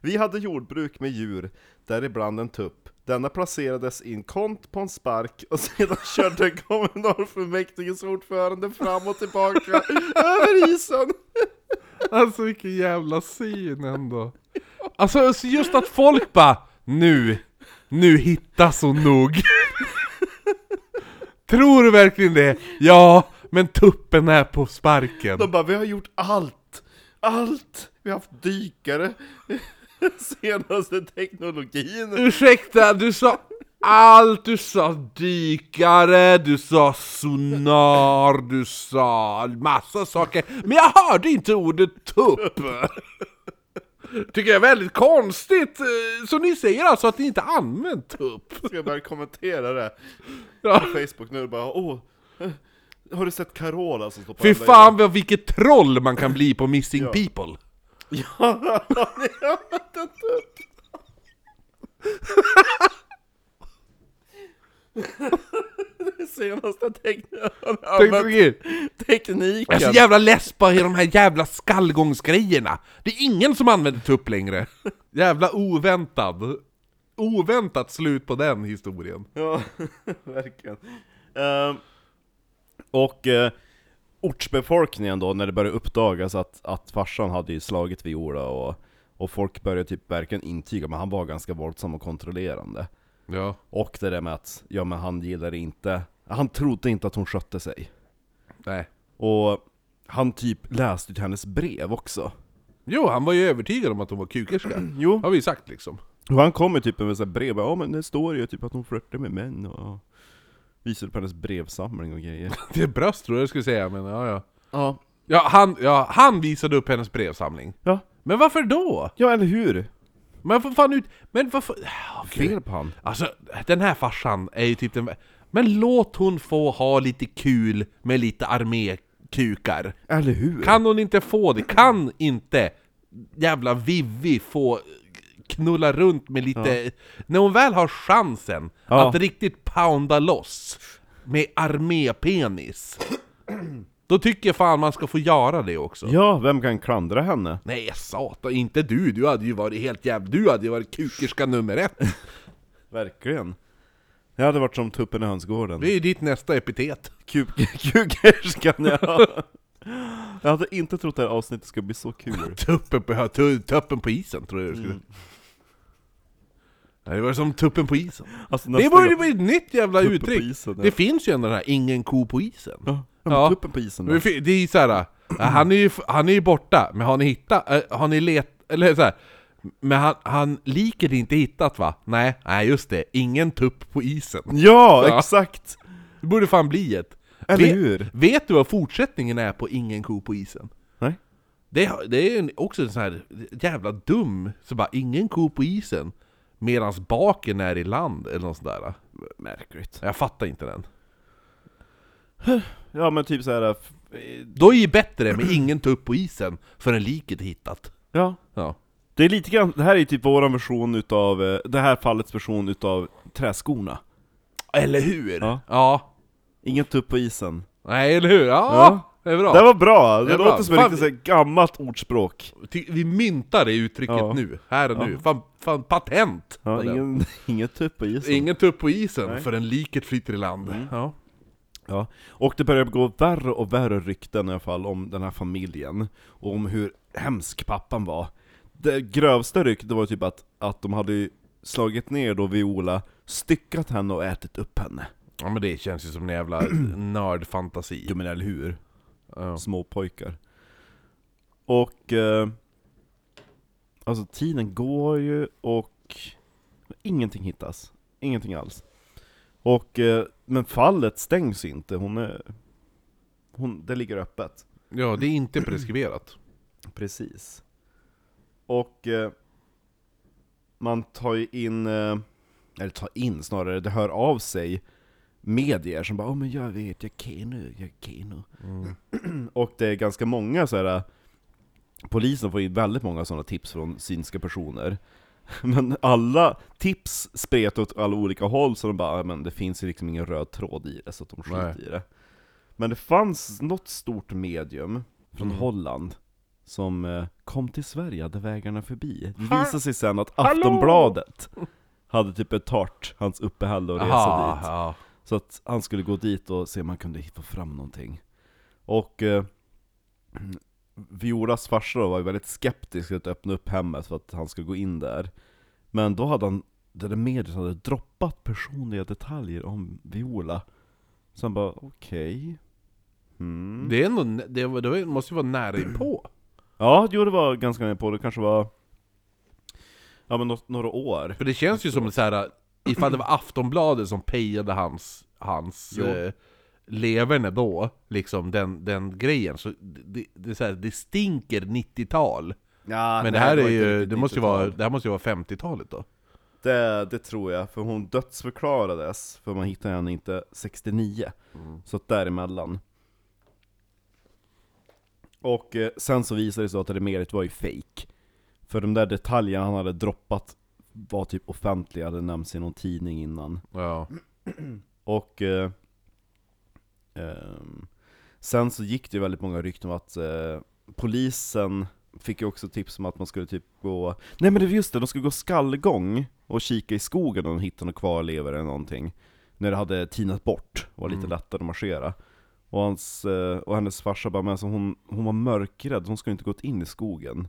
Speaker 2: Vi hade jordbruk med djur, däribland en tupp. Denna placerades i en kont på en spark och sedan körde (laughs) kommunalfullmäktiges ordförande fram och tillbaka (laughs) över isen.
Speaker 1: Alltså vilken jävla syn ändå! Alltså så just att folk bara Nu! Nu hittas hon nog! (laughs) Tror du verkligen det? Ja, men tuppen är på sparken!
Speaker 2: De bara, vi har gjort allt! Allt! Vi har haft dykare, (laughs) senaste teknologin.
Speaker 1: Ursäkta, du sa allt! Du sa dykare, du sa sonar, du sa massa saker. Men jag hörde inte ordet tupp! Tycker jag är väldigt konstigt. eh, Så ni säger alltså att ni inte använt tupp?
Speaker 2: Ska jag börja kommentera det
Speaker 1: Ja.
Speaker 2: på Facebook nu? Bara, åh, eh, har du sett Carola som står på
Speaker 1: Fy
Speaker 2: andra
Speaker 1: fan vad vilket troll man kan bli på Missing People!
Speaker 2: (laughs) senaste teknologin?
Speaker 1: Teknologi. Jag är
Speaker 2: Tekniken!
Speaker 1: så jävla less på de här jävla skallgångsgrejerna! Det är ingen som använder tupp längre! (laughs) Jävla oväntad! Oväntat slut på den historien.
Speaker 2: (laughs) Ja, verkligen. Ehm, och eh, ortsbefolkningen då, när det började uppdagas att, att farsan hade ju slagit Viola och, och folk började typ verkligen intyga, men han var ganska våldsam och kontrollerande.
Speaker 1: Ja.
Speaker 2: Och det där med att, ja men han gillade inte, han trodde inte att hon skötte sig.
Speaker 1: Nej.
Speaker 2: Och han typ läste ut hennes brev också.
Speaker 1: Jo, han var ju övertygad om att hon var kukerska.
Speaker 2: Jo,
Speaker 1: Har vi ju sagt liksom. (laughs)
Speaker 2: Och han kommer typ med så här brev, bara, ja men det står ju typ att hon flörtar med män och, och visade på hennes brevsamling och grejer.
Speaker 1: Det är bröst tror jag jag skulle säga, men ja ja.
Speaker 2: Ja.
Speaker 1: Ja han, ja, han visade upp hennes brevsamling.
Speaker 2: Ja,
Speaker 1: Men varför då?
Speaker 2: ja eller hur?
Speaker 1: Men vad fan ut... Men varför... Ah, gud.
Speaker 2: Fel på han.
Speaker 1: Alltså, den här farsan är ju typ den... Men låt hon få ha lite kul med lite armékukar.
Speaker 2: Eller hur?
Speaker 1: Kan hon inte få det? Kan inte jävla Vivi få knulla runt med lite... När hon väl har chansen
Speaker 2: Ja.
Speaker 1: att riktigt pounda loss med armépenis. (clears throat) Då tycker jag fan man ska få göra det också.
Speaker 2: Ja, vem kan klandra henne?
Speaker 1: Nej satan, inte du! Du hade ju varit helt jävla... Du hade ju varit kukerska nummer
Speaker 2: (laughs)
Speaker 1: ett!
Speaker 2: Verkligen. Jag hade varit som tuppen i hönsgården.
Speaker 1: Det är ju ditt nästa epitet.
Speaker 2: Kuk- (laughs) Kukerskan, ja. (laughs) Jag hade inte trott det här avsnittet skulle bli
Speaker 1: (laughs)
Speaker 2: så kul.
Speaker 1: Tuppen på, tu- tuppen på isen tror jag det
Speaker 2: Mm.
Speaker 1: skulle... Nej, Det var som tuppen på isen.
Speaker 2: Alltså,
Speaker 1: Det
Speaker 2: nästa
Speaker 1: borde
Speaker 2: gång-
Speaker 1: bli ett nytt jävla
Speaker 2: Tuppen (laughs) på
Speaker 1: uttryck!
Speaker 2: isen, ja.
Speaker 1: Det finns ju ändå den här 'ingen ko på isen'
Speaker 2: Ja, men
Speaker 1: Ja.
Speaker 2: tuppen på isen
Speaker 1: Men
Speaker 2: då.
Speaker 1: fi- Det är ju såhär, han är ju, f- han är ju borta, men har ni hittat, eh, har ni let, eller såhär Men han, han liket är inte hittat va? Nej, nej just det, ingen tupp på isen
Speaker 2: Ja,
Speaker 1: Ja.
Speaker 2: exakt!
Speaker 1: Det borde fan bli ett
Speaker 2: Eller
Speaker 1: Vet-
Speaker 2: hur?
Speaker 1: Vet du vad fortsättningen är på Ingen ko på isen?
Speaker 2: Nej.
Speaker 1: Det, har- det är ju en- också en sån här jävla dum, så bara Ingen ko på isen Medans baken är i land eller något sånt där
Speaker 2: Märkligt.
Speaker 1: Jag fattar inte den
Speaker 2: Ja men typ så här. f- eh,
Speaker 1: Då är ju bättre med ingen tupp på isen förrän liket är hittat
Speaker 2: ja.
Speaker 1: Ja
Speaker 2: Det är lite grann, det här är ju typ våran version utav, eh, det här fallets version utav träskorna.
Speaker 1: Eller hur?
Speaker 2: Ja. Ingen tupp på isen.
Speaker 1: Nej, eller hur? Ja,
Speaker 2: Ja.
Speaker 1: det är bra!
Speaker 2: Det var bra! Det,
Speaker 1: Det är
Speaker 2: låter
Speaker 1: bra.
Speaker 2: som ett
Speaker 1: Fan,
Speaker 2: riktigt så här gammalt ordspråk.
Speaker 1: Ty- Vi myntar det uttrycket
Speaker 2: Ja.
Speaker 1: nu, här och
Speaker 2: Ja.
Speaker 1: nu. Fan, fan patent! på
Speaker 2: Ja,
Speaker 1: den.
Speaker 2: ingen, (laughs) ingen tupp på isen.
Speaker 1: ingen tupp på isen
Speaker 2: Nej.
Speaker 1: förrän liket flyter i land. Ja.
Speaker 2: Ja, och det börjar gå värre och värre rykten i alla fall om den här familjen, och om hur hemsk pappan var. Det grövsta ryktet var typ att, att de hade ju slagit ner då Viola, styckat henne och ätit upp henne.
Speaker 1: ja, men det känns ju som en jävla nördfantasi.
Speaker 2: Jo men eller hur?
Speaker 1: Ja.
Speaker 2: Små pojkar. Och... Eh, alltså tiden går ju och ingenting hittas. Ingenting alls. Och, eh, men fallet stängs ju inte, hon är... Hon, det ligger öppet.
Speaker 1: ja, det är inte preskriberat.
Speaker 2: Precis. Och eh, man tar ju in, eh, eller tar in snarare, det hör av sig medier som bara oh, men jag vet, jag kan nu, jag kan nu.
Speaker 1: Mm.
Speaker 2: (clears throat) Och det är ganska många så här. eh, polisen får in väldigt många sådana tips från synska personer. (laughs) Men alla tips spret åt alla olika håll, så de bara "Ja, men det finns ju liksom ingen röd tråd i det, så att de skiter
Speaker 1: Nej.
Speaker 2: i det. Men det fanns något stort medium från
Speaker 1: Mm.
Speaker 2: Holland som eh, kom till Sverige, hade vägarna förbi. Det
Speaker 1: Ha-
Speaker 2: visade sig sen att
Speaker 1: Hallå!
Speaker 2: Aftonbladet hade typ betalt hans uppehälle och resa
Speaker 1: Aha,
Speaker 2: dit.
Speaker 1: ja.
Speaker 2: Så att han skulle gå dit och se om han kunde få fram någonting. Och eh, Violas farsa då var ju väldigt skeptisk till att öppna upp hemmet för att han skulle gå in där. Men då hade han, det där mediet hade droppat personliga detaljer om Viola. Så han bara, okej. Mm.
Speaker 1: Det, är ändå, nä- det, var- det var- måste ju vara nära inpå.
Speaker 2: Ja, jo det var ganska nära på, det kanske var... Ja men nå- några år.
Speaker 1: För det känns ju som så här ifall det var Aftonbladet som pejade hans, hans
Speaker 2: Jo.
Speaker 1: eh, leverne då, liksom den, den grejen, så det, det, är så här, det stinker 90-tal.
Speaker 2: Ja,
Speaker 1: Men det här är ju, det måste ju vara, det här måste ju vara 50-talet då.
Speaker 2: Det, det tror jag, för hon dödsförklarades, för man hittade henne inte 69. Så att däremellan. Och eh, sen så visade det sig att det meret var ju fake. För de där detaljerna han hade droppat var typ offentliga, hade nämnts i någon tidning innan.
Speaker 1: Ja.
Speaker 2: Och eh, ehm, sen så gick det ju väldigt många rykten om att eh, polisen fick ju också tips om att man skulle typ gå, nej men det var just det, de skulle gå skallgång och kika i skogen om de hittade någon kvarlevare eller någonting. När det hade tinat bort och var lite
Speaker 1: Mm.
Speaker 2: lättare att marschera. Och, hans, eh, och hennes farsa bara, men alltså hon, hon var mörkrädd, hon skulle inte gått in i skogen.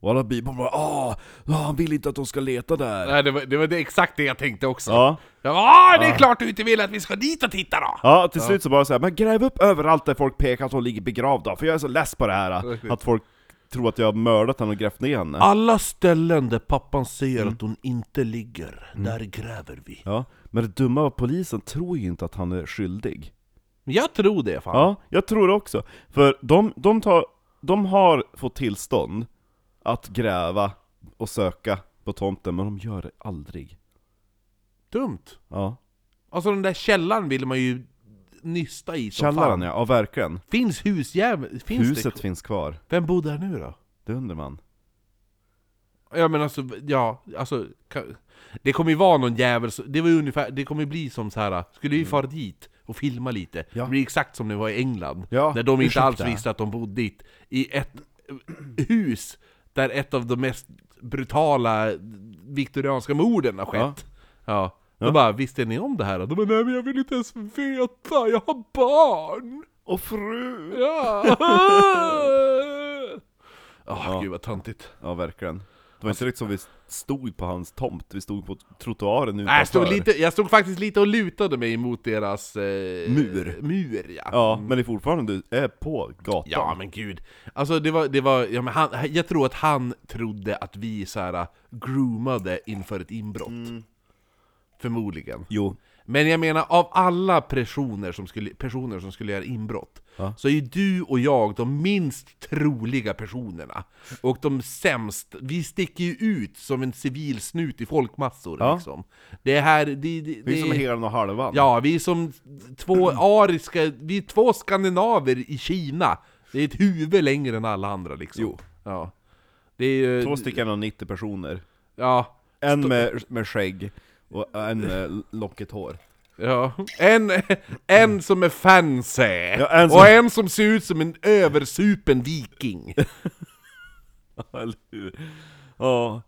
Speaker 2: Och alla bibor bara, ah, ah, han vill inte att de ska leta där.
Speaker 1: Nej, det, var, det var det exakt det jag tänkte också. Ja,
Speaker 2: Ja,
Speaker 1: ah, det är klart du inte vill att vi ska dit och titta då!
Speaker 2: Ja, till slut så bara såhär, men gräv upp överallt där folk pekar att hon ligger begravd då, för jag är så less på det här.
Speaker 1: Verkligen.
Speaker 2: Att folk tror att jag har mördat henne och grävt ner henne.
Speaker 1: Alla ställen där pappan säger att hon inte ligger, där gräver vi.
Speaker 2: Ja, men det dumma var att polisen tror ju inte att han är skyldig.
Speaker 1: Jag tror det fan.
Speaker 2: Ja, jag tror det också. För de, de, tar, de har fått tillstånd att gräva och söka på tomten, men de gör det aldrig.
Speaker 1: Dumt.
Speaker 2: Ja.
Speaker 1: Alltså den där källaren vill man ju nysta i som
Speaker 2: Källaren
Speaker 1: fan.
Speaker 2: ja, ja verkligen.
Speaker 1: Finns husjäveln? Finns
Speaker 2: Huset
Speaker 1: det?
Speaker 2: finns kvar.
Speaker 1: Vem bor där nu då?
Speaker 2: Det undrar man.
Speaker 1: Ja men alltså, ja, alltså ka- Det kommer ju vara någon jävel, så- det var ju ungefär, det kommer ju bli som så här. Skulle vi fara dit och filma lite,
Speaker 2: Mm. Ja.
Speaker 1: det blir exakt som det var i England
Speaker 2: Ja,
Speaker 1: Där de inte
Speaker 2: ursäkta.
Speaker 1: alls visste att de bodde dit, i ett eh, hus där ett av de mest brutala viktorianska morden har skett Ja, Då
Speaker 2: Ja.
Speaker 1: bara 'Visste ni om det här?' Och de bara 'Nej men jag vill inte ens veta, jag har barn!'
Speaker 2: Och fru! (laughs)
Speaker 1: Ja! Ah,
Speaker 2: Ja.
Speaker 1: gud vad töntigt
Speaker 2: Ja, verkligen. Det var
Speaker 1: Alltså-
Speaker 2: inte riktigt som vi stod på hans tomt, vi stod på trottoaren utanför.
Speaker 1: Nej, jag, stod lite, jag stod faktiskt lite och lutade mig mot deras... Eh,
Speaker 2: Mur.
Speaker 1: Mur, ja.
Speaker 2: Ja, men det är fortfarande du är på gatan.
Speaker 1: Ja, men gud. Alltså, det var... Det var ja, men han, jag tror att han trodde att vi så här groomade inför ett inbrott.
Speaker 2: Mm.
Speaker 1: Förmodligen.
Speaker 2: Jo.
Speaker 1: Men jag menar, av alla personer som skulle, personer som skulle göra inbrott,
Speaker 2: Ja.
Speaker 1: så är ju du och jag de minst troliga personerna. Och de sämst, vi sticker ju ut som en civil snut i folkmassor
Speaker 2: Ja.
Speaker 1: liksom. Det här, det, det, det,
Speaker 2: Det är som helan och halvan.
Speaker 1: Ja, vi är som två ariska, vi är två skandinaver i Kina. Det är ett huvud längre än alla andra liksom.
Speaker 2: Jo.
Speaker 1: Ja. Det är ju...
Speaker 2: Två stycken av 90 personer.
Speaker 1: Ja.
Speaker 2: En med, med skägg och en med lockigt (laughs) hår.
Speaker 1: Ja. En, en som är fancy,
Speaker 2: en som-
Speaker 1: och en som ser ut som en översupen viking.
Speaker 2: Eller hur? Ja.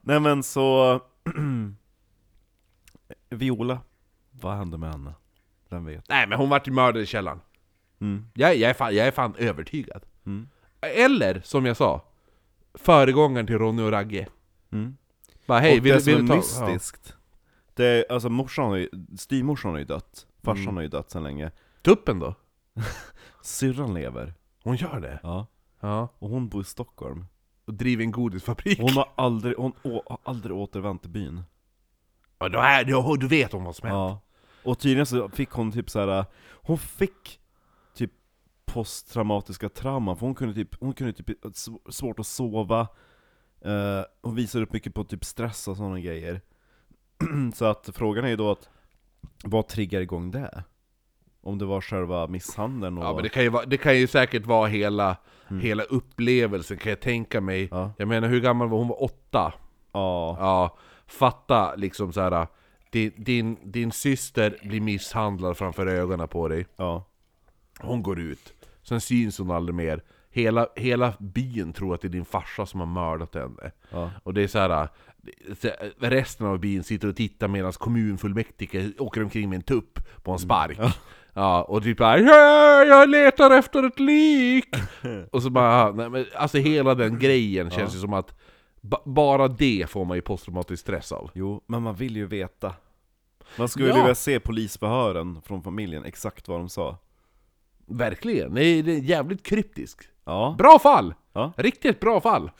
Speaker 2: Nej men så... (clears throat) Viola. Vad hände med henne? Vem vet?
Speaker 1: Nej men hon vart ju mördad i källaren.
Speaker 2: Mm.
Speaker 1: Jag, jag, är fan, jag är fan övertygad.
Speaker 2: Mm.
Speaker 1: Eller, som jag sa, föregångaren till Ronny och Ragge.
Speaker 2: Mm.
Speaker 1: Bara hej,
Speaker 2: och
Speaker 1: vill,
Speaker 2: det som
Speaker 1: vill du ta...
Speaker 2: är mystiskt, det är, alltså morsan har ju, styvmorsan har ju dött, farsan
Speaker 1: Mm.
Speaker 2: har ju dött sedan länge,
Speaker 1: Ja. Tuppen då?
Speaker 2: syrran lever,
Speaker 1: Hon gör det?
Speaker 2: ja.
Speaker 1: Ja.
Speaker 2: och hon bor i Stockholm.
Speaker 1: och driver en godisfabrik.
Speaker 2: Hon har aldrig, hon å, har aldrig återvänt till byn.
Speaker 1: Ja, då, är, då, då vet hon vad som händer.
Speaker 2: Ja. Och tydligen så fick hon typ så här. hon fick typ posttraumatiska trauman, för hon kunde typ, hon kunde typ sv- svårt att sova, eh, hon visade upp mycket på typ stress och sådana grejer. (clears throat) så att frågan är ju då att, vad triggar igång det? Om det var själva misshandeln och...
Speaker 1: Ja, men det kan ju, vara, det kan ju säkert vara hela, hela upplevelsen kan jag tänka mig.
Speaker 2: Mm. Ja.
Speaker 1: Jag menar, hur gammal var hon? Hon var åtta.
Speaker 2: ja.
Speaker 1: Ja, fatta liksom så här. Din, din, din syster blir misshandlad framför ögonen på dig.
Speaker 2: ja.
Speaker 1: Hon går ut. Sen syns hon aldrig mer. Hela, hela byn tror att det är din farsa som har mördat henne.
Speaker 2: Ja.
Speaker 1: Och det är så här. så- Resten av byn sitter och tittar medan kommunfullmäktige åker omkring med en tupp på en spark.
Speaker 2: Mm.
Speaker 1: Ja. och typ bara "Ja, jag letar efter ett
Speaker 2: (laughs)
Speaker 1: lik! och så bara, nej, men, alltså hela den grejen känns ju som att ba- bara det får man ju posttraumatisk stress av.
Speaker 2: Jo, men man vill ju veta. Man skulle
Speaker 1: Ja.
Speaker 2: vilja se polisförhören från familjen, exakt vad de sa.
Speaker 1: Verkligen, nej, det är jävligt kryptisk.
Speaker 2: Ja.
Speaker 1: Bra fall!
Speaker 2: Ja.
Speaker 1: Riktigt bra fall!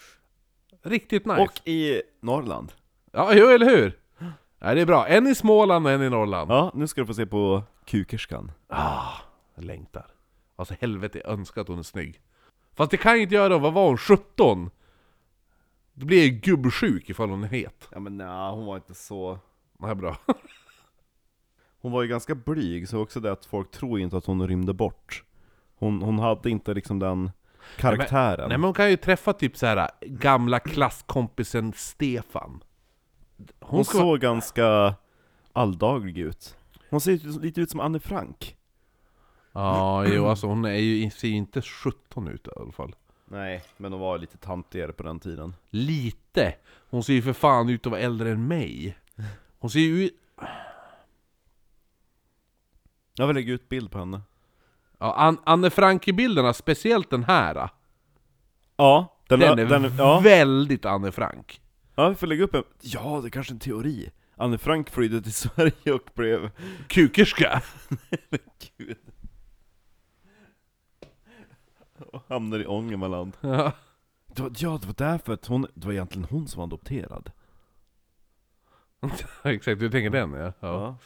Speaker 1: Riktigt nice.
Speaker 2: Och i Norrland.
Speaker 1: Ja, jo, eller hur? Ja, det är bra. En i Småland och en i Norrland.
Speaker 2: Ja, nu ska du få se på kukerskan.
Speaker 1: Ah, jag längtar. Alltså helvete, jag önskar att hon är snygg. Fast det kan jag inte göra, vad var hon? 17? Då blir jag ju gubbsjuk ifall hon är het.
Speaker 2: Ja men nej, hon var inte så...
Speaker 1: Nej, bra. (laughs)
Speaker 2: Hon var ju ganska blyg, så också det att folk tror inte att hon rymde bort. Hon, hon hade inte liksom den karaktären.
Speaker 1: Nej men hon kan ju träffa typ så här gamla klasskompisen Stefan. Hon,
Speaker 2: hon
Speaker 1: ska...
Speaker 2: såg ganska alldaglig ut. Hon ser ju lite ut som Anne Frank.
Speaker 1: Ja, jo alltså hon är ju, ser ju inte 17 ut i alla fall.
Speaker 2: Nej, men hon var lite tantigare på den tiden.
Speaker 1: Lite! Hon ser ju för fan ut att vara äldre än mig. Hon ser ju ut...
Speaker 2: Jag vill lägga ut bild på henne.
Speaker 1: Ja, An- Anne Frank-bilderna, speciellt den här.
Speaker 2: Ja, den,
Speaker 1: Den är
Speaker 2: ja.
Speaker 1: väldigt Anne Frank.
Speaker 2: ja, vi får lägga upp en... Ja, det är kanske en teori. Anne Frank flydde till (laughs) Sverige och blev...
Speaker 1: Kukerska!
Speaker 2: Men gud. Och hamnar i Ångermanland.
Speaker 1: Ja.
Speaker 2: Det var, ja, det var därför att hon, det var egentligen hon som var adopterad.
Speaker 1: (laughs) Exakt, du tänker den ja. ja.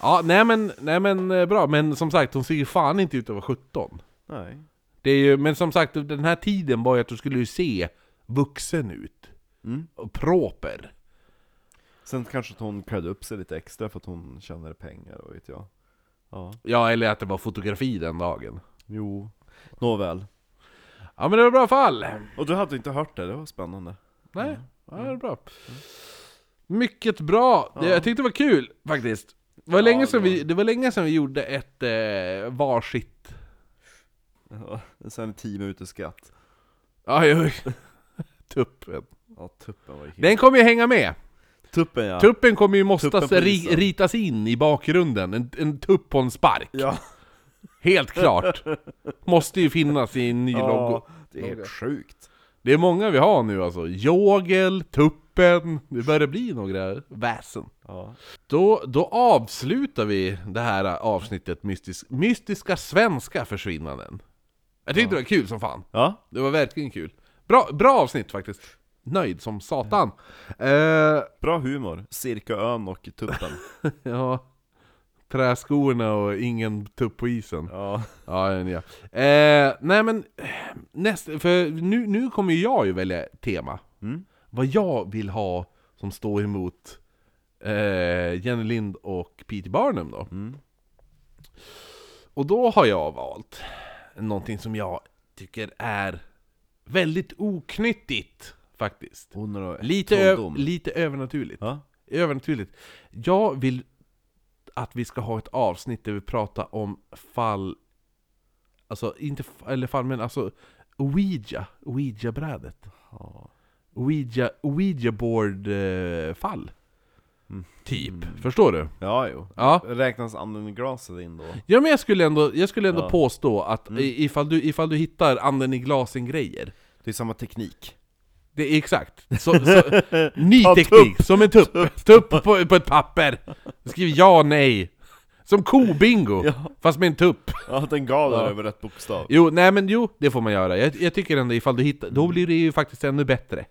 Speaker 1: Ja, nej men, nej men eh, bra, men som sagt hon ser ju fan inte ut att vara 17.
Speaker 2: Nej.
Speaker 1: Det är ju, men som sagt, den här tiden var ju att du skulle ju se vuxen ut.
Speaker 2: Mm.
Speaker 1: Och proper.
Speaker 2: Sen kanske att hon klädde upp sig lite extra för att hon tjänade pengar, vad vet jag. Ja,
Speaker 1: Ja, eller att det var fotografi den dagen.
Speaker 2: jo. Nåväl.
Speaker 1: Ja men det var bra fall!
Speaker 2: Och du hade inte hört det, det var spännande.
Speaker 1: Nej, ja, det var bra. Mycket bra! Det, jag tyckte det var kul faktiskt. Det var,
Speaker 2: Ja,
Speaker 1: länge
Speaker 2: det
Speaker 1: sedan
Speaker 2: var-
Speaker 1: vi, det var länge sedan vi gjorde ett eh, varsitt...
Speaker 2: Ja, Sen tio minuter skratt.
Speaker 1: Aj, oj. Tuppen.
Speaker 2: Ja, (laughs) tuppen var ju helt...
Speaker 1: Den kommer ju hänga med!
Speaker 2: Tuppen ja.
Speaker 1: Tuppen kommer ju måste
Speaker 2: Tuppen på
Speaker 1: ri,
Speaker 2: isen.
Speaker 1: ritas in i bakgrunden, en, en tupp på en spark.
Speaker 2: Ja.
Speaker 1: Helt
Speaker 2: (laughs)
Speaker 1: klart! Måste ju finnas i en ny logo.
Speaker 2: ja, det är
Speaker 1: Logga.
Speaker 2: helt sjukt.
Speaker 1: Det är många vi har nu alltså. Jogel, Tuppen, det börjar bli några väsen.
Speaker 2: Ja.
Speaker 1: Då, då avslutar vi det här avsnittet mystisk, Mystiska svenska försvinnanden. Jag tyckte det var kul som fan.
Speaker 2: ja.
Speaker 1: Det var verkligen kul. Bra, bra avsnitt faktiskt. Nöjd som satan. Eh,
Speaker 2: Bra humor. Cirka ön och tuppen.
Speaker 1: ja. Träskorna och ingen tupp på isen.
Speaker 2: (laughs) ja.
Speaker 1: Ja, ja, ja. Eh, nej men, eh, näst, för nu, nu kommer ju jag ju välja tema.
Speaker 2: Mm.
Speaker 1: Vad jag vill ha som står emot eh, Jenny Lind och Peter Barnum då.
Speaker 2: Mm.
Speaker 1: Och då har jag valt någonting som jag tycker är väldigt oknyttigt faktiskt.
Speaker 2: Hon har
Speaker 1: Lite, ö-
Speaker 2: trolldom.
Speaker 1: lite övernaturligt.
Speaker 2: Ja.
Speaker 1: Övernaturligt. Jag vill att vi ska ha ett avsnitt där vi pratar om fall... Alltså, inte f- eller fall, men alltså... Ouija. Ouija-brädet.
Speaker 2: Ja.
Speaker 1: Ouija, Ouija-board-fall. Typ.
Speaker 2: Mm.
Speaker 1: Förstår du?
Speaker 2: Ja, jo.
Speaker 1: Ja.
Speaker 2: Räknas anden i glaset in då?
Speaker 1: Ja men jag skulle ändå, jag skulle ändå
Speaker 2: Ja.
Speaker 1: påstå att
Speaker 2: Mm.
Speaker 1: i- ifall, du, ifall du hittar anden i glasen grejer
Speaker 2: Det är samma teknik.
Speaker 1: Det är exakt, så, så, ny
Speaker 2: Ta
Speaker 1: teknik, som en tupp, tupp, på, på ett papper Skriv ja, nej Som kobingo,
Speaker 2: Ja.
Speaker 1: fast med en tupp
Speaker 2: Ja, den gav
Speaker 1: Ja.
Speaker 2: där över rätt bokstav.
Speaker 1: Jo, nej men jo, det får man göra Jag, jag tycker ändå ifall du hittar, då blir det ju faktiskt ännu bättre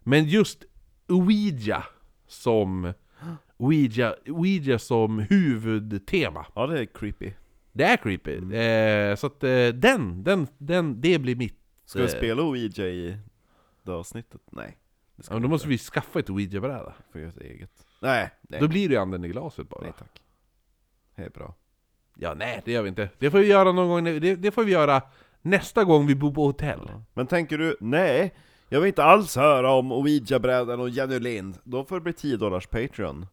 Speaker 1: Men just Ouija som Ouija, Ouija som huvudtema
Speaker 2: Ja, det är creepy.
Speaker 1: Det är creepy. Eh, så att eh, den, den, den, det blir mitt.
Speaker 2: Ska vi
Speaker 1: eh,
Speaker 2: spela Ouija i det avsnittet? Nej. Det
Speaker 1: Ja, men då måste vi skaffa ett Ouija-bräda.
Speaker 2: inte. Får göra ett eget. Nej, nej.
Speaker 1: Då blir det ju anden i glaset bara.
Speaker 2: nej tack. Det är bra.
Speaker 1: Ja, nej, det gör vi inte. Det får vi göra någon gång, när- det, det får vi göra nästa gång vi bor på hotell.
Speaker 2: Men tänker du, nej, jag vill inte alls höra om Ouija-brädan och Jenny Lind. Då får det bli 10 dollars Patreon.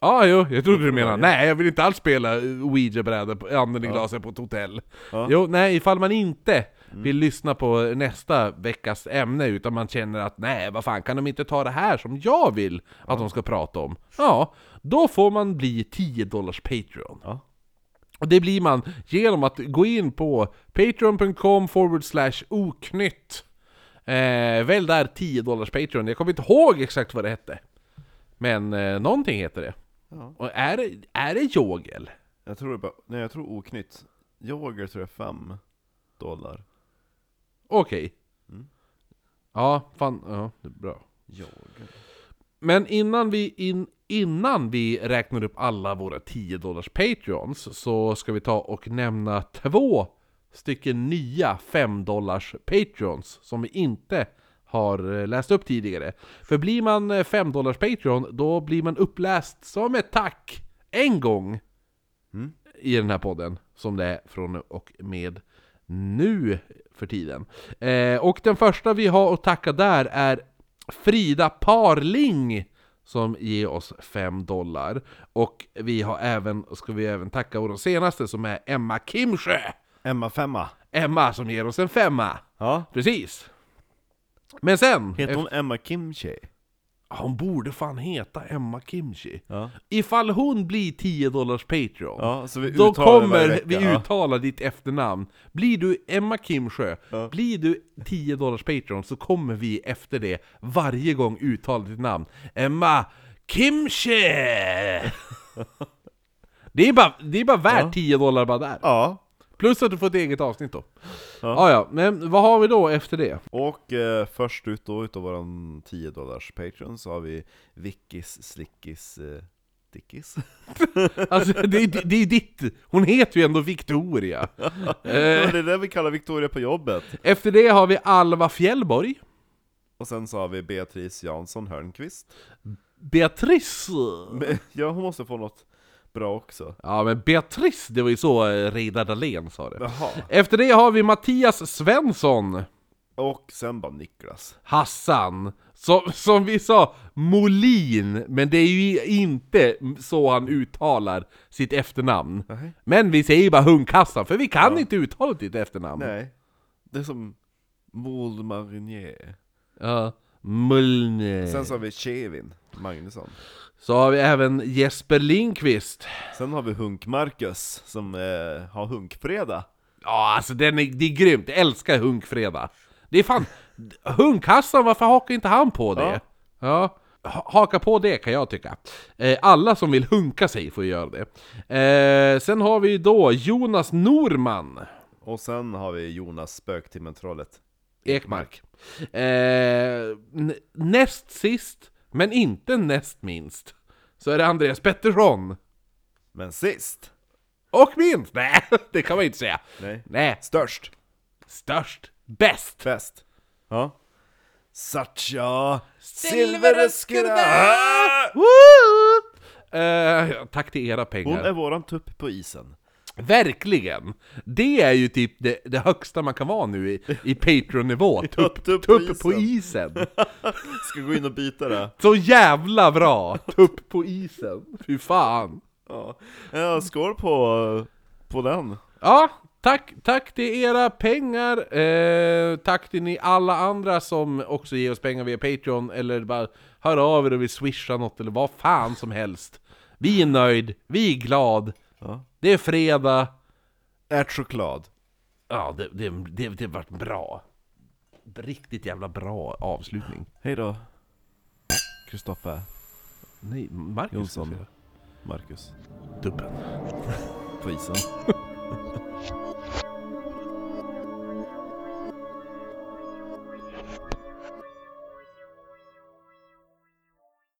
Speaker 1: Ja, ah, jo, jag trodde du
Speaker 2: Ja.
Speaker 1: menade, nej jag vill inte alls spela eh, Ouija-bräda, på- anden i glaset på ett hotell.
Speaker 2: Ja. Mm.
Speaker 1: Jo, nej, ifall man inte vill lyssna på nästa veckas ämne, utan man känner att nej, vad fan, kan de inte ta det här som jag vill att de ska prata om? Ja, då får man bli 10 dollars Patreon.
Speaker 2: Ja.
Speaker 1: Och det blir man genom att gå in på patreon.com forward slash oknytt. Eh, väl där 10 dollars Patreon, jag kommer inte ihåg exakt vad det hette. Men eh, någonting heter det.
Speaker 2: Ja.
Speaker 1: Och är det, är det jogel?
Speaker 2: Jag tror det bara, nej jag tror oknytt. Yoghurt tror jag 5 dollar.
Speaker 1: Okej.
Speaker 2: Mm.
Speaker 1: Ja, fan, ja, det är bra.
Speaker 2: Yoghurt.
Speaker 1: Men innan vi, in, innan vi räknar upp alla våra 10 dollars Patreons så ska vi ta och nämna två stycken nya 5 dollars Patreons som vi inte har eh, läst upp tidigare. För blir man eh, 5 dollars Patreon då blir man uppläst som ett tack en gång
Speaker 2: Mm.
Speaker 1: i den här podden som det är från och med nu för tiden. Eh, och den första vi har att tacka där är Frida Parling som ger oss 5 dollar. Och vi har även, ska vi även tacka vår senaste som är Emma Kimsjö!
Speaker 2: Emma femma.
Speaker 1: Emma som ger oss en femma!
Speaker 2: Ja.
Speaker 1: Precis! Men sen...
Speaker 2: Heter hon Emma Kimchi?
Speaker 1: efter- hon borde fan heta Emma Kimchi.
Speaker 2: Ja.
Speaker 1: Ifall hon blir 10 dollars Patreon,
Speaker 2: Ja, så vi
Speaker 1: då
Speaker 2: uttalar det varje
Speaker 1: kommer
Speaker 2: vecka.
Speaker 1: vi
Speaker 2: Ja.
Speaker 1: uttala ditt efternamn. Blir du Emma Kimsjö,
Speaker 2: Ja.
Speaker 1: blir du 10 dollars Patreon så kommer vi efter det varje gång uttala ditt namn. Emma Kimsjö!
Speaker 2: (laughs)
Speaker 1: Det är bara, det är bara värt
Speaker 2: Ja.
Speaker 1: 10 dollar bara där.
Speaker 2: Ja.
Speaker 1: Plus att du får ett eget avsnitt då. Ja,
Speaker 2: Ja.
Speaker 1: ja, men vad har vi då efter det?
Speaker 2: Och eh, först ut då utav våran 10 dollars Patreon så har vi Vickis, Slickis, (laughs) eh, Dickis.
Speaker 1: Alltså, det, är- det är ditt! Hon heter ju ändå Victoria.
Speaker 2: Ja,
Speaker 1: Eh,
Speaker 2: men det är det vi kallar Victoria på jobbet.
Speaker 1: efter det har vi Alva Fjällborg.
Speaker 2: Och sen så har vi Beatrice Jansson Hörnqvist.
Speaker 1: Beatrice!
Speaker 2: Men, (laughs) ja, hon måste få något bra också.
Speaker 1: Ja, men Beatrice, det var ju så eh, Reidar Dahlén sa det.
Speaker 2: Jaha.
Speaker 1: Efter det har vi Mattias Svensson,
Speaker 2: Och sen bara Niklas.
Speaker 1: Hassan, som, som vi sa, Molin, men det är ju inte så han uttalar sitt efternamn.
Speaker 2: Nej.
Speaker 1: Men vi säger ju bara Hundkassan, för vi kan inte uttala ditt efternamn.
Speaker 2: Nej. Det är som Maud Marinier.
Speaker 1: Ja. Mulne.
Speaker 2: Sen så har vi Kevin Magnusson.
Speaker 1: Så har vi även Jesper Lindqvist.
Speaker 2: Sen har vi Hunk Marcus som eh, har Hunkfredag.
Speaker 1: Ja, alltså den är, det är grymt. Jag älskar Hunkfredag. Det är fan... Hunkhassan, varför hakar inte han på det? Ja. Ha- Haka på det kan jag tycka. Eh, alla som vill hunka sig får göra det. Eh, sen har vi då Jonas Norman
Speaker 2: Och sen har vi Jonas Spöktimmen-trollet.
Speaker 1: Ekmark. Eh, n- näst sist, men inte näst minst, så är det Andreas Pettersson.
Speaker 2: Men sist!
Speaker 1: Och minst! Nej, (laughs) det kan man inte säga.
Speaker 2: Nej.
Speaker 1: Nej,
Speaker 2: Störst!
Speaker 1: störst, bäst!
Speaker 2: Bäst! Ja. Satcha Ah!
Speaker 1: Silvereskurra! Ah!
Speaker 2: Silvereskurra!
Speaker 1: Eh, tack till era
Speaker 2: Hon
Speaker 1: pengar.
Speaker 2: är våran tupp på isen.
Speaker 1: Verkligen! Det är ju typ det, det högsta man kan vara nu i, i (laughs) Patreon-nivå.
Speaker 2: Ja,
Speaker 1: Tupp,
Speaker 2: tupp på
Speaker 1: tupp på isen!
Speaker 2: Ska gå in och byta det.
Speaker 1: Så jävla bra! Tupp på isen! Fy fan!
Speaker 2: (laughs) Ja. Ja, skål på, på den.
Speaker 1: Ja, tack, tack till era pengar! Eh, tack till ni alla andra som också ger oss pengar via Patreon, eller bara hör av er och vill swisha något, eller vad fan som helst. Vi är nöjd, vi är glad,
Speaker 2: Ja.
Speaker 1: det är fredag,
Speaker 2: Ärtchoklad.
Speaker 1: Ja, det, det, det, det vart bra. Riktigt jävla bra avslutning.
Speaker 2: Hej då. Kristoffer.
Speaker 1: Nej, Marcus
Speaker 2: Jonsson.
Speaker 1: ska säga.
Speaker 2: Marcus.
Speaker 1: Dubben.
Speaker 2: På isen.